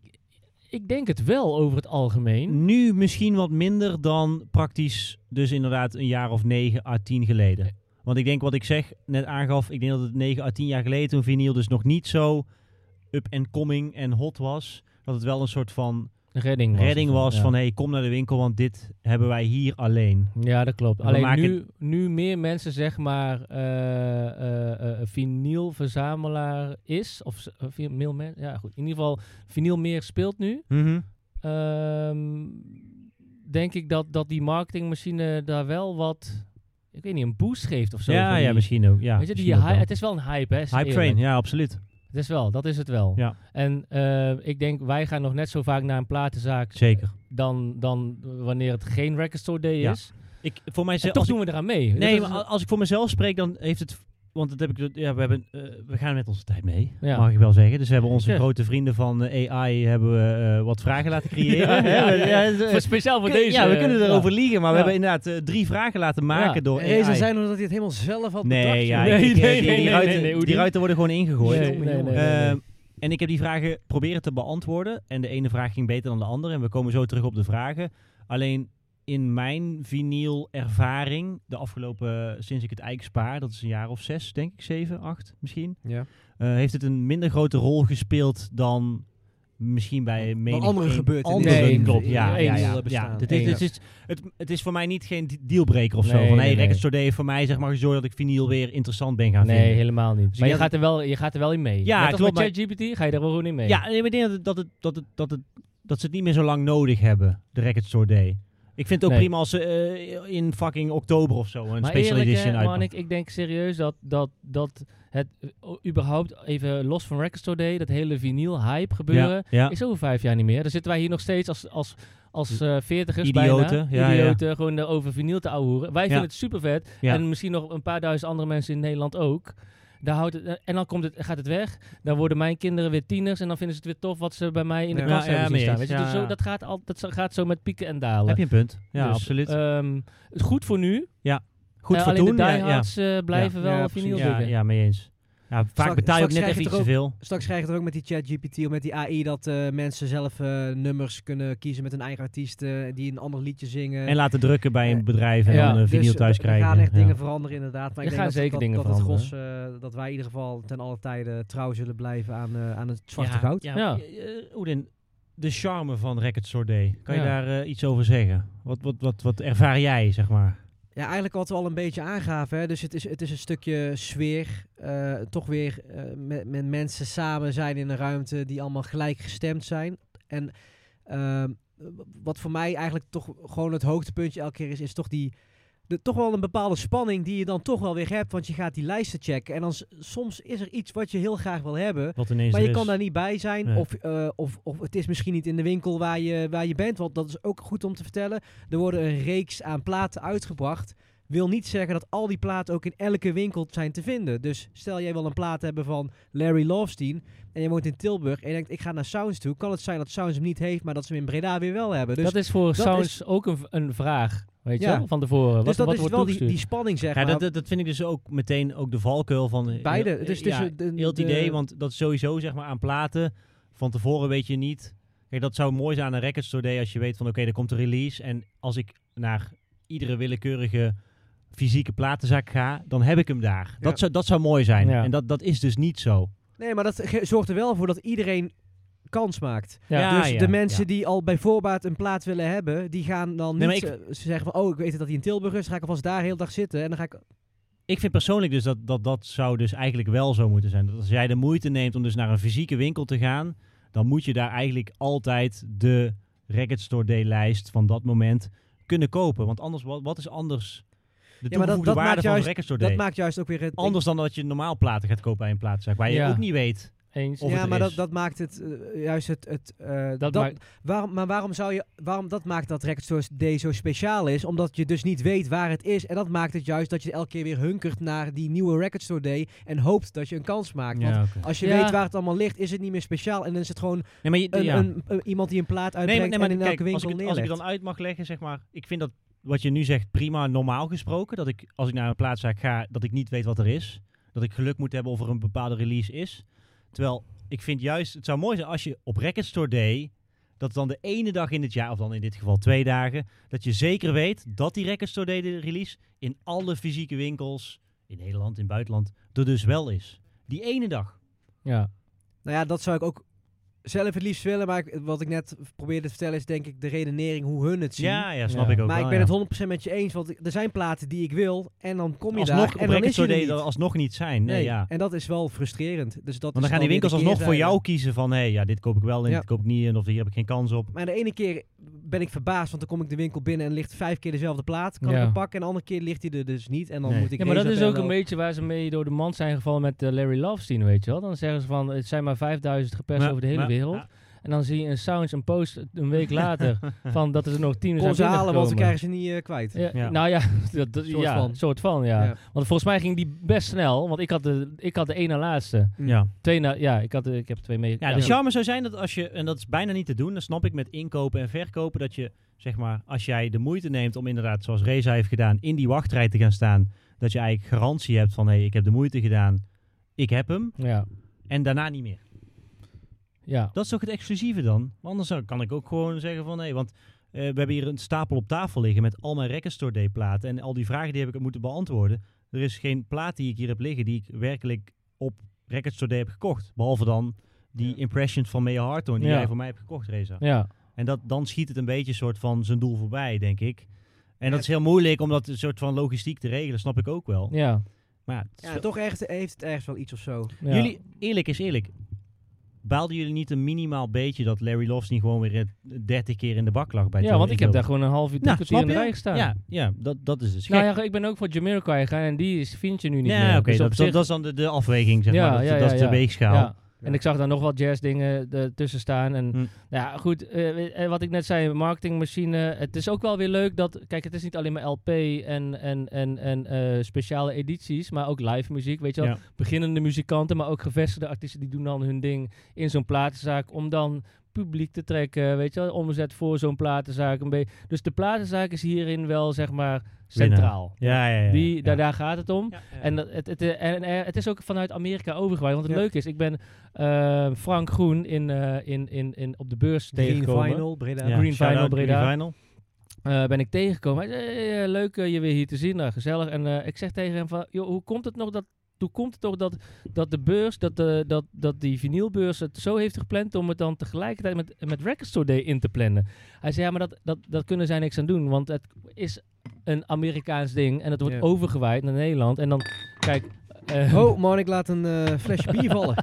Speaker 5: ik denk het wel over het algemeen.
Speaker 1: Nu misschien wat minder dan praktisch dus inderdaad een jaar of 9 à 10 geleden. Want ik denk wat ik zeg, net aangaf, ik denk dat het 9 à 10 jaar geleden toen vinyl dus nog niet zo up and coming en hot was. Dat het wel een soort van
Speaker 5: Redding was. het
Speaker 1: redding
Speaker 5: dan,
Speaker 1: was
Speaker 5: ja.
Speaker 1: van hey, kom naar de winkel, want dit hebben wij hier alleen.
Speaker 5: Ja, dat klopt.
Speaker 1: We
Speaker 5: Alleen
Speaker 1: maken-
Speaker 5: nu, nu meer mensen, zeg maar, eh eh, eh, vinylverzamelaar is. Of z- eh, vinyl men- ja goed. In ieder geval, vinyl meer speelt nu.
Speaker 1: Mhm.
Speaker 5: Ehm, denk ik dat, dat die marketingmachine daar wel wat, ik weet niet, een boost geeft of zo.
Speaker 1: Ja,
Speaker 5: van die-
Speaker 1: ja, misschien ook. Ja,
Speaker 5: Weet je, die
Speaker 1: misschien ook
Speaker 5: hy-
Speaker 1: wel.
Speaker 5: het is wel een hype, hè? is
Speaker 1: Hype
Speaker 5: eerlijk.
Speaker 1: train, ja, absoluut.
Speaker 5: Het is wel, dat is het wel.
Speaker 1: Ja.
Speaker 5: En eh, ik denk, wij gaan nog net zo vaak naar een platenzaak
Speaker 1: Zeker.
Speaker 5: dan, dan wanneer het geen record store day
Speaker 1: Ja.
Speaker 5: is.
Speaker 1: Ik, voor mijzelf,
Speaker 5: En toch
Speaker 1: als ik-
Speaker 5: doen we eraan mee.
Speaker 1: nee,
Speaker 5: Dat is-
Speaker 1: maar als ik voor mezelf spreek, dan heeft het... Want dat heb ik, ja, we, hebben, eh, we gaan met onze tijd mee,
Speaker 5: Ja.
Speaker 1: mag ik wel zeggen. Dus we hebben onze
Speaker 5: Ja.
Speaker 1: grote vrienden van eh, AI hebben we, eh, wat vragen laten creëren.
Speaker 5: Ja, ja,
Speaker 1: Hè, we-
Speaker 5: ja.
Speaker 1: ja, dus, eh,
Speaker 5: Voor speciaal voor
Speaker 1: kun-
Speaker 5: deze.
Speaker 1: ja, we kunnen
Speaker 5: eh,
Speaker 1: erover liegen, maar we
Speaker 5: Ja.
Speaker 1: hebben inderdaad eh, drie vragen laten maken
Speaker 5: Ja.
Speaker 1: door
Speaker 2: En
Speaker 1: AI.
Speaker 2: Reza zei nog dat hij het helemaal zelf had bedacht.
Speaker 1: nee, ja,
Speaker 2: joh.
Speaker 5: Nee,
Speaker 1: ik- ik-
Speaker 5: nee,
Speaker 1: die-
Speaker 5: nee,
Speaker 1: die
Speaker 5: nee,
Speaker 1: ruiten-
Speaker 5: nee, nee, hoe
Speaker 1: die
Speaker 5: die-
Speaker 1: ruiten worden gewoon ingegooid.
Speaker 5: Nee, nee,
Speaker 2: Jongen,
Speaker 5: nee,
Speaker 2: jongen.
Speaker 5: nee, nee.
Speaker 1: Ehm, en ik heb die vragen proberen te beantwoorden. En de ene vraag ging beter dan de andere. En we komen zo terug op de vragen. Alleen in mijn vinyl ervaring, de afgelopen, sinds ik het Eik spaar, dat is een jaar of zes, denk ik, zeven, acht misschien.
Speaker 2: Ja.
Speaker 1: eh, heeft het een minder grote rol gespeeld dan misschien bij menig
Speaker 2: andere
Speaker 1: een
Speaker 2: gebeurtenissen.
Speaker 1: andere-
Speaker 5: Nee,
Speaker 1: klopt.
Speaker 5: in-
Speaker 1: Ja,
Speaker 5: in-
Speaker 1: ja,
Speaker 5: in-
Speaker 1: ja,
Speaker 2: bestaan.
Speaker 1: ja. Dit is-
Speaker 2: Ja.
Speaker 1: dit is- Het, het is voor mij niet geen de- dealbreaker of zo.
Speaker 5: Nee,
Speaker 1: Van hey,
Speaker 5: nee, nee.
Speaker 1: Record Store Day heeft voor mij zeg maar gezorgd dat ik vinyl weer interessant ben gaan
Speaker 5: nee,
Speaker 1: vinden.
Speaker 5: helemaal niet.
Speaker 1: Dus
Speaker 5: maar
Speaker 1: ik
Speaker 5: je
Speaker 1: denk
Speaker 5: gaat, er wel, je gaat er wel in mee.
Speaker 1: Ja,
Speaker 5: Net als
Speaker 1: klopt,
Speaker 5: met ChatGPT ga je er wel gewoon in mee.
Speaker 1: Ja, nee, maar ik denk dat, het, dat, het, dat, het, dat, het, dat ze het niet meer zo lang nodig hebben, de Record Store Day. Ik vind het ook
Speaker 5: Nee.
Speaker 1: prima als ze eh, in fucking oktober of zo een
Speaker 5: maar
Speaker 1: special
Speaker 5: eerlijk,
Speaker 1: edition
Speaker 5: hè,
Speaker 1: uitmaken.
Speaker 5: Marnik, ik denk serieus dat, dat, dat het eh, o- überhaupt even los van Record Store Day, dat hele vinyl hype gebeuren,
Speaker 1: Ja, ja.
Speaker 5: is over vijf jaar niet meer. Dan zitten wij hier nog steeds als, als, als eh veertigers
Speaker 1: Idioten,
Speaker 5: bijna.
Speaker 1: ja, ja.
Speaker 5: idioten, gewoon eh, over vinyl te ouwehoeren. Wij vinden
Speaker 1: Ja.
Speaker 5: het super vet.
Speaker 1: Ja.
Speaker 5: En misschien nog een paar duizend andere mensen in Nederland ook. Daar houdt het, eh, en dan komt het, gaat het weg. Dan worden mijn kinderen weer tieners. En dan vinden ze het weer tof wat ze bij mij in de
Speaker 2: Ja.
Speaker 5: klas
Speaker 1: Ja,
Speaker 5: hebben zien
Speaker 1: mee
Speaker 5: staan.
Speaker 1: eens.
Speaker 5: Weet je?
Speaker 1: Ja,
Speaker 5: dus zo,
Speaker 1: ja.
Speaker 5: dat, gaat al, dat zo- gaat zo met pieken en dalen.
Speaker 1: Heb je een punt? Ja,
Speaker 5: Dus,
Speaker 1: absoluut.
Speaker 5: ehm, het is goed voor nu.
Speaker 1: Goed
Speaker 5: Eh,
Speaker 1: voor
Speaker 5: alleen
Speaker 1: toen.
Speaker 5: de
Speaker 1: ja, ja.
Speaker 5: diehards eh, blijven
Speaker 2: Ja,
Speaker 5: wel
Speaker 2: ja,
Speaker 5: vinyl
Speaker 1: ja,
Speaker 5: liggen.
Speaker 1: ja, mee eens. Ja, vaak
Speaker 2: Straks-
Speaker 1: betaal je ook
Speaker 2: straks
Speaker 1: net
Speaker 2: krijg je
Speaker 1: even iets
Speaker 2: toch
Speaker 1: te
Speaker 2: ook-
Speaker 1: veel.
Speaker 2: Straks krijg je het ook met die ChatGPT of met die AI dat eh, mensen zelf eh, nummers kunnen kiezen met hun eigen artiesten eh, die een ander liedje zingen.
Speaker 1: En laten drukken bij een bedrijf en
Speaker 5: Ja,
Speaker 1: dan een video
Speaker 2: Dus
Speaker 1: thuis
Speaker 2: er
Speaker 1: krijgen.
Speaker 2: gaan echt
Speaker 1: Ja.
Speaker 2: dingen veranderen inderdaad. Maar ik denk
Speaker 5: Er gaan
Speaker 2: dat,
Speaker 5: zeker
Speaker 2: dat,
Speaker 5: dingen
Speaker 2: dat het gros, eh, dat wij in ieder geval ten alle tijde trouw zullen blijven aan, eh, aan het zwarte goud.
Speaker 1: Ja,
Speaker 5: Ja.
Speaker 1: eh, Oedin, de charme van Record Store Day. Kan
Speaker 5: Ja.
Speaker 1: je daar eh, iets over zeggen? Wat, wat, wat, wat ervaar jij, zeg maar?
Speaker 2: Ja, eigenlijk wat we al een beetje aangaven. Hè. Dus het is, het is een stukje sfeer. eh, toch weer eh, met, met mensen samen zijn in een ruimte die allemaal gelijk gestemd zijn. En ehm, w- wat voor mij eigenlijk toch gewoon het hoogtepuntje elke keer is, is toch die. De, toch wel een bepaalde spanning die je dan toch wel weer hebt. Want je gaat die lijsten checken. En dan s- soms is er iets wat je heel graag wil hebben.
Speaker 1: Wat ineens
Speaker 2: Maar
Speaker 1: er
Speaker 2: je
Speaker 1: is.
Speaker 2: kan daar niet bij zijn.
Speaker 1: Nee.
Speaker 2: Of, eh, of, of het is misschien niet in de winkel waar je, waar je bent. Want dat is ook goed om te vertellen. Er worden een reeks aan platen uitgebracht. Wil niet zeggen dat al die platen ook in elke winkel zijn te vinden. Dus stel jij wil een plaat hebben van Larry Lovestein. En je woont in Tilburg. En je denkt, ik ga naar Sounds toe. Kan het zijn dat Sounds hem niet heeft, maar dat ze hem in Breda weer wel hebben. Dus
Speaker 5: dat is voor
Speaker 2: dat
Speaker 5: Sounds ook een, v- een vraag, weet je
Speaker 2: Ja.
Speaker 5: wel, van tevoren. Wat,
Speaker 2: dus dat
Speaker 5: wat
Speaker 2: is
Speaker 5: wordt
Speaker 2: wel die, die
Speaker 5: toegestuurd?
Speaker 2: spanning, zeg
Speaker 1: Ja,
Speaker 2: maar.
Speaker 1: dat, dat, dat vind ik dus ook meteen ook de valkuil van... eh,
Speaker 2: Beide.
Speaker 1: heel-
Speaker 2: Dus
Speaker 1: eh, ja,
Speaker 2: tussen de-
Speaker 1: heel het
Speaker 2: de-
Speaker 1: idee, want dat is sowieso zeg maar aan platen. Van tevoren weet je niet... Kijk, dat zou mooi zijn aan een Record Store Day als je weet van... Oké, er komt een release en als ik naar iedere willekeurige fysieke platenzaak ga... dan heb ik hem daar. Dat, zou, dat zou mooi zijn.
Speaker 5: Ja.
Speaker 1: En dat, dat is dus niet zo.
Speaker 2: Nee, maar dat ge- zorgt er wel voor dat iedereen kans maakt.
Speaker 5: Ja.
Speaker 1: Ja,
Speaker 2: dus
Speaker 1: Ah, ja,
Speaker 2: de mensen
Speaker 1: ja.
Speaker 2: die al bij voorbaat een plaat willen hebben, die gaan dan
Speaker 1: Nee,
Speaker 2: niet
Speaker 1: maar
Speaker 2: eh, ze zeggen van, oh, ik weet dat hij in Tilburg is, ga ik alvast daar heel dag zitten en dan
Speaker 1: Oh,
Speaker 2: ga ik...
Speaker 1: Ik vind persoonlijk dus dat, dat dat zou dus eigenlijk wel zo moeten zijn. Dat als jij de moeite neemt om dus naar een fysieke winkel te gaan, dan moet je daar eigenlijk altijd de Record Store Day lijst van dat moment kunnen kopen. Want anders, wat, wat is anders de
Speaker 2: Ja, maar dat-
Speaker 1: toegevoegde
Speaker 2: dat
Speaker 1: waarde
Speaker 2: maakt
Speaker 1: van
Speaker 2: juist-
Speaker 1: de Record Store
Speaker 2: Dat
Speaker 1: Day?
Speaker 2: maakt juist ook weer het...
Speaker 1: anders dan dat je normaal platen gaat kopen bij een plaatzaak, waar je
Speaker 5: Ja.
Speaker 1: ook niet weet.
Speaker 5: Eens.
Speaker 1: of
Speaker 2: ja,
Speaker 1: het
Speaker 2: maar
Speaker 1: is.
Speaker 2: dat, dat maakt het eh, juist het... het eh,
Speaker 5: dat maakt,
Speaker 2: waarom, maar waarom zou je... Waarom dat maakt dat Record Store Day zo speciaal is? Omdat je dus niet weet waar het is. En dat maakt het juist dat je elke keer weer hunkert naar die nieuwe Record Store Day. En hoopt dat je een kans maakt. Want als je
Speaker 5: Ja.
Speaker 2: weet waar het allemaal ligt, is het niet meer speciaal. En dan is het gewoon
Speaker 1: Nee, maar je,
Speaker 2: een,
Speaker 1: ja.
Speaker 2: een- een- iemand die een plaat uitbrengt en in
Speaker 1: kijk,
Speaker 2: elke winkel
Speaker 1: als ik, het- als ik
Speaker 2: neerlegt.
Speaker 1: het dan uit mag leggen, zeg maar, ik vind dat wat je nu zegt prima, normaal gesproken. Dat ik, als ik naar een plaatszaak ga, dat ik niet weet wat er is. Dat ik geluk moet hebben of er een bepaalde release is. Terwijl, ik vind juist, het zou mooi zijn als je op Record Store Day, dat dan de ene dag in het jaar, of dan in dit geval twee dagen, dat je zeker weet dat die Record Store Day de release in alle fysieke winkels, in Nederland, in het buitenland, er dus wel is. Die ene dag.
Speaker 5: ja.
Speaker 2: Nou ja, dat zou ik ook zelf het liefst willen. Maar ik- wat ik net probeerde te vertellen is denk ik de redenering hoe hun het zien.
Speaker 1: Ja, ja, snap
Speaker 5: Ja.
Speaker 1: ik ook
Speaker 2: maar
Speaker 1: wel,
Speaker 2: ik
Speaker 1: ja.
Speaker 2: ben het 100% met je eens. Want ik- er zijn platen die ik wil. En dan kom je
Speaker 1: alsnog
Speaker 2: daar.
Speaker 1: op
Speaker 2: En dan
Speaker 1: Record
Speaker 2: is je
Speaker 1: Store
Speaker 2: er
Speaker 1: Day
Speaker 2: niet.
Speaker 1: dat alsnog niet zijn. Nee, ja.
Speaker 2: En dat is wel frustrerend. Dus dat
Speaker 1: Want
Speaker 2: is
Speaker 1: dan gaan die
Speaker 2: weer de
Speaker 1: winkels alsnog voor
Speaker 2: keerzijde.
Speaker 1: jou kiezen van... hé, hey, ja, dit koop ik wel en
Speaker 2: Ja.
Speaker 1: dit koop ik niet en of hier heb ik geen kans op.
Speaker 2: Maar de ene keer ben ik verbaasd, want dan kom ik de winkel binnen en ligt vijf keer dezelfde plaat. Kan
Speaker 5: Ja.
Speaker 2: ik hem pakken en de andere keer ligt hij er dus niet. En dan
Speaker 1: Nee.
Speaker 2: moet ik
Speaker 5: ja, maar dat
Speaker 2: deze
Speaker 5: is ook
Speaker 2: bellen.
Speaker 5: een beetje waar ze mee door de mand zijn gevallen met eh, Larry Lovestein, weet je wel. Dan zeggen ze van, het zijn maar 5000 geperst
Speaker 1: Maar-
Speaker 5: over de hele
Speaker 1: maar-
Speaker 5: wereld.
Speaker 1: ja.
Speaker 5: En dan zie je in Sounds een post een week later van dat er nog tien
Speaker 2: Kom
Speaker 5: zijn
Speaker 2: ze halen, want dan
Speaker 5: binnengekomen.
Speaker 2: krijgen ze niet eh, kwijt.
Speaker 5: Ja,
Speaker 1: Ja.
Speaker 5: Nou ja, dat, dat,
Speaker 2: Soort
Speaker 5: soort ja,
Speaker 2: van.
Speaker 5: van. soort van, ja.
Speaker 2: Ja.
Speaker 5: Want volgens mij ging die best snel, want ik had de, ik had de één na laatste.
Speaker 1: Ja.
Speaker 5: Twee na, ja, ik, had de, ik heb twee mee.
Speaker 1: ja, de charme zou zijn dat als je... en dat is bijna niet te doen, dat snap ik met inkopen en verkopen... dat je, zeg maar, als jij de moeite neemt om inderdaad... zoals Reza heeft gedaan, in die wachtrij te gaan staan... dat je eigenlijk garantie hebt van... hé, hey, ik heb de moeite gedaan, ik heb hem
Speaker 5: ja,
Speaker 1: en daarna niet meer.
Speaker 5: ja.
Speaker 1: Dat is toch het exclusieve dan? Want anders zou- kan ik ook gewoon zeggen van... hé, want eh, we hebben hier een stapel op tafel liggen met al mijn Record Store Day platen. En al die vragen die heb ik moeten beantwoorden. Er is geen plaat die ik hier heb liggen die ik werkelijk op Record Store Day heb gekocht. Behalve dan die Impressions van Mea Harton die
Speaker 5: Ja.
Speaker 1: jij voor mij hebt gekocht, Reza.
Speaker 5: ja.
Speaker 1: En dat, dan schiet het een beetje soort van zijn doel voorbij, denk ik. En dat is heel moeilijk om dat een soort van logistiek te regelen, snap ik ook wel.
Speaker 5: Ja,
Speaker 1: Maar ja, het is
Speaker 2: Ja,
Speaker 1: wel-
Speaker 2: toch ergens, heeft het ergens wel iets of zo.
Speaker 5: ja.
Speaker 1: Jullie, eerlijk is eerlijk. Baalden jullie niet een minimaal beetje dat Larry Lovsny gewoon weer 30 keer in de bak lag bij
Speaker 5: ja,
Speaker 1: Joe
Speaker 5: want ik heb
Speaker 1: Inkoop?
Speaker 5: daar gewoon een half uur, drie
Speaker 1: Nou,
Speaker 5: kwartier
Speaker 1: snap
Speaker 5: in de
Speaker 1: je?
Speaker 5: rij gestaan.
Speaker 1: Ja, ja dat, dat is dus gek.
Speaker 5: Nou ja, ik ben ook voor Jamiroquai gegaan en die is- vind je nu niet
Speaker 1: Ja,
Speaker 5: meer.
Speaker 1: oké,
Speaker 5: Dus op
Speaker 1: dat, dat,
Speaker 5: zich-
Speaker 1: dat is dan de, de afweging, zeg
Speaker 5: Ja,
Speaker 1: maar. Dat,
Speaker 5: ja,
Speaker 1: dat
Speaker 5: ja,
Speaker 1: is de
Speaker 5: ja.
Speaker 1: weegschaal.
Speaker 5: Ja. En ik zag daar nog wat jazzdingen eh, tussen staan. En
Speaker 1: Hm.
Speaker 5: nou ja, goed, eh, we- eh, wat ik net zei, marketingmachine. Het is ook wel weer leuk dat, kijk, het is niet alleen maar LP en, en, en, en eh, speciale edities, maar ook live muziek, weet je wel.
Speaker 1: Ja.
Speaker 5: Beginnende muzikanten, maar ook gevestigde artiesten, die doen dan hun ding in zo'n platenzaak om dan publiek te trekken, weet je wel, omzet voor zo'n platenzaak. Een beetje. dus de platenzaak is hierin wel, zeg maar, centraal.
Speaker 1: Ja, ja, ja.
Speaker 5: Die,
Speaker 1: ja.
Speaker 5: Daar, daar gaat het om. En
Speaker 2: En
Speaker 5: dat- het, het, eh, en eh, het is ook vanuit Amerika overgewaaid. Want het
Speaker 2: Ja.
Speaker 5: leuke is, ik ben eh, Frank Groen in, eh, in, in, in, op de beurs
Speaker 2: Green
Speaker 5: tegengekomen.
Speaker 2: Vinyl, Breda.
Speaker 1: Ja,
Speaker 5: Green
Speaker 1: shout-out
Speaker 5: Vinyl
Speaker 1: Green
Speaker 5: Breda.
Speaker 1: Vinyl.
Speaker 5: Eh, ben ik tegengekomen. Hij zei, "Hey, eh, leuk eh, je weer hier te zien, eh, gezellig. En eh, ik zeg tegen hem van, joh, hoe komt het nog dat, hoe komt het toch dat, dat de beurs, dat, de, dat, dat die vinylbeurs het zo heeft gepland om het dan tegelijkertijd met, met Record Store Day in te plannen? Hij zei, ja, maar dat, dat, dat kunnen zij niks aan doen, want het is een Amerikaans ding en het wordt
Speaker 2: Ja.
Speaker 5: overgewaaid naar Nederland. En dan, kijk... eh,
Speaker 2: Oh, man, ik laat een eh, flesje bier vallen.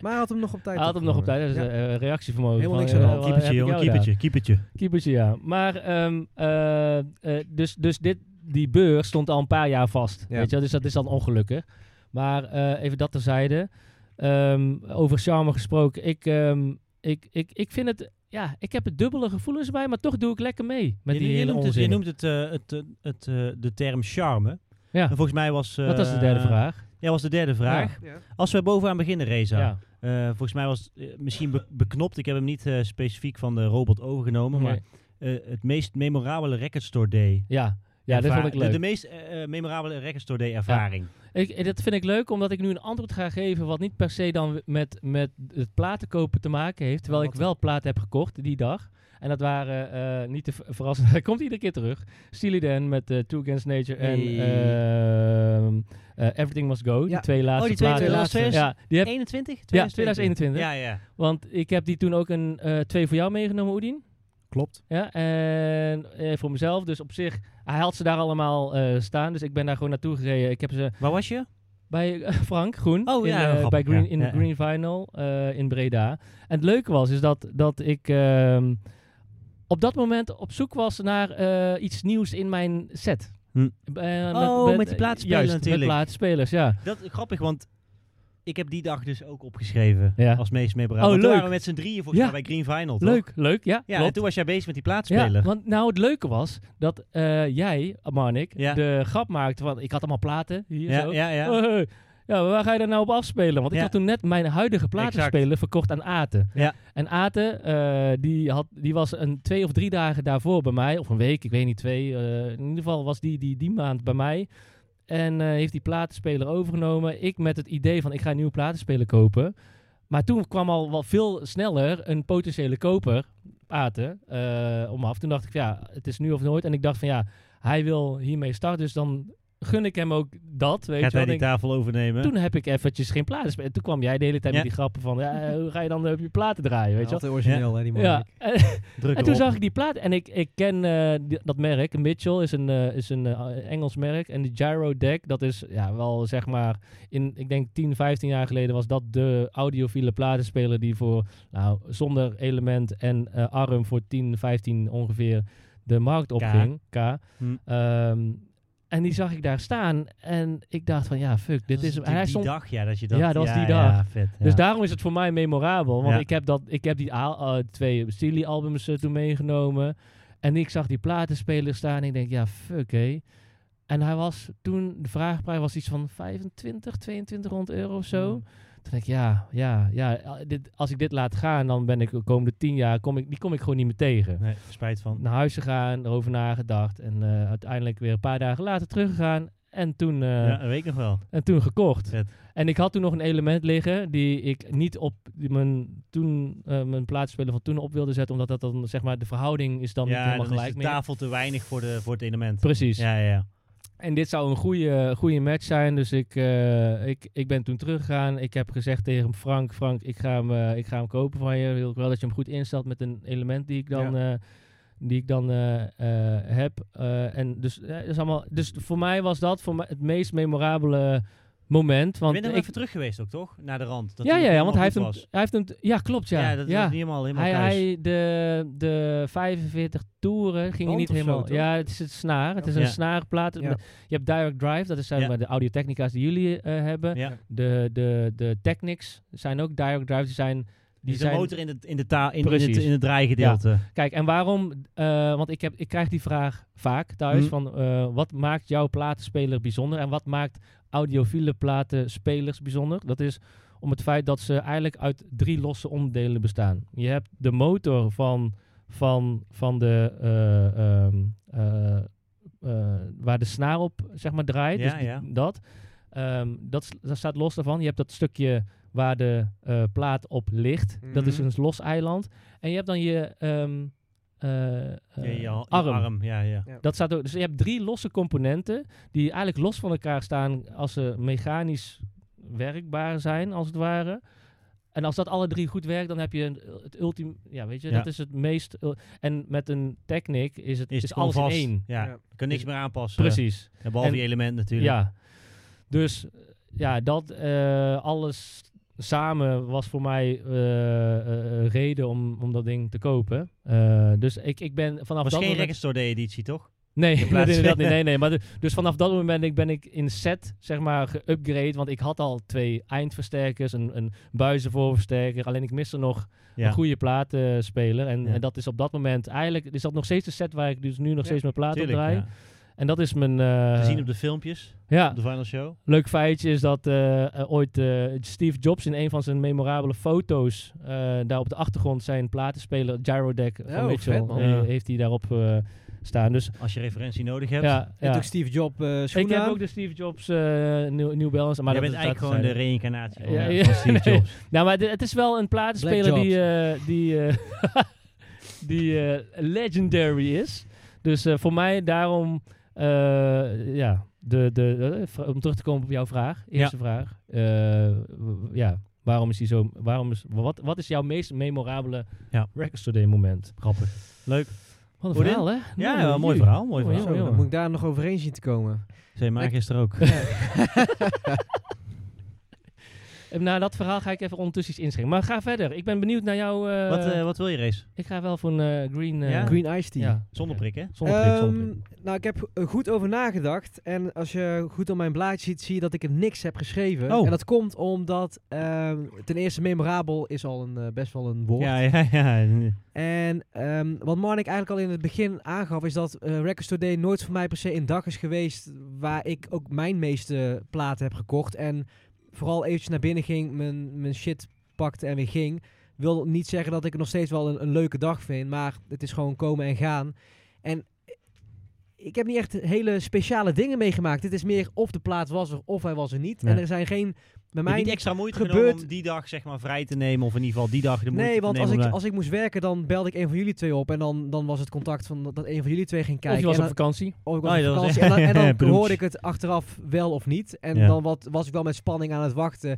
Speaker 2: Maar hij had hem nog op tijd.
Speaker 5: Hij had hem nog op tijd, dat is
Speaker 2: Ja.
Speaker 5: eh, reactievermogen.
Speaker 2: Helemaal
Speaker 5: van,
Speaker 2: niks aan de
Speaker 5: eh,
Speaker 2: hand.
Speaker 5: wat
Speaker 1: Keepertje,
Speaker 5: heb ik
Speaker 1: jongen,
Speaker 5: jou daar?
Speaker 1: keepertje, keepertje.
Speaker 5: Keepertje, ja. Maar, ehm, eh, eh, dus, dus dit, die beurs stond al een paar jaar vast.
Speaker 2: Ja.
Speaker 5: Weet je wel? Dus dat is dan ongelukkig. Maar eh, even dat terzijde. Ehm over charme gesproken. Ik, ehm, ik, ik, ik vind het... Ja, ik heb het dubbele gevoelens bij, maar toch doe ik lekker mee met
Speaker 1: Je-
Speaker 5: die
Speaker 1: je,
Speaker 5: hele
Speaker 1: noemt het,
Speaker 5: onzin.
Speaker 1: je noemt het, eh, het, eh, het, eh, de term charme.
Speaker 5: Ja.
Speaker 1: En volgens mij was... eh,
Speaker 5: dat was de derde vraag.
Speaker 1: Ja, was de derde vraag.
Speaker 2: Ja.
Speaker 1: Als we bovenaan beginnen, Reza.
Speaker 5: Ja.
Speaker 1: Eh, volgens mij was het eh, misschien be- beknopt. Ik heb hem niet eh, specifiek van de robot overgenomen.
Speaker 5: Nee.
Speaker 1: Maar eh, het meest memorabele Record Store Day.
Speaker 5: Ja, ja dat
Speaker 1: erva-
Speaker 5: vond ik
Speaker 1: De,
Speaker 5: leuk.
Speaker 1: de meest eh, eh, memorabele Record Store Day ervaring.
Speaker 5: Ik, eh, dat vind ik leuk, omdat ik nu een antwoord ga geven wat niet per se dan w- met, met het platen kopen te maken heeft. Terwijl ik
Speaker 2: Wat?
Speaker 5: wel platen heb gekocht die dag. En dat waren eh, niet te ver- verrassend. Hij komt iedere keer terug. Steely Dan met eh, Two Against Nature en
Speaker 1: Hey.
Speaker 5: ehm, eh, Everything Must Go.
Speaker 2: Ja.
Speaker 5: Die twee laatste
Speaker 1: Oh, die twee-
Speaker 5: platen.
Speaker 1: twee laatste.
Speaker 5: Ja, die heb,
Speaker 1: 21?
Speaker 5: Ja, 2021.
Speaker 1: Ja, ja.
Speaker 5: want ik heb die toen ook een eh, twee voor jou meegenomen, Oedien.
Speaker 2: Klopt.
Speaker 5: Ja, en eh, voor mezelf. Dus op zich, hij had ze daar allemaal eh, staan. Dus ik ben daar gewoon naartoe gereden. Ik heb ze
Speaker 1: Waar was je?
Speaker 5: Bij eh, Frank Groen.
Speaker 1: Oh,
Speaker 5: in,
Speaker 1: ja,
Speaker 5: eh,
Speaker 1: grappig,
Speaker 5: bij Green,
Speaker 1: ja.
Speaker 5: in
Speaker 1: Ja, ja.
Speaker 5: Green Vinyl eh, in Breda. En het leuke was is dat, dat ik ehm, op dat moment op zoek was naar eh, iets nieuws in mijn set.
Speaker 1: Hm.
Speaker 5: Eh,
Speaker 1: Oh, met die plaatsspeler
Speaker 5: juist,
Speaker 1: natuurlijk.
Speaker 5: met plaatspelers, ja.
Speaker 1: Dat is grappig, want ik heb die dag dus ook opgeschreven.
Speaker 5: Ja.
Speaker 1: Als meest memorabel.
Speaker 5: Oh,
Speaker 1: Want toen
Speaker 5: leuk.
Speaker 1: waren we met z'n drieën volgens
Speaker 5: Ja.
Speaker 1: mij bij Green Vinyl, toch?
Speaker 5: Leuk, leuk, ja.
Speaker 1: Ja, en
Speaker 5: klopt.
Speaker 1: toen was jij bezig met die
Speaker 5: Ja,
Speaker 1: plaatspeler.
Speaker 5: want nou het leuke was dat eh, jij, Marnik,
Speaker 1: Ja.
Speaker 5: de grap maakte van ik had allemaal platen hier
Speaker 1: ja,
Speaker 5: zo.
Speaker 1: ja, ja.
Speaker 5: Oh, hey. Ja, maar waar ga je daar nou op afspelen? Want ik
Speaker 1: Ja.
Speaker 5: had toen net mijn huidige platenspeler verkocht aan Aten.
Speaker 1: Ja.
Speaker 5: En Aten, eh, die, had, die was een twee of drie dagen daarvoor bij mij. Of een week, ik weet niet, twee. eh, in ieder geval was die die, die maand bij mij. En eh, heeft die platenspeler overgenomen. Ik met het idee van, ik ga een nieuwe platenspeler kopen. Maar toen kwam al wel veel sneller een potentiële koper, Aten, eh, om af. Toen dacht ik, ja, het is nu of nooit. En ik dacht van, ja, hij wil hiermee starten. Dus dan gun ik hem ook dat, weet
Speaker 1: Gaat
Speaker 5: je
Speaker 1: hij
Speaker 5: wel.
Speaker 1: die
Speaker 5: Ik-
Speaker 1: tafel overnemen?
Speaker 5: toen heb ik eventjes geen platen spelen. Toen kwam jij de hele tijd
Speaker 1: Ja.
Speaker 5: met die grappen van, ja, eh, hoe ga je dan op je platen draaien, weet je wel?
Speaker 2: Altijd origineel, hè, die man.
Speaker 5: Ja, en,
Speaker 1: Druk
Speaker 5: toen
Speaker 1: erop.
Speaker 5: zag ik die platen en ik, ik ken eh, die- dat merk, Mitchell is een, eh, is een eh, Engels merk en de Gyro Deck, dat is ja, wel zeg maar, in, ik denk 10, 15 jaar geleden was dat de audiofiele platenspeler die voor, nou, zonder element en eh, arm voor 10, 15 ongeveer de markt opging, K.
Speaker 1: Hm.
Speaker 5: Ehm, en die zag ik daar staan en ik dacht van ja, fuck, dit
Speaker 1: Dat
Speaker 5: is hem. En
Speaker 1: natuurlijk
Speaker 5: hij
Speaker 1: die
Speaker 5: stond
Speaker 1: dag, ja, dat je dat...
Speaker 5: Ja, dat was die
Speaker 1: Ja,
Speaker 5: dag.
Speaker 1: vet.
Speaker 5: dus
Speaker 1: ja.
Speaker 5: daarom is het voor mij memorabel. Want
Speaker 1: Ja.
Speaker 5: ik, heb dat, ik heb die a- eh, twee Steely-albums eh, toen meegenomen. En ik zag die platenspeler staan en ik denk, ja, fuck, hé. En hij was toen, de vraagprijs was iets van 25, 2200 euro of zo. Toen denk ik, ja, ja, ja. eh, Dit, als ik dit laat gaan, dan ben ik de komende tien jaar, kom ik, die kom ik gewoon niet meer tegen
Speaker 1: Nee, spijt van.
Speaker 5: naar huis gegaan, erover nagedacht. En eh, uiteindelijk weer een paar dagen later teruggegaan. En toen, eh,
Speaker 1: ja, dat weet ik nog wel.
Speaker 5: en toen gekocht.
Speaker 1: Vet.
Speaker 5: En ik had toen nog een element liggen die ik niet op die mijn, toen, eh mijn plaatsspeler van toen op wilde zetten. Omdat dat dan, zeg maar, de verhouding is dan niet
Speaker 1: ja,
Speaker 5: helemaal
Speaker 1: dan
Speaker 5: gelijk
Speaker 1: is de
Speaker 5: meer.
Speaker 1: tafel te weinig voor, de, voor het element.
Speaker 5: Precies.
Speaker 1: Ja, ja, ja.
Speaker 5: En dit zou een goede, goede match zijn. Dus ik, eh, ik, ik ben toen teruggegaan. Ik heb gezegd tegen Frank: Frank, ik ga hem, eh, ik ga hem kopen van je. Wil ik wel dat je hem goed instelt met een element die ik dan, eh, die ik dan eh, eh, heb. Eh, en dus, eh, dat is allemaal, dus voor mij was dat voor mij het meest memorabele moment.
Speaker 1: Ik
Speaker 5: Want
Speaker 1: ben nog
Speaker 5: ik-
Speaker 1: even terug geweest ook, toch? Naar de rand. Dat
Speaker 5: ja,
Speaker 1: hij
Speaker 5: ja,
Speaker 1: nog
Speaker 5: ja, want hij heeft, hem,
Speaker 1: helemaal
Speaker 5: hij heeft hem. Ja, klopt.
Speaker 1: goed was.
Speaker 5: Ja,
Speaker 1: Ja, dat is niet helemaal, helemaal
Speaker 5: hij,
Speaker 1: thuis.
Speaker 5: hij, de, de 45 toeren ging hij
Speaker 2: Band
Speaker 5: niet
Speaker 2: of zo,
Speaker 5: helemaal.
Speaker 2: Oh, toch?
Speaker 5: ja, het is het snaar. Het is
Speaker 1: Ja.
Speaker 5: een snaarplaat.
Speaker 2: Ja.
Speaker 5: Je hebt Direct Drive, dat zijn
Speaker 1: Ja.
Speaker 5: maar de audiotechnica's die jullie eh, hebben.
Speaker 1: ja.
Speaker 5: De, de, de Technics zijn ook Direct Drive. Die zijn. Die
Speaker 1: Die de
Speaker 5: zijn
Speaker 1: motor in, de, in, de ta in, in, het,
Speaker 5: Precies.
Speaker 1: in het draaigedeelte.
Speaker 5: Kijk, en waarom? eh, want ik, heb, ik krijg die vraag vaak thuis:
Speaker 1: Hm.
Speaker 5: van eh, wat maakt jouw platenspeler bijzonder en wat maakt audiofiele platenspelers bijzonder? Dat is om het feit dat ze eigenlijk uit drie losse onderdelen bestaan. Je hebt de motor van, van, van de, eh, ehm, eh, eh, waar de snaar op zeg maar, draait.
Speaker 1: Ja,
Speaker 5: dus die-
Speaker 1: ja.
Speaker 5: dat. Ehm, dat, s- dat staat los daarvan. Je hebt dat stukje waar de eh, plaat op ligt. Dat is
Speaker 2: Mhm.
Speaker 5: een los eiland. En je hebt dan je, ehm, eh, eh,
Speaker 1: Ja, je, ha- je
Speaker 5: arm.
Speaker 1: Ja, ja.
Speaker 5: Dat staat ook, dus je hebt drie losse componenten die eigenlijk los van elkaar staan als ze mechanisch werkbaar zijn, als het ware. En als dat alle drie goed werkt, dan heb je een- eh, het ultiem. Ja, weet je,
Speaker 1: Ja.
Speaker 5: dat is het meest. ul- En met een Technic is het
Speaker 1: Is
Speaker 5: is,
Speaker 1: het
Speaker 5: alles in
Speaker 1: alvast.
Speaker 5: één.
Speaker 1: Ja,
Speaker 2: Ja.
Speaker 1: je kan niks meer aanpassen.
Speaker 5: Precies.
Speaker 1: Ja, behalve
Speaker 5: En-
Speaker 1: je element natuurlijk.
Speaker 5: Ja. Dus ja, dat eh, alles samen was voor mij eh, eh, een reden om, om dat ding te kopen. Eh, dus ik, ik ben vanaf
Speaker 1: was geen
Speaker 5: dat moment...
Speaker 1: Record Store Day editie, toch?
Speaker 5: Nee, dat
Speaker 1: plaats-
Speaker 5: inderdaad niet. Nee, nee. Maar de- dus vanaf dat moment ben ik, ben ik in set, zeg maar, geüpgrade. Want ik had al twee eindversterkers, een, een buizenvoorversterker. Alleen ik miste nog
Speaker 1: Ja.
Speaker 5: een goede platenspeler. En,
Speaker 1: Ja.
Speaker 5: en dat is op dat moment eigenlijk... Is dat nog steeds de set waar ik dus nu nog steeds mijn plaat op
Speaker 1: Tuurlijk,
Speaker 5: draai.
Speaker 1: ja.
Speaker 5: En dat is mijn... eh,
Speaker 1: Te zien op de filmpjes,
Speaker 5: ja,
Speaker 1: op de final show.
Speaker 5: leuk feitje is dat eh, eh, ooit eh, Steve Jobs in een van zijn memorabele foto's... eh, daar op de achtergrond zijn platenspeler Gyrodeck van
Speaker 2: Oh,
Speaker 5: Mitchell...
Speaker 2: vet, man.
Speaker 5: eh,
Speaker 1: Ja.
Speaker 5: heeft hij daarop eh, staan. Dus...
Speaker 1: Als je referentie nodig hebt.
Speaker 5: Ja,
Speaker 2: En
Speaker 5: ja.
Speaker 2: ook Steve Jobs eh
Speaker 5: Ik
Speaker 2: schoenen
Speaker 5: heb
Speaker 2: aan.
Speaker 5: ook de Steve Jobs eh New, New Balance. Maar
Speaker 1: Maar je
Speaker 5: dat
Speaker 1: bent eigenlijk
Speaker 5: is dat
Speaker 1: gewoon de
Speaker 5: terzijde.
Speaker 1: reïncarnatie van,
Speaker 5: Ja,
Speaker 1: eh,
Speaker 5: ja.
Speaker 1: van Steve
Speaker 5: Nee.
Speaker 1: Jobs.
Speaker 5: Nou, maar dit- het is wel een platenspeler
Speaker 2: Black
Speaker 5: die, eh, die, eh, die eh, legendary is. Dus eh, voor mij daarom, eh, ja, de, de, eh, vra- om terug te komen op jouw vraag. Eerste vraag. Eh, w- ja, waarom is die zo, waarom is, wat, wat is jouw meest memorabele
Speaker 1: Ja.
Speaker 5: Record Store Day moment? Grappig.
Speaker 1: Leuk.
Speaker 5: Wat een
Speaker 1: Hoor je
Speaker 5: verhaal, hè?
Speaker 1: Ja,
Speaker 5: Nou,
Speaker 1: ja, mooi
Speaker 5: jee.
Speaker 1: verhaal. Mooi
Speaker 5: Oh,
Speaker 1: verhaal.
Speaker 2: Zo,
Speaker 5: jongen.
Speaker 2: dan moet ik daar nog overheen zien te komen.
Speaker 1: Zei maar
Speaker 2: Ik-
Speaker 1: gisteren ook.
Speaker 5: Eh, Nou, dat verhaal ga ik even ondertussen iets inschrijven. Maar ga verder. Ik ben benieuwd naar jouw... eh,
Speaker 1: wat, eh, wat wil je race?
Speaker 5: Ik ga wel voor een eh, green. eh,
Speaker 1: Ja?
Speaker 2: Green Ice Tea.
Speaker 5: Ja.
Speaker 1: Zonder prik, hè?
Speaker 5: Zonder prik, zonder
Speaker 2: Ehm,
Speaker 5: prik.
Speaker 2: nou, ik heb er goed over nagedacht. En als je goed op mijn blaadje ziet, zie je dat ik er niks heb geschreven.
Speaker 1: Oh.
Speaker 2: En dat komt omdat, ehm, ten eerste, memorabel is al een, eh, best wel een woord.
Speaker 1: Ja, ja, ja.
Speaker 2: En ehm, wat Marnik eigenlijk al in het begin aangaf, is dat eh Records Today nooit voor mij per se een dag is geweest waar ik ook mijn meeste platen heb gekocht. En vooral eventjes naar binnen ging, mijn, mijn shit pakte en weer ging. Wil niet zeggen dat ik het nog steeds wel een, een leuke dag vind, maar het is gewoon komen en gaan. En eh, ik heb niet echt hele speciale dingen meegemaakt. Het is meer of de plaat was er of hij was er niet.
Speaker 1: Nee.
Speaker 2: En er zijn geen... Bij
Speaker 1: Je hebt
Speaker 2: mij
Speaker 1: niet extra moeite
Speaker 2: gebeurt-
Speaker 1: genomen om die dag zeg maar vrij te nemen. Of in ieder geval die dag de moeite
Speaker 2: Nee, want
Speaker 1: te
Speaker 2: als
Speaker 1: nemen.
Speaker 2: ik,
Speaker 1: om
Speaker 2: als ik moest werken, dan belde ik een van jullie twee op. En dan, dan was het contact van dat- dat een van jullie twee ging
Speaker 5: of je
Speaker 2: kijken.
Speaker 5: was
Speaker 2: en
Speaker 5: op vakantie.
Speaker 2: dan, of ik was
Speaker 1: Oh,
Speaker 2: op
Speaker 1: ja, dat was-
Speaker 2: vakantie. En dan, en dan
Speaker 1: Bedoeld.
Speaker 2: hoorde ik het achteraf wel of niet. En
Speaker 1: Ja.
Speaker 2: dan wat, was ik wel met spanning aan het wachten.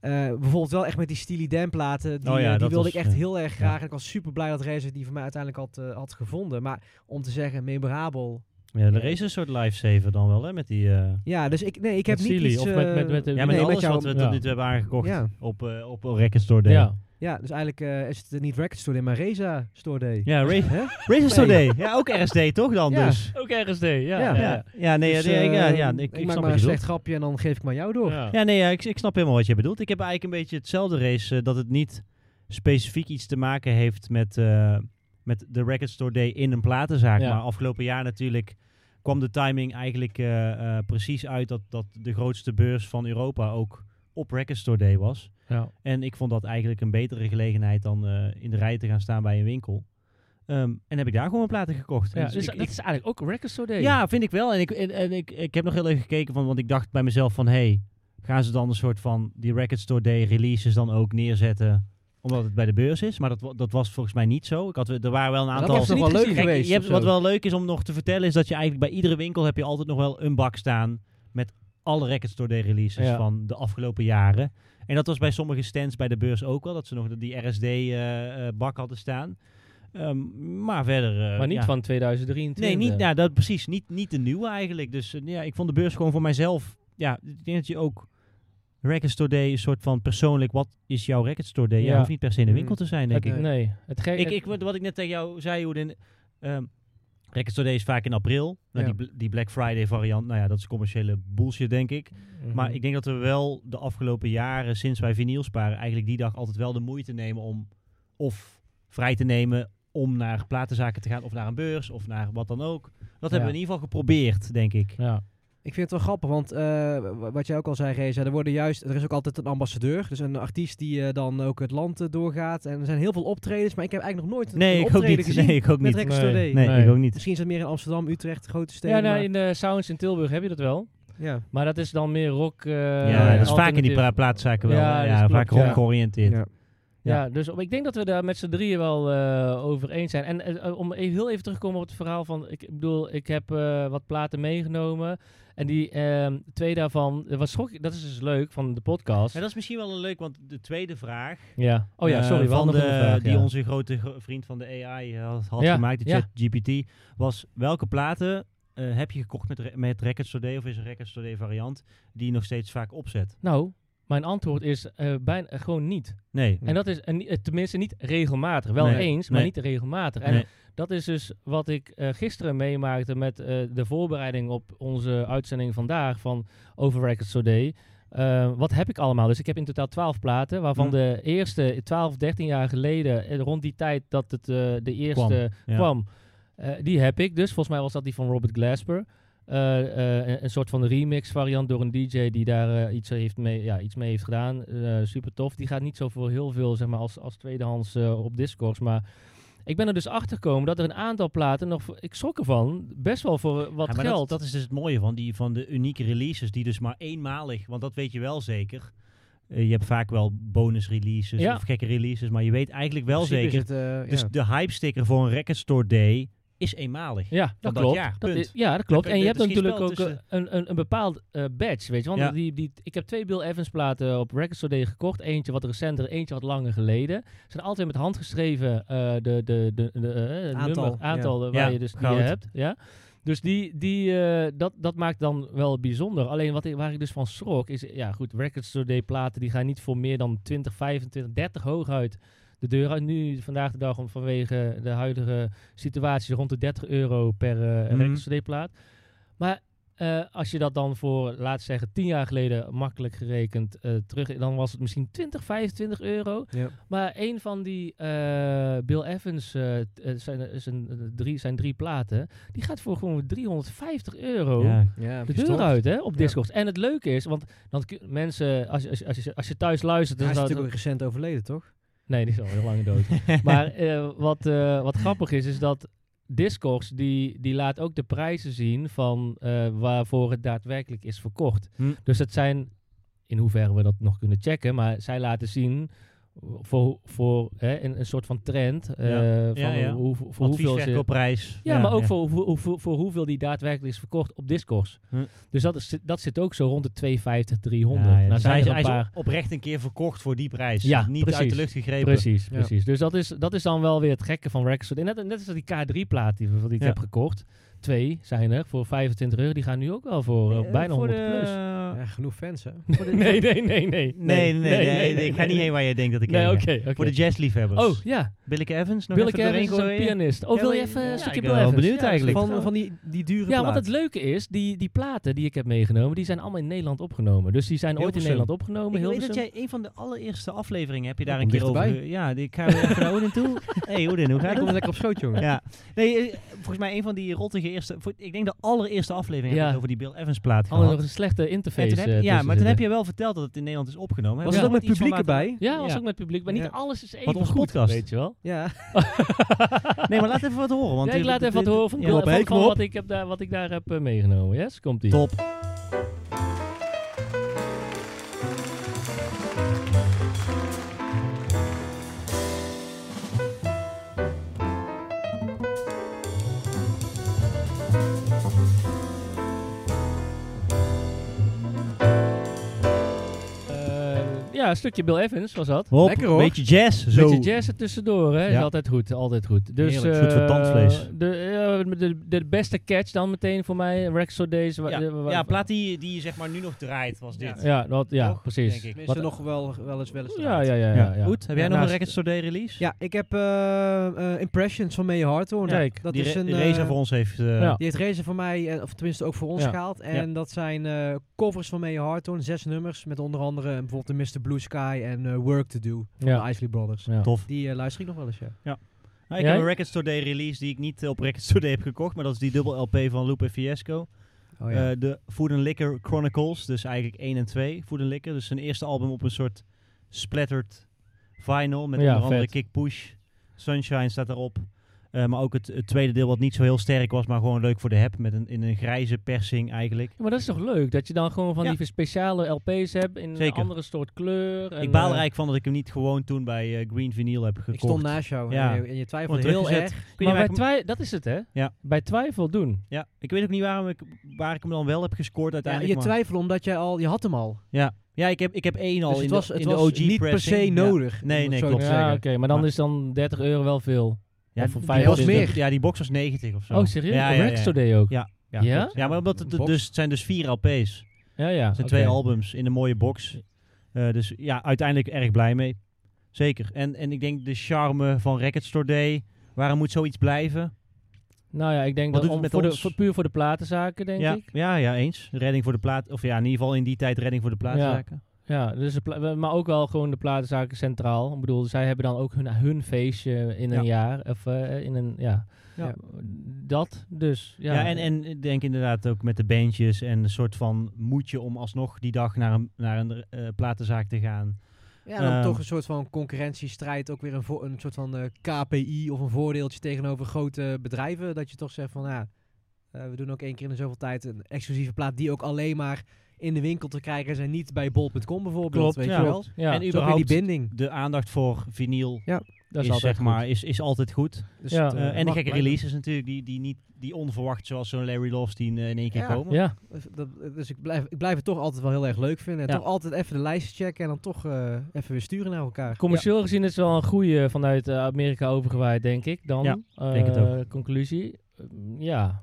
Speaker 2: Eh, bijvoorbeeld wel echt met die Steely Dan platen. Die,
Speaker 1: Oh ja,
Speaker 2: eh, die
Speaker 1: dat
Speaker 2: wilde
Speaker 1: was,
Speaker 2: ik echt
Speaker 1: eh,
Speaker 2: heel erg graag. En ik was super blij dat Reza die voor mij uiteindelijk had, eh, had gevonden. Maar om te zeggen, memorabel.
Speaker 1: daar- Ja, de race is een soort lifesaver dan wel, hè? Met die... eh,
Speaker 2: Ja, dus ik, nee, ik heb
Speaker 5: Met
Speaker 2: niet
Speaker 5: Sealy
Speaker 2: iets...
Speaker 5: of met-
Speaker 2: eh,
Speaker 5: met- met de-
Speaker 1: Ja, met
Speaker 2: nee,
Speaker 1: alles
Speaker 2: met jou-
Speaker 1: wat eh, we
Speaker 5: ja.
Speaker 1: tot nu toe hebben aangekocht
Speaker 2: Ja.
Speaker 1: op, eh op Record Store Day.
Speaker 5: Ja.
Speaker 2: ja, dus eigenlijk eh, is het niet Record Store Day, maar Reza Store Day.
Speaker 1: Ja, Ra-
Speaker 2: Hè?
Speaker 1: Racer Store Day. Ja, ook RSD toch dan
Speaker 2: Ja.
Speaker 1: dus?
Speaker 5: Ook RSD, ja.
Speaker 2: Ja.
Speaker 5: ja.
Speaker 1: Ja, ja nee,
Speaker 2: Dus,
Speaker 1: ja, nee, ja,
Speaker 2: eh,
Speaker 1: ja, ik, ik
Speaker 2: maak
Speaker 1: snap
Speaker 2: maar
Speaker 1: wat
Speaker 2: een
Speaker 1: je
Speaker 2: slecht
Speaker 1: bedoelt.
Speaker 2: grapje en dan geef ik maar jou door.
Speaker 5: Ja.
Speaker 1: Ja, nee, ja, ik, ik snap helemaal wat je bedoelt. Ik heb eigenlijk een beetje hetzelfde race, eh, dat het niet specifiek iets te maken heeft met, eh, met de Record Store Day in een platenzaak.
Speaker 5: Ja.
Speaker 1: Maar afgelopen jaar natuurlijk kwam de timing eigenlijk eh, eh, precies uit dat, dat de grootste beurs van Europa ook op Record Store Day was.
Speaker 5: Ja.
Speaker 1: En ik vond dat eigenlijk een betere gelegenheid dan eh, in de rij te gaan staan bij een winkel. Ehm, en heb ik daar gewoon mijn platen gekocht. En
Speaker 5: Ja,
Speaker 1: dus
Speaker 5: dus
Speaker 1: ik-
Speaker 5: dat
Speaker 1: ik-
Speaker 5: is eigenlijk ook een Record Store Day.
Speaker 1: ja, vind ik wel. En, ik, en, en ik, ik heb nog heel even gekeken, van, want ik dacht bij mezelf van... hey, gaan ze dan een soort van die Record Store Day releases dan ook neerzetten... omdat het bij de beurs is? Maar dat, wa- dat was volgens mij niet zo. Ik had, er waren wel een
Speaker 2: Dat
Speaker 1: aantal...
Speaker 2: was nog wel leuk
Speaker 1: Kijk,
Speaker 2: geweest.
Speaker 1: je hebt,
Speaker 2: of
Speaker 1: wat
Speaker 2: zo.
Speaker 1: wel leuk is om nog te vertellen, is dat je eigenlijk bij iedere winkel heb je altijd nog wel een bak staan met alle Record Store Day releases
Speaker 5: Ja.
Speaker 1: van de afgelopen jaren. En dat was bij sommige stands bij de beurs ook wel, dat ze nog die RSD-bak eh, hadden staan. Ehm, maar verder... eh,
Speaker 5: Maar niet
Speaker 1: ja.
Speaker 5: van 2023.
Speaker 1: Nee, niet, ja, dat, precies. Niet, niet de nieuwe eigenlijk. Dus eh, ja, ik vond de beurs gewoon voor mijzelf... Ja, ik denk dat je ook... Record Store Day is soort van persoonlijk... Wat is jouw Record Store Day? Ja,
Speaker 5: Ja.
Speaker 1: hoeft niet per se in de
Speaker 2: Mm.
Speaker 1: winkel te zijn, denk
Speaker 5: Het-
Speaker 1: ik.
Speaker 5: nee. nee. Het gek,
Speaker 1: Ik, ik, wat wat ik net tegen jou zei, hoe de ehm Record Store Day is vaak in april. Nou,
Speaker 2: Ja.
Speaker 1: die, bl- die Black Friday variant, nou ja, dat is commerciële bullshit, denk ik.
Speaker 5: Mhm.
Speaker 1: Maar ik denk dat we wel de afgelopen jaren, sinds wij vinyl sparen, eigenlijk die dag altijd wel de moeite nemen om of vrij te nemen om naar platenzaken te gaan, of naar een beurs, of naar wat dan ook. Dat hebben we in ieder geval geprobeerd, denk ik.
Speaker 5: Ja.
Speaker 2: Ik Ik vind het wel grappig, want eh, wa- wat jij ook al zei, Reza, er, worden juist, er is ook altijd een ambassadeur. Dus een artiest die eh, dan ook het land eh, doorgaat. En er zijn heel veel optredens, maar ik heb eigenlijk nog nooit een
Speaker 1: Nee, ik ook
Speaker 2: optreden
Speaker 1: niet.
Speaker 2: gezien
Speaker 1: Nee, ik ook
Speaker 2: met
Speaker 1: niet.
Speaker 2: Rex
Speaker 5: Nee.
Speaker 2: Today.
Speaker 1: Nee,
Speaker 5: Nee.
Speaker 1: ik ook niet.
Speaker 2: Misschien is dat meer in Amsterdam, Utrecht, grote steden.
Speaker 5: Ja, nou,
Speaker 2: maar-
Speaker 5: in de Sounds in Tilburg heb je dat wel.
Speaker 2: ja.
Speaker 5: Maar dat is dan meer rock. eh,
Speaker 1: ja, dat is vaak in die
Speaker 5: alternatief.
Speaker 1: pla- plaatszaken wel.
Speaker 5: Ja,
Speaker 1: Ja,
Speaker 5: dat klopt,
Speaker 1: vaak rock
Speaker 5: ja.
Speaker 1: georiënteerd.
Speaker 2: Ja.
Speaker 5: Ja, dus op- ik denk dat we daar met z'n drieën wel eh, over eens zijn. En eh, eh, om even, heel even terug te komen op het verhaal van... Ik bedoel, ik heb eh, wat platen meegenomen. En die ehm, twee daarvan... eh, Wat schrok, dat is dus leuk van de podcast.
Speaker 1: En dat is misschien wel een leuk, want de tweede vraag...
Speaker 5: Ja. Oh ja,
Speaker 1: eh,
Speaker 5: sorry. we
Speaker 1: van
Speaker 5: hadden
Speaker 1: de,
Speaker 5: nog een vraag,
Speaker 1: die
Speaker 5: ja.
Speaker 1: onze grote gro- vriend van de AI had, had
Speaker 5: Ja,
Speaker 1: gemaakt, de
Speaker 5: ja.
Speaker 1: ChatGPT, was welke platen eh, heb je gekocht met, re- met Records Today of is een Records Today variant die je nog steeds vaak opzet?
Speaker 5: Nou, mijn antwoord is eh, bijna, eh, gewoon niet.
Speaker 1: Nee.
Speaker 5: En dat is een, eh, tenminste niet regelmatig. Wel
Speaker 1: Nee,
Speaker 5: eens, maar
Speaker 1: nee.
Speaker 5: niet regelmatig. En
Speaker 1: Nee.
Speaker 5: dat is dus wat ik eh, gisteren meemaakte met eh, de voorbereiding op onze uitzending vandaag van Over Records Today. Eh, wat heb ik allemaal? Dus ik heb in totaal 12 platen, waarvan
Speaker 1: Hm.
Speaker 5: de eerste 12, 13 jaar geleden, eh, rond die tijd dat het eh, de eerste
Speaker 1: Kwam,
Speaker 5: kwam,
Speaker 1: ja.
Speaker 5: eh, die heb ik dus. Volgens mij was dat die van Robert Glasper. Eh, eh, een, een soort van remix variant door een DJ die daar eh, iets, heeft mee, ja, iets mee heeft gedaan. Eh, super tof. Die gaat niet zo voor heel veel zeg maar, als, als tweedehands eh, op Discogs. Maar ik ben er dus achter gekomen dat er een aantal platen nog, voor- ik schrok ervan, best wel voor eh, wat
Speaker 1: Ja, maar
Speaker 5: geld.
Speaker 1: Dat, dat is dus het mooie van, die, van de unieke releases, die dus maar eenmalig, want dat weet je wel zeker. Eh, je hebt vaak wel bonus releases
Speaker 5: Ja.
Speaker 1: of gekke releases, maar je weet eigenlijk wel
Speaker 2: In principe
Speaker 1: zeker.
Speaker 2: is het, eh,
Speaker 1: Dus
Speaker 2: ja.
Speaker 1: de hype sticker voor een Record Store Day is eenmalig.
Speaker 5: ja, dat
Speaker 1: dat
Speaker 5: klopt.
Speaker 1: jaar,
Speaker 5: dat
Speaker 1: punt.
Speaker 5: is- ja, dat klopt.
Speaker 1: kun-
Speaker 5: En je
Speaker 1: er
Speaker 5: hebt
Speaker 1: is geen
Speaker 5: natuurlijk
Speaker 1: spel
Speaker 5: ook eh, een, een, een bepaald eh, badge, weet je. Want
Speaker 1: Ja.
Speaker 5: die, die, ik heb twee Bill Evans platen op Record Store Day gekocht. Eentje wat recenter, eentje wat langer geleden. Ze zijn altijd met handgeschreven eh, de, de, de, de, eh, het
Speaker 2: Aantal,
Speaker 5: nummer,
Speaker 2: ja.
Speaker 5: aantal eh, waar
Speaker 1: Ja,
Speaker 5: je dus die
Speaker 1: goud.
Speaker 5: je hebt. Ja. Dus die, die, eh, dat, dat maakt dan wel bijzonder. Alleen wat ik, waar ik dus van schrok is, ja goed, Record Store Day platen die gaan niet voor meer dan 20, 25, 30 hooguit de deur uit. Nu vandaag de dag om vanwege de huidige situatie rond de 30 euro per eh
Speaker 1: Mhm.
Speaker 5: Record Store Day plaat. Maar eh, als je dat dan voor, laat zeggen, 10 jaar geleden makkelijk gerekend eh, terug, dan was het misschien 20, 25 euro.
Speaker 2: Ja.
Speaker 5: Maar een van die eh, Bill Evans, eh, t- eh, zijn, eh, zijn, eh, drie, zijn drie platen, die gaat voor gewoon 350 euro
Speaker 1: Ja.
Speaker 2: Ja,
Speaker 5: de
Speaker 2: gestopt.
Speaker 5: deur uit hè, op
Speaker 2: Ja.
Speaker 5: Discord. En het leuke is, want dan kun- mensen, als, je- als, je- als, je, als je thuis luistert...
Speaker 2: Hij
Speaker 5: dan
Speaker 2: is
Speaker 5: zou-
Speaker 2: natuurlijk ook recent overleden, toch?
Speaker 5: Nee, die is al heel lang dood. maar eh, wat, eh, wat grappig is, is dat Discogs, die, die laat ook de prijzen zien van eh, waarvoor het daadwerkelijk is verkocht.
Speaker 1: Hm.
Speaker 5: Dus dat zijn, in hoeverre we dat nog kunnen checken, maar zij laten zien voor, voor hè, een, een soort van trend eh,
Speaker 1: Ja.
Speaker 5: van
Speaker 1: Ja, ja.
Speaker 5: Hoe, hoe- voor hoeveel ze...
Speaker 1: Adviesverkoopprijs.
Speaker 5: Ja, maar ook Voor, hoe- hoe- voor, voor hoeveel die daadwerkelijk is verkocht op Discogs.
Speaker 1: Hm.
Speaker 5: Dus dat, is, dat zit ook zo rond de 250, 300.
Speaker 1: Ja, ja.
Speaker 5: Nou
Speaker 1: Dus hij,
Speaker 5: zijn
Speaker 1: is,
Speaker 5: er een
Speaker 1: hij is
Speaker 5: paar...
Speaker 1: oprecht een keer verkocht voor die prijs. Dus
Speaker 5: Ja,
Speaker 1: Niet uit
Speaker 5: precies.
Speaker 1: de lucht gegrepen.
Speaker 5: Precies,
Speaker 2: Ja.
Speaker 5: precies. Dus dat is, dat is dan wel weer het gekke van Records. En net, net als die K3-plaat die, die ik
Speaker 1: Ja.
Speaker 5: heb gekocht. Twee zijn er voor 25 euro. Die gaan nu ook wel voor eh,
Speaker 1: Eh,
Speaker 5: bijna
Speaker 1: voor
Speaker 5: 100
Speaker 1: de-
Speaker 5: plus.
Speaker 2: Ja, genoeg fans, hè?
Speaker 5: Nee, nee, nee, nee. Nee,
Speaker 1: Nee, nee, nee, nee, nee, Ik ga niet
Speaker 5: nee.
Speaker 1: heen waar jij denkt dat ik
Speaker 5: Nee,
Speaker 1: heen
Speaker 5: oké.
Speaker 1: ga.
Speaker 5: oké.
Speaker 1: Voor de jazzliefhebbers.
Speaker 5: Oh, ja.
Speaker 1: Billeke Evans nog
Speaker 5: Bill
Speaker 1: even doorheen
Speaker 5: Evans is een
Speaker 1: gooien?
Speaker 5: pianist. Oh,
Speaker 1: Ja,
Speaker 5: wil je
Speaker 1: ja,
Speaker 5: even
Speaker 1: ja,
Speaker 5: een stukje
Speaker 1: ik
Speaker 5: Bill
Speaker 1: ben wel
Speaker 5: Evans?
Speaker 1: benieuwd
Speaker 5: Ja, dat is
Speaker 1: eigenlijk.
Speaker 2: Van,
Speaker 5: goed.
Speaker 2: van die, die dure
Speaker 5: Ja,
Speaker 2: plaat.
Speaker 5: want het leuke is, die, die platen die ik heb meegenomen, die zijn allemaal in Nederland opgenomen. Dus die zijn ooit in
Speaker 1: Hilversum.
Speaker 5: Nederland opgenomen.
Speaker 1: Ik
Speaker 5: heel
Speaker 1: weet dat jij een van de allereerste afleveringen heb je daar
Speaker 2: Kom
Speaker 1: een keer over.
Speaker 2: dichterbij.
Speaker 1: ge- Ja, die- ik ga weer even naar Odin toe. hey, Odin, hoe
Speaker 2: Hij
Speaker 1: gaat
Speaker 2: komt
Speaker 1: het?
Speaker 2: lekker op schoot, jongen.
Speaker 1: Ja, nee, eh, volgens mij een van die rottige eerste. voor- Ik denk de allereerste aflevering heb ik
Speaker 5: Ja.
Speaker 1: het over die Bill Evans plaat
Speaker 5: Alleen
Speaker 1: gehad.
Speaker 5: nog een slechte interface.
Speaker 1: En toen heb-
Speaker 5: eh,
Speaker 1: ja,
Speaker 5: tussen
Speaker 1: maar toen heb
Speaker 5: zitten.
Speaker 1: je wel verteld dat het in Nederland is opgenomen.
Speaker 2: Was
Speaker 1: Hebben
Speaker 2: het ook
Speaker 1: we
Speaker 2: met
Speaker 1: iets van
Speaker 2: publiek
Speaker 1: laten-
Speaker 2: erbij?
Speaker 5: Ja, was
Speaker 1: Ja.
Speaker 5: ook met publiek. Maar
Speaker 2: Ja.
Speaker 5: niet alles is even
Speaker 1: onze
Speaker 5: goed,
Speaker 1: podcast.
Speaker 5: weet je wel.
Speaker 2: Ja.
Speaker 1: Nee, maar laat even wat horen. Want
Speaker 5: ja, ik laat even wat horen van,
Speaker 1: ja,
Speaker 5: Bill-
Speaker 1: kom op,
Speaker 5: van,
Speaker 1: hè, kom op.
Speaker 5: van wat, ik heb daar, wat ik daar heb eh, meegenomen. Yes, komt ie.
Speaker 1: Top.
Speaker 5: ja, een stukje Bill Evans was dat.
Speaker 1: Hop,
Speaker 2: Lekker, hoor.
Speaker 1: Beetje jazz. Zo.
Speaker 5: Beetje jazz er tussendoor, hè? Is
Speaker 1: Ja.
Speaker 5: altijd goed, altijd goed. Dus,
Speaker 1: Heerlijk, goed voor
Speaker 5: eh,
Speaker 1: tandvlees.
Speaker 5: De, ja, de, de beste catch dan meteen voor mij, Rexo Days. wa-
Speaker 1: Ja,
Speaker 5: de- wa-
Speaker 1: ja, plaat die, die je zeg maar nu nog draait was dit.
Speaker 5: ja, dat, ja
Speaker 1: Toch?
Speaker 5: precies.
Speaker 1: Denk ik.
Speaker 2: Tenminste,
Speaker 5: Wat-
Speaker 2: nog wel, wel eens wel eens
Speaker 5: Ja,
Speaker 2: eruit.
Speaker 5: ja, ja, ja,
Speaker 1: Ja.
Speaker 5: ja.
Speaker 1: Goed, heb jij
Speaker 5: Ja,
Speaker 1: nog
Speaker 5: naast-
Speaker 1: een Records Today release?
Speaker 2: Ja, ik heb eh, eh, Impressions van May Harthoorn.
Speaker 5: Kijk,
Speaker 2: dat
Speaker 1: die
Speaker 2: is
Speaker 1: Re-
Speaker 2: een
Speaker 1: Reza
Speaker 2: eh,
Speaker 1: voor ons heeft... eh,
Speaker 5: Ja.
Speaker 2: Die heeft Reza voor mij, eh, of tenminste ook voor ons
Speaker 5: Ja.
Speaker 2: gehaald. En dat zijn eh, covers van May Harthoorn, zes nummers. Met onder andere eh, bijvoorbeeld de Mr. Blue Sky en eh, Work to Do van
Speaker 5: Ja.
Speaker 2: de Isley Brothers.
Speaker 5: Ja.
Speaker 1: Tof.
Speaker 2: Die eh, luister ik nog wel eens, ja.
Speaker 1: Nou, ik
Speaker 5: Jij?
Speaker 1: heb een Records Today release die ik niet op Records Today heb gekocht, maar dat is die dubbel LP van Lupe Fiasco.
Speaker 2: Oh, ja.
Speaker 1: Eh, de Food and Liquor Chronicles, dus eigenlijk 1 en 2 Food and Liquor. Dus zijn eerste album op een soort splattered vinyl met
Speaker 5: Oh Ja,
Speaker 1: onder andere
Speaker 5: vet.
Speaker 1: Kick Push, Sunshine staat daarop. Eh, maar ook het, het tweede deel wat niet zo heel sterk was, maar gewoon leuk voor de heb met een, in een grijze persing eigenlijk.
Speaker 5: Ja, maar dat is toch leuk? Dat je dan gewoon van
Speaker 1: Ja.
Speaker 5: die speciale LP's hebt in een
Speaker 1: Zeker.
Speaker 5: andere soort kleur. En,
Speaker 1: ik baal er
Speaker 5: eh,
Speaker 1: eigenlijk van dat ik hem niet gewoon toen bij eh, Green Vinyl heb gekocht.
Speaker 2: ik stond naast jou
Speaker 1: Ja.
Speaker 2: en, je, en je
Speaker 1: Gewoon
Speaker 2: twijfelde heel
Speaker 1: teruggezet.
Speaker 2: erg.
Speaker 1: Ik weet
Speaker 5: Maar
Speaker 1: niet waar
Speaker 5: bij
Speaker 1: ik hem-
Speaker 5: twijfel, dat is het hè?
Speaker 1: Ja.
Speaker 5: Bij twijfel doen.
Speaker 1: Ja, ik weet ook niet waarom ik, waar ik hem dan wel heb gescoord
Speaker 2: Ja,
Speaker 1: uiteindelijk.
Speaker 2: je
Speaker 1: maar-
Speaker 2: twijfelde omdat jij al, je had hem al.
Speaker 1: Ja, ik heb, ik heb één al
Speaker 2: Dus
Speaker 1: in,
Speaker 2: het was,
Speaker 1: de,
Speaker 2: het
Speaker 1: in de
Speaker 2: was
Speaker 1: OG
Speaker 2: niet per
Speaker 1: pressing.
Speaker 2: se
Speaker 1: Ja.
Speaker 2: nodig.
Speaker 1: Nee,
Speaker 2: om het
Speaker 1: nee,
Speaker 2: zo
Speaker 1: klopt.
Speaker 2: te
Speaker 5: ja, oké,
Speaker 2: zeggen.
Speaker 5: maar dan
Speaker 1: Maar-
Speaker 5: is dan 30 euro wel veel.
Speaker 1: Ja,
Speaker 5: Of voor
Speaker 1: die
Speaker 5: 25.
Speaker 1: box-
Speaker 2: meer.
Speaker 1: Ja, die box was 90 of zo.
Speaker 5: Oh, serieus?
Speaker 1: Ja,
Speaker 5: Ja,
Speaker 1: ja, ja.
Speaker 5: ook.
Speaker 1: Ja. Ja,
Speaker 5: Ja?
Speaker 1: klopt. ja maar omdat het,
Speaker 2: Een box.
Speaker 1: dus, het zijn dus vier LP's.
Speaker 5: Ja, ja.
Speaker 1: Het zijn
Speaker 5: oké.
Speaker 1: twee albums in een mooie box. Eh, dus ja, uiteindelijk erg blij mee. Zeker. En, en ik denk de charme van Record Store Day. Waarom moet zoiets blijven?
Speaker 5: Nou ja, ik denk
Speaker 1: Wat doet
Speaker 5: dat
Speaker 1: het
Speaker 5: om-
Speaker 1: met
Speaker 5: voor de,
Speaker 1: ons?
Speaker 5: voor, puur voor de platenzaken, denk
Speaker 1: ja,
Speaker 5: ik.
Speaker 1: ja, ja, eens. Redding voor de plaat. Of ja, in ieder geval in die tijd redding voor de plaatzaken.
Speaker 5: Ja, dus de pla- maar ook wel gewoon de platenzaken centraal. Ik bedoel, zij hebben dan ook hun, hun feestje in een jaar. Of eh, in een, ja.
Speaker 2: Ja.
Speaker 5: Dat dus.
Speaker 1: Ja,
Speaker 5: Ja,
Speaker 1: en, en ik denk inderdaad ook met de bandjes en een soort van moedje om alsnog die dag naar een, naar een eh, platenzaak te gaan.
Speaker 2: Ja, dan
Speaker 1: Ehm.
Speaker 2: toch een soort van concurrentiestrijd. Ook weer een, vo- een soort van eh, KPI of een voordeeltje tegenover grote bedrijven. Dat je toch zegt van, ja, eh, we doen ook één keer in de zoveel tijd een exclusieve plaat die ook alleen maar in de winkel te krijgen is en niet bij bol.com bijvoorbeeld,
Speaker 1: Klopt,
Speaker 2: weet
Speaker 1: ja.
Speaker 2: je wel.
Speaker 1: en
Speaker 5: ja,
Speaker 2: Zo heb je
Speaker 1: überhaupt
Speaker 2: die binding.
Speaker 1: de aandacht voor vinyl
Speaker 5: dat is,
Speaker 1: is,
Speaker 5: altijd
Speaker 1: zeg
Speaker 5: goed.
Speaker 1: maar, is, is altijd goed.
Speaker 2: Dus
Speaker 5: Ja.
Speaker 2: het, eh,
Speaker 1: Eh, en de
Speaker 2: mag
Speaker 1: gekke
Speaker 2: blijven.
Speaker 1: releases natuurlijk, die, die, niet, die onverwacht zoals zo'n Larry Lovestein eh, in één keer
Speaker 2: Ja.
Speaker 1: komen.
Speaker 5: Ja,
Speaker 2: Dus, dat- dus ik, blijf, ik blijf het toch altijd wel heel erg leuk vinden. En
Speaker 1: Ja.
Speaker 2: toch altijd even de lijsten checken en dan toch eh, even weer sturen naar elkaar.
Speaker 5: commercieel gezien is het wel een goede vanuit eh, Amerika overgewaaid, denk ik. Dan,
Speaker 1: Ja,
Speaker 5: Eh,
Speaker 1: denk het ook.
Speaker 5: Conclusie, Eh, ja.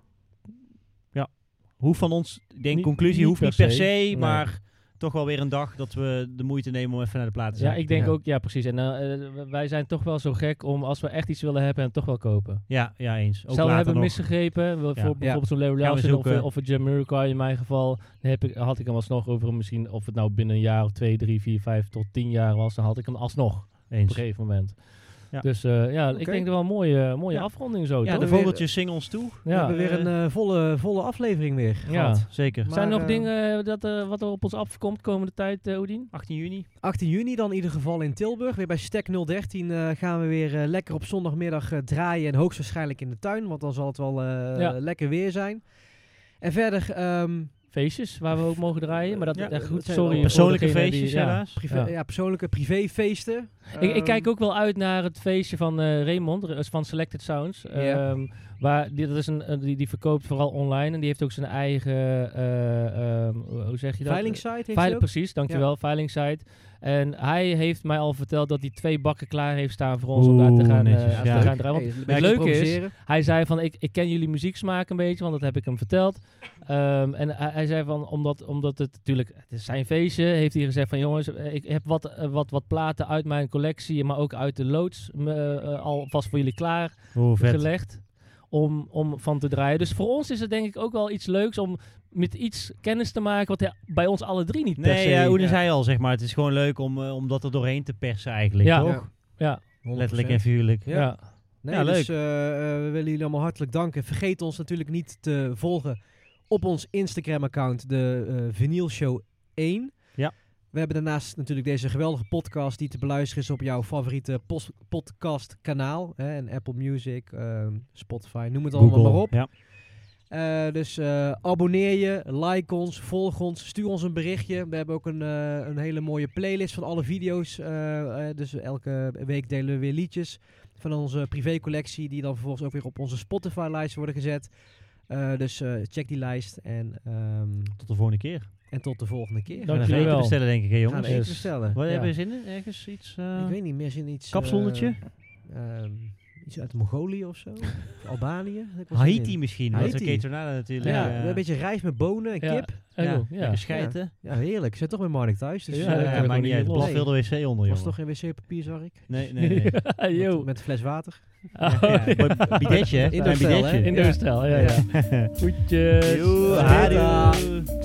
Speaker 1: Hoeft van ons, ik denk,
Speaker 5: Niet-
Speaker 1: conclusie
Speaker 5: niet
Speaker 1: hoeft
Speaker 5: per
Speaker 1: niet per se,
Speaker 5: se, nee.
Speaker 1: maar toch wel weer een dag dat we de moeite nemen om even naar de platen te
Speaker 5: Ja,
Speaker 1: gaan.
Speaker 5: ik denk
Speaker 2: Ja.
Speaker 5: ook, ja precies. En eh, eh, wij zijn toch wel zo gek om, als we echt iets willen hebben, hem toch wel kopen.
Speaker 1: Ja, ja, eens. Ook
Speaker 5: Stel, we
Speaker 1: later
Speaker 5: hebben
Speaker 1: nog.
Speaker 5: misgegrepen. Wel, Voor,
Speaker 1: Ja.
Speaker 5: Bijvoorbeeld zo'n Larry
Speaker 1: Gaan we
Speaker 5: Larson of,
Speaker 1: zoeken.
Speaker 5: eh, of een Jamiroquai in mijn geval. Dan heb ik, had ik hem alsnog over hem misschien, of het nou binnen een jaar of twee, drie, vier, vijf tot tien jaar was, dan had ik hem alsnog op een
Speaker 1: Eens.
Speaker 5: gegeven moment.
Speaker 1: Ja.
Speaker 5: Dus eh, ja, ik
Speaker 2: Oké.
Speaker 5: denk dat wel een mooie, mooie
Speaker 1: Ja.
Speaker 5: afronding zo.
Speaker 1: Ja,
Speaker 5: toch?
Speaker 1: de vogeltjes zingen ons toe.
Speaker 2: We
Speaker 5: ja.
Speaker 2: hebben weer een eh, volle, volle aflevering weer
Speaker 5: Ja.
Speaker 2: gehad.
Speaker 1: Zeker.
Speaker 2: Maar,
Speaker 5: Zijn er nog
Speaker 2: eh,
Speaker 5: dingen dat, eh, wat er op ons afkomt komende tijd, eh Oedien?
Speaker 1: 18 juni.
Speaker 2: 18 juni dan in ieder geval in Tilburg. Weer bij Stek 013 eh, gaan we weer eh, lekker op zondagmiddag eh, draaien. En hoogstwaarschijnlijk in de tuin, want dan zal het wel eh,
Speaker 5: Ja.
Speaker 2: lekker weer zijn. En verder, ehm,
Speaker 5: Feestjes waar we ook mogen draaien, maar dat
Speaker 1: Ja,
Speaker 5: is echt
Speaker 2: dat
Speaker 5: goed.
Speaker 2: zijn
Speaker 5: Sorry.
Speaker 2: wel
Speaker 5: voor
Speaker 1: Persoonlijke
Speaker 5: degene die-
Speaker 1: feestjes
Speaker 5: ja.
Speaker 1: helaas.
Speaker 2: privé,
Speaker 5: Ja.
Speaker 2: ja. persoonlijke privéfeesten.
Speaker 5: Ik, ik
Speaker 2: Ehm,
Speaker 5: kijk ook wel uit naar het feestje van eh, Raymond eh, van Selected Sounds.
Speaker 2: Ja.
Speaker 5: Ehm, waar die, dat is een, eh, die, die verkoopt vooral online en die heeft ook zijn eigen, eh, ehm, hoe zeg je dat?
Speaker 2: Veilingsite heeft hij
Speaker 5: Veil-
Speaker 2: ook.
Speaker 5: precies, dankjewel, veilingsite. En hij heeft mij al verteld dat hij twee bakken klaar heeft staan voor ons om
Speaker 1: Oeh,
Speaker 5: daar te gaan, eh,
Speaker 1: netjes,
Speaker 5: te
Speaker 1: ja.
Speaker 5: gaan draaien. Want
Speaker 2: Hey, een
Speaker 5: het
Speaker 2: beetje
Speaker 5: leuke is,
Speaker 2: improviseren.
Speaker 5: hij zei van, ik, ik ken jullie muzieksmaak een beetje, want dat heb ik hem verteld. Ehm, en hij, hij zei van, omdat, omdat het natuurlijk, het is zijn feestje, heeft hij gezegd van, jongens, eh, ik heb wat, eh, wat, wat platen uit mijn collectie, maar ook uit de loods me, eh, alvast voor jullie klaargelegd.
Speaker 1: Hoe vet.
Speaker 5: Om, om van te draaien. Dus voor ons is het denk ik ook wel iets leuks om met iets kennis te maken wat hij bij ons alle drie niet per se...
Speaker 1: Nee, ja, Oene
Speaker 5: Ja.
Speaker 1: zei al, zeg maar. Het is gewoon leuk om, eh, om dat er doorheen te persen eigenlijk,
Speaker 5: Ja.
Speaker 1: toch?
Speaker 2: Ja.
Speaker 5: Ja.
Speaker 2: 100%.
Speaker 1: Letterlijk en figuurlijk.
Speaker 2: Ja.
Speaker 5: Ja.
Speaker 2: Nee,
Speaker 1: Ja,
Speaker 2: Dus
Speaker 1: leuk.
Speaker 2: eh, eh, we willen jullie allemaal hartelijk danken. Vergeet ons natuurlijk niet te volgen op ons Instagram-account, de eh Vinyl Show 1.
Speaker 1: Ja.
Speaker 2: We hebben daarnaast natuurlijk deze geweldige podcast die te beluisteren is op jouw favoriete pos- podcastkanaal. Hè, en Apple Music, eh, Spotify, noem het allemaal maar op.
Speaker 1: Ja.
Speaker 2: Eh, dus eh, abonneer je, like ons, volg ons, stuur ons een berichtje. We hebben ook een, eh, een hele mooie playlist van alle video's. eh, eh, dus elke week delen we weer liedjes van onze privécollectie, die dan vervolgens ook weer op onze Spotify-lijst worden gezet. Eh, dus eh, check die lijst en, ehm,
Speaker 1: Tot de volgende keer.
Speaker 2: en tot de volgende keer.
Speaker 5: Dank
Speaker 1: Gaan even
Speaker 5: jullie
Speaker 1: eten
Speaker 5: wel.
Speaker 1: bestellen, denk ik, hè,
Speaker 2: Gaan we
Speaker 1: jongens.
Speaker 2: eten
Speaker 5: Yes.
Speaker 2: bestellen.
Speaker 1: Wat
Speaker 5: Ja.
Speaker 1: hebben we zin in? Ergens iets? eh,
Speaker 2: Ik weet niet meer, zin iets... eh,
Speaker 1: kapsalonnetje?
Speaker 2: ehm, iets uit Mongolië of zo? Of Albanië? Heb ik wel zin
Speaker 1: Haiti
Speaker 2: in.
Speaker 1: misschien.
Speaker 2: Haiti.
Speaker 1: Dat is een ketornade natuurlijk.
Speaker 2: Ja,
Speaker 1: eh,
Speaker 2: een beetje rijst met bonen en
Speaker 5: Ja.
Speaker 2: kip.
Speaker 5: Ja.
Speaker 1: ja,
Speaker 5: ja.
Speaker 1: lekker scheiden.
Speaker 2: Ja, heerlijk. Ik zit toch bij Marnik thuis. Dus
Speaker 5: Ja,
Speaker 2: eh,
Speaker 1: Ja,
Speaker 5: dat
Speaker 1: ja,
Speaker 5: kan ik
Speaker 1: maakt
Speaker 5: ook
Speaker 1: niet
Speaker 5: niet
Speaker 1: uit. Er
Speaker 5: los.
Speaker 1: Blaf veel de wc onder,
Speaker 2: was
Speaker 1: jongen.
Speaker 2: toch geen wc-papier, zag ik.
Speaker 1: Nee, nee, nee.
Speaker 5: Yo.
Speaker 2: Met, met een fles water.
Speaker 5: Oh,
Speaker 1: Ja,
Speaker 5: ja.
Speaker 1: b- Bidetje, hè?
Speaker 2: In
Speaker 1: Bij
Speaker 2: de
Speaker 1: een
Speaker 2: stijl, hè?
Speaker 1: bidetje.
Speaker 5: In de stijl, ja. ja. Goedjes.
Speaker 1: Joe,
Speaker 2: Later.
Speaker 1: adieu.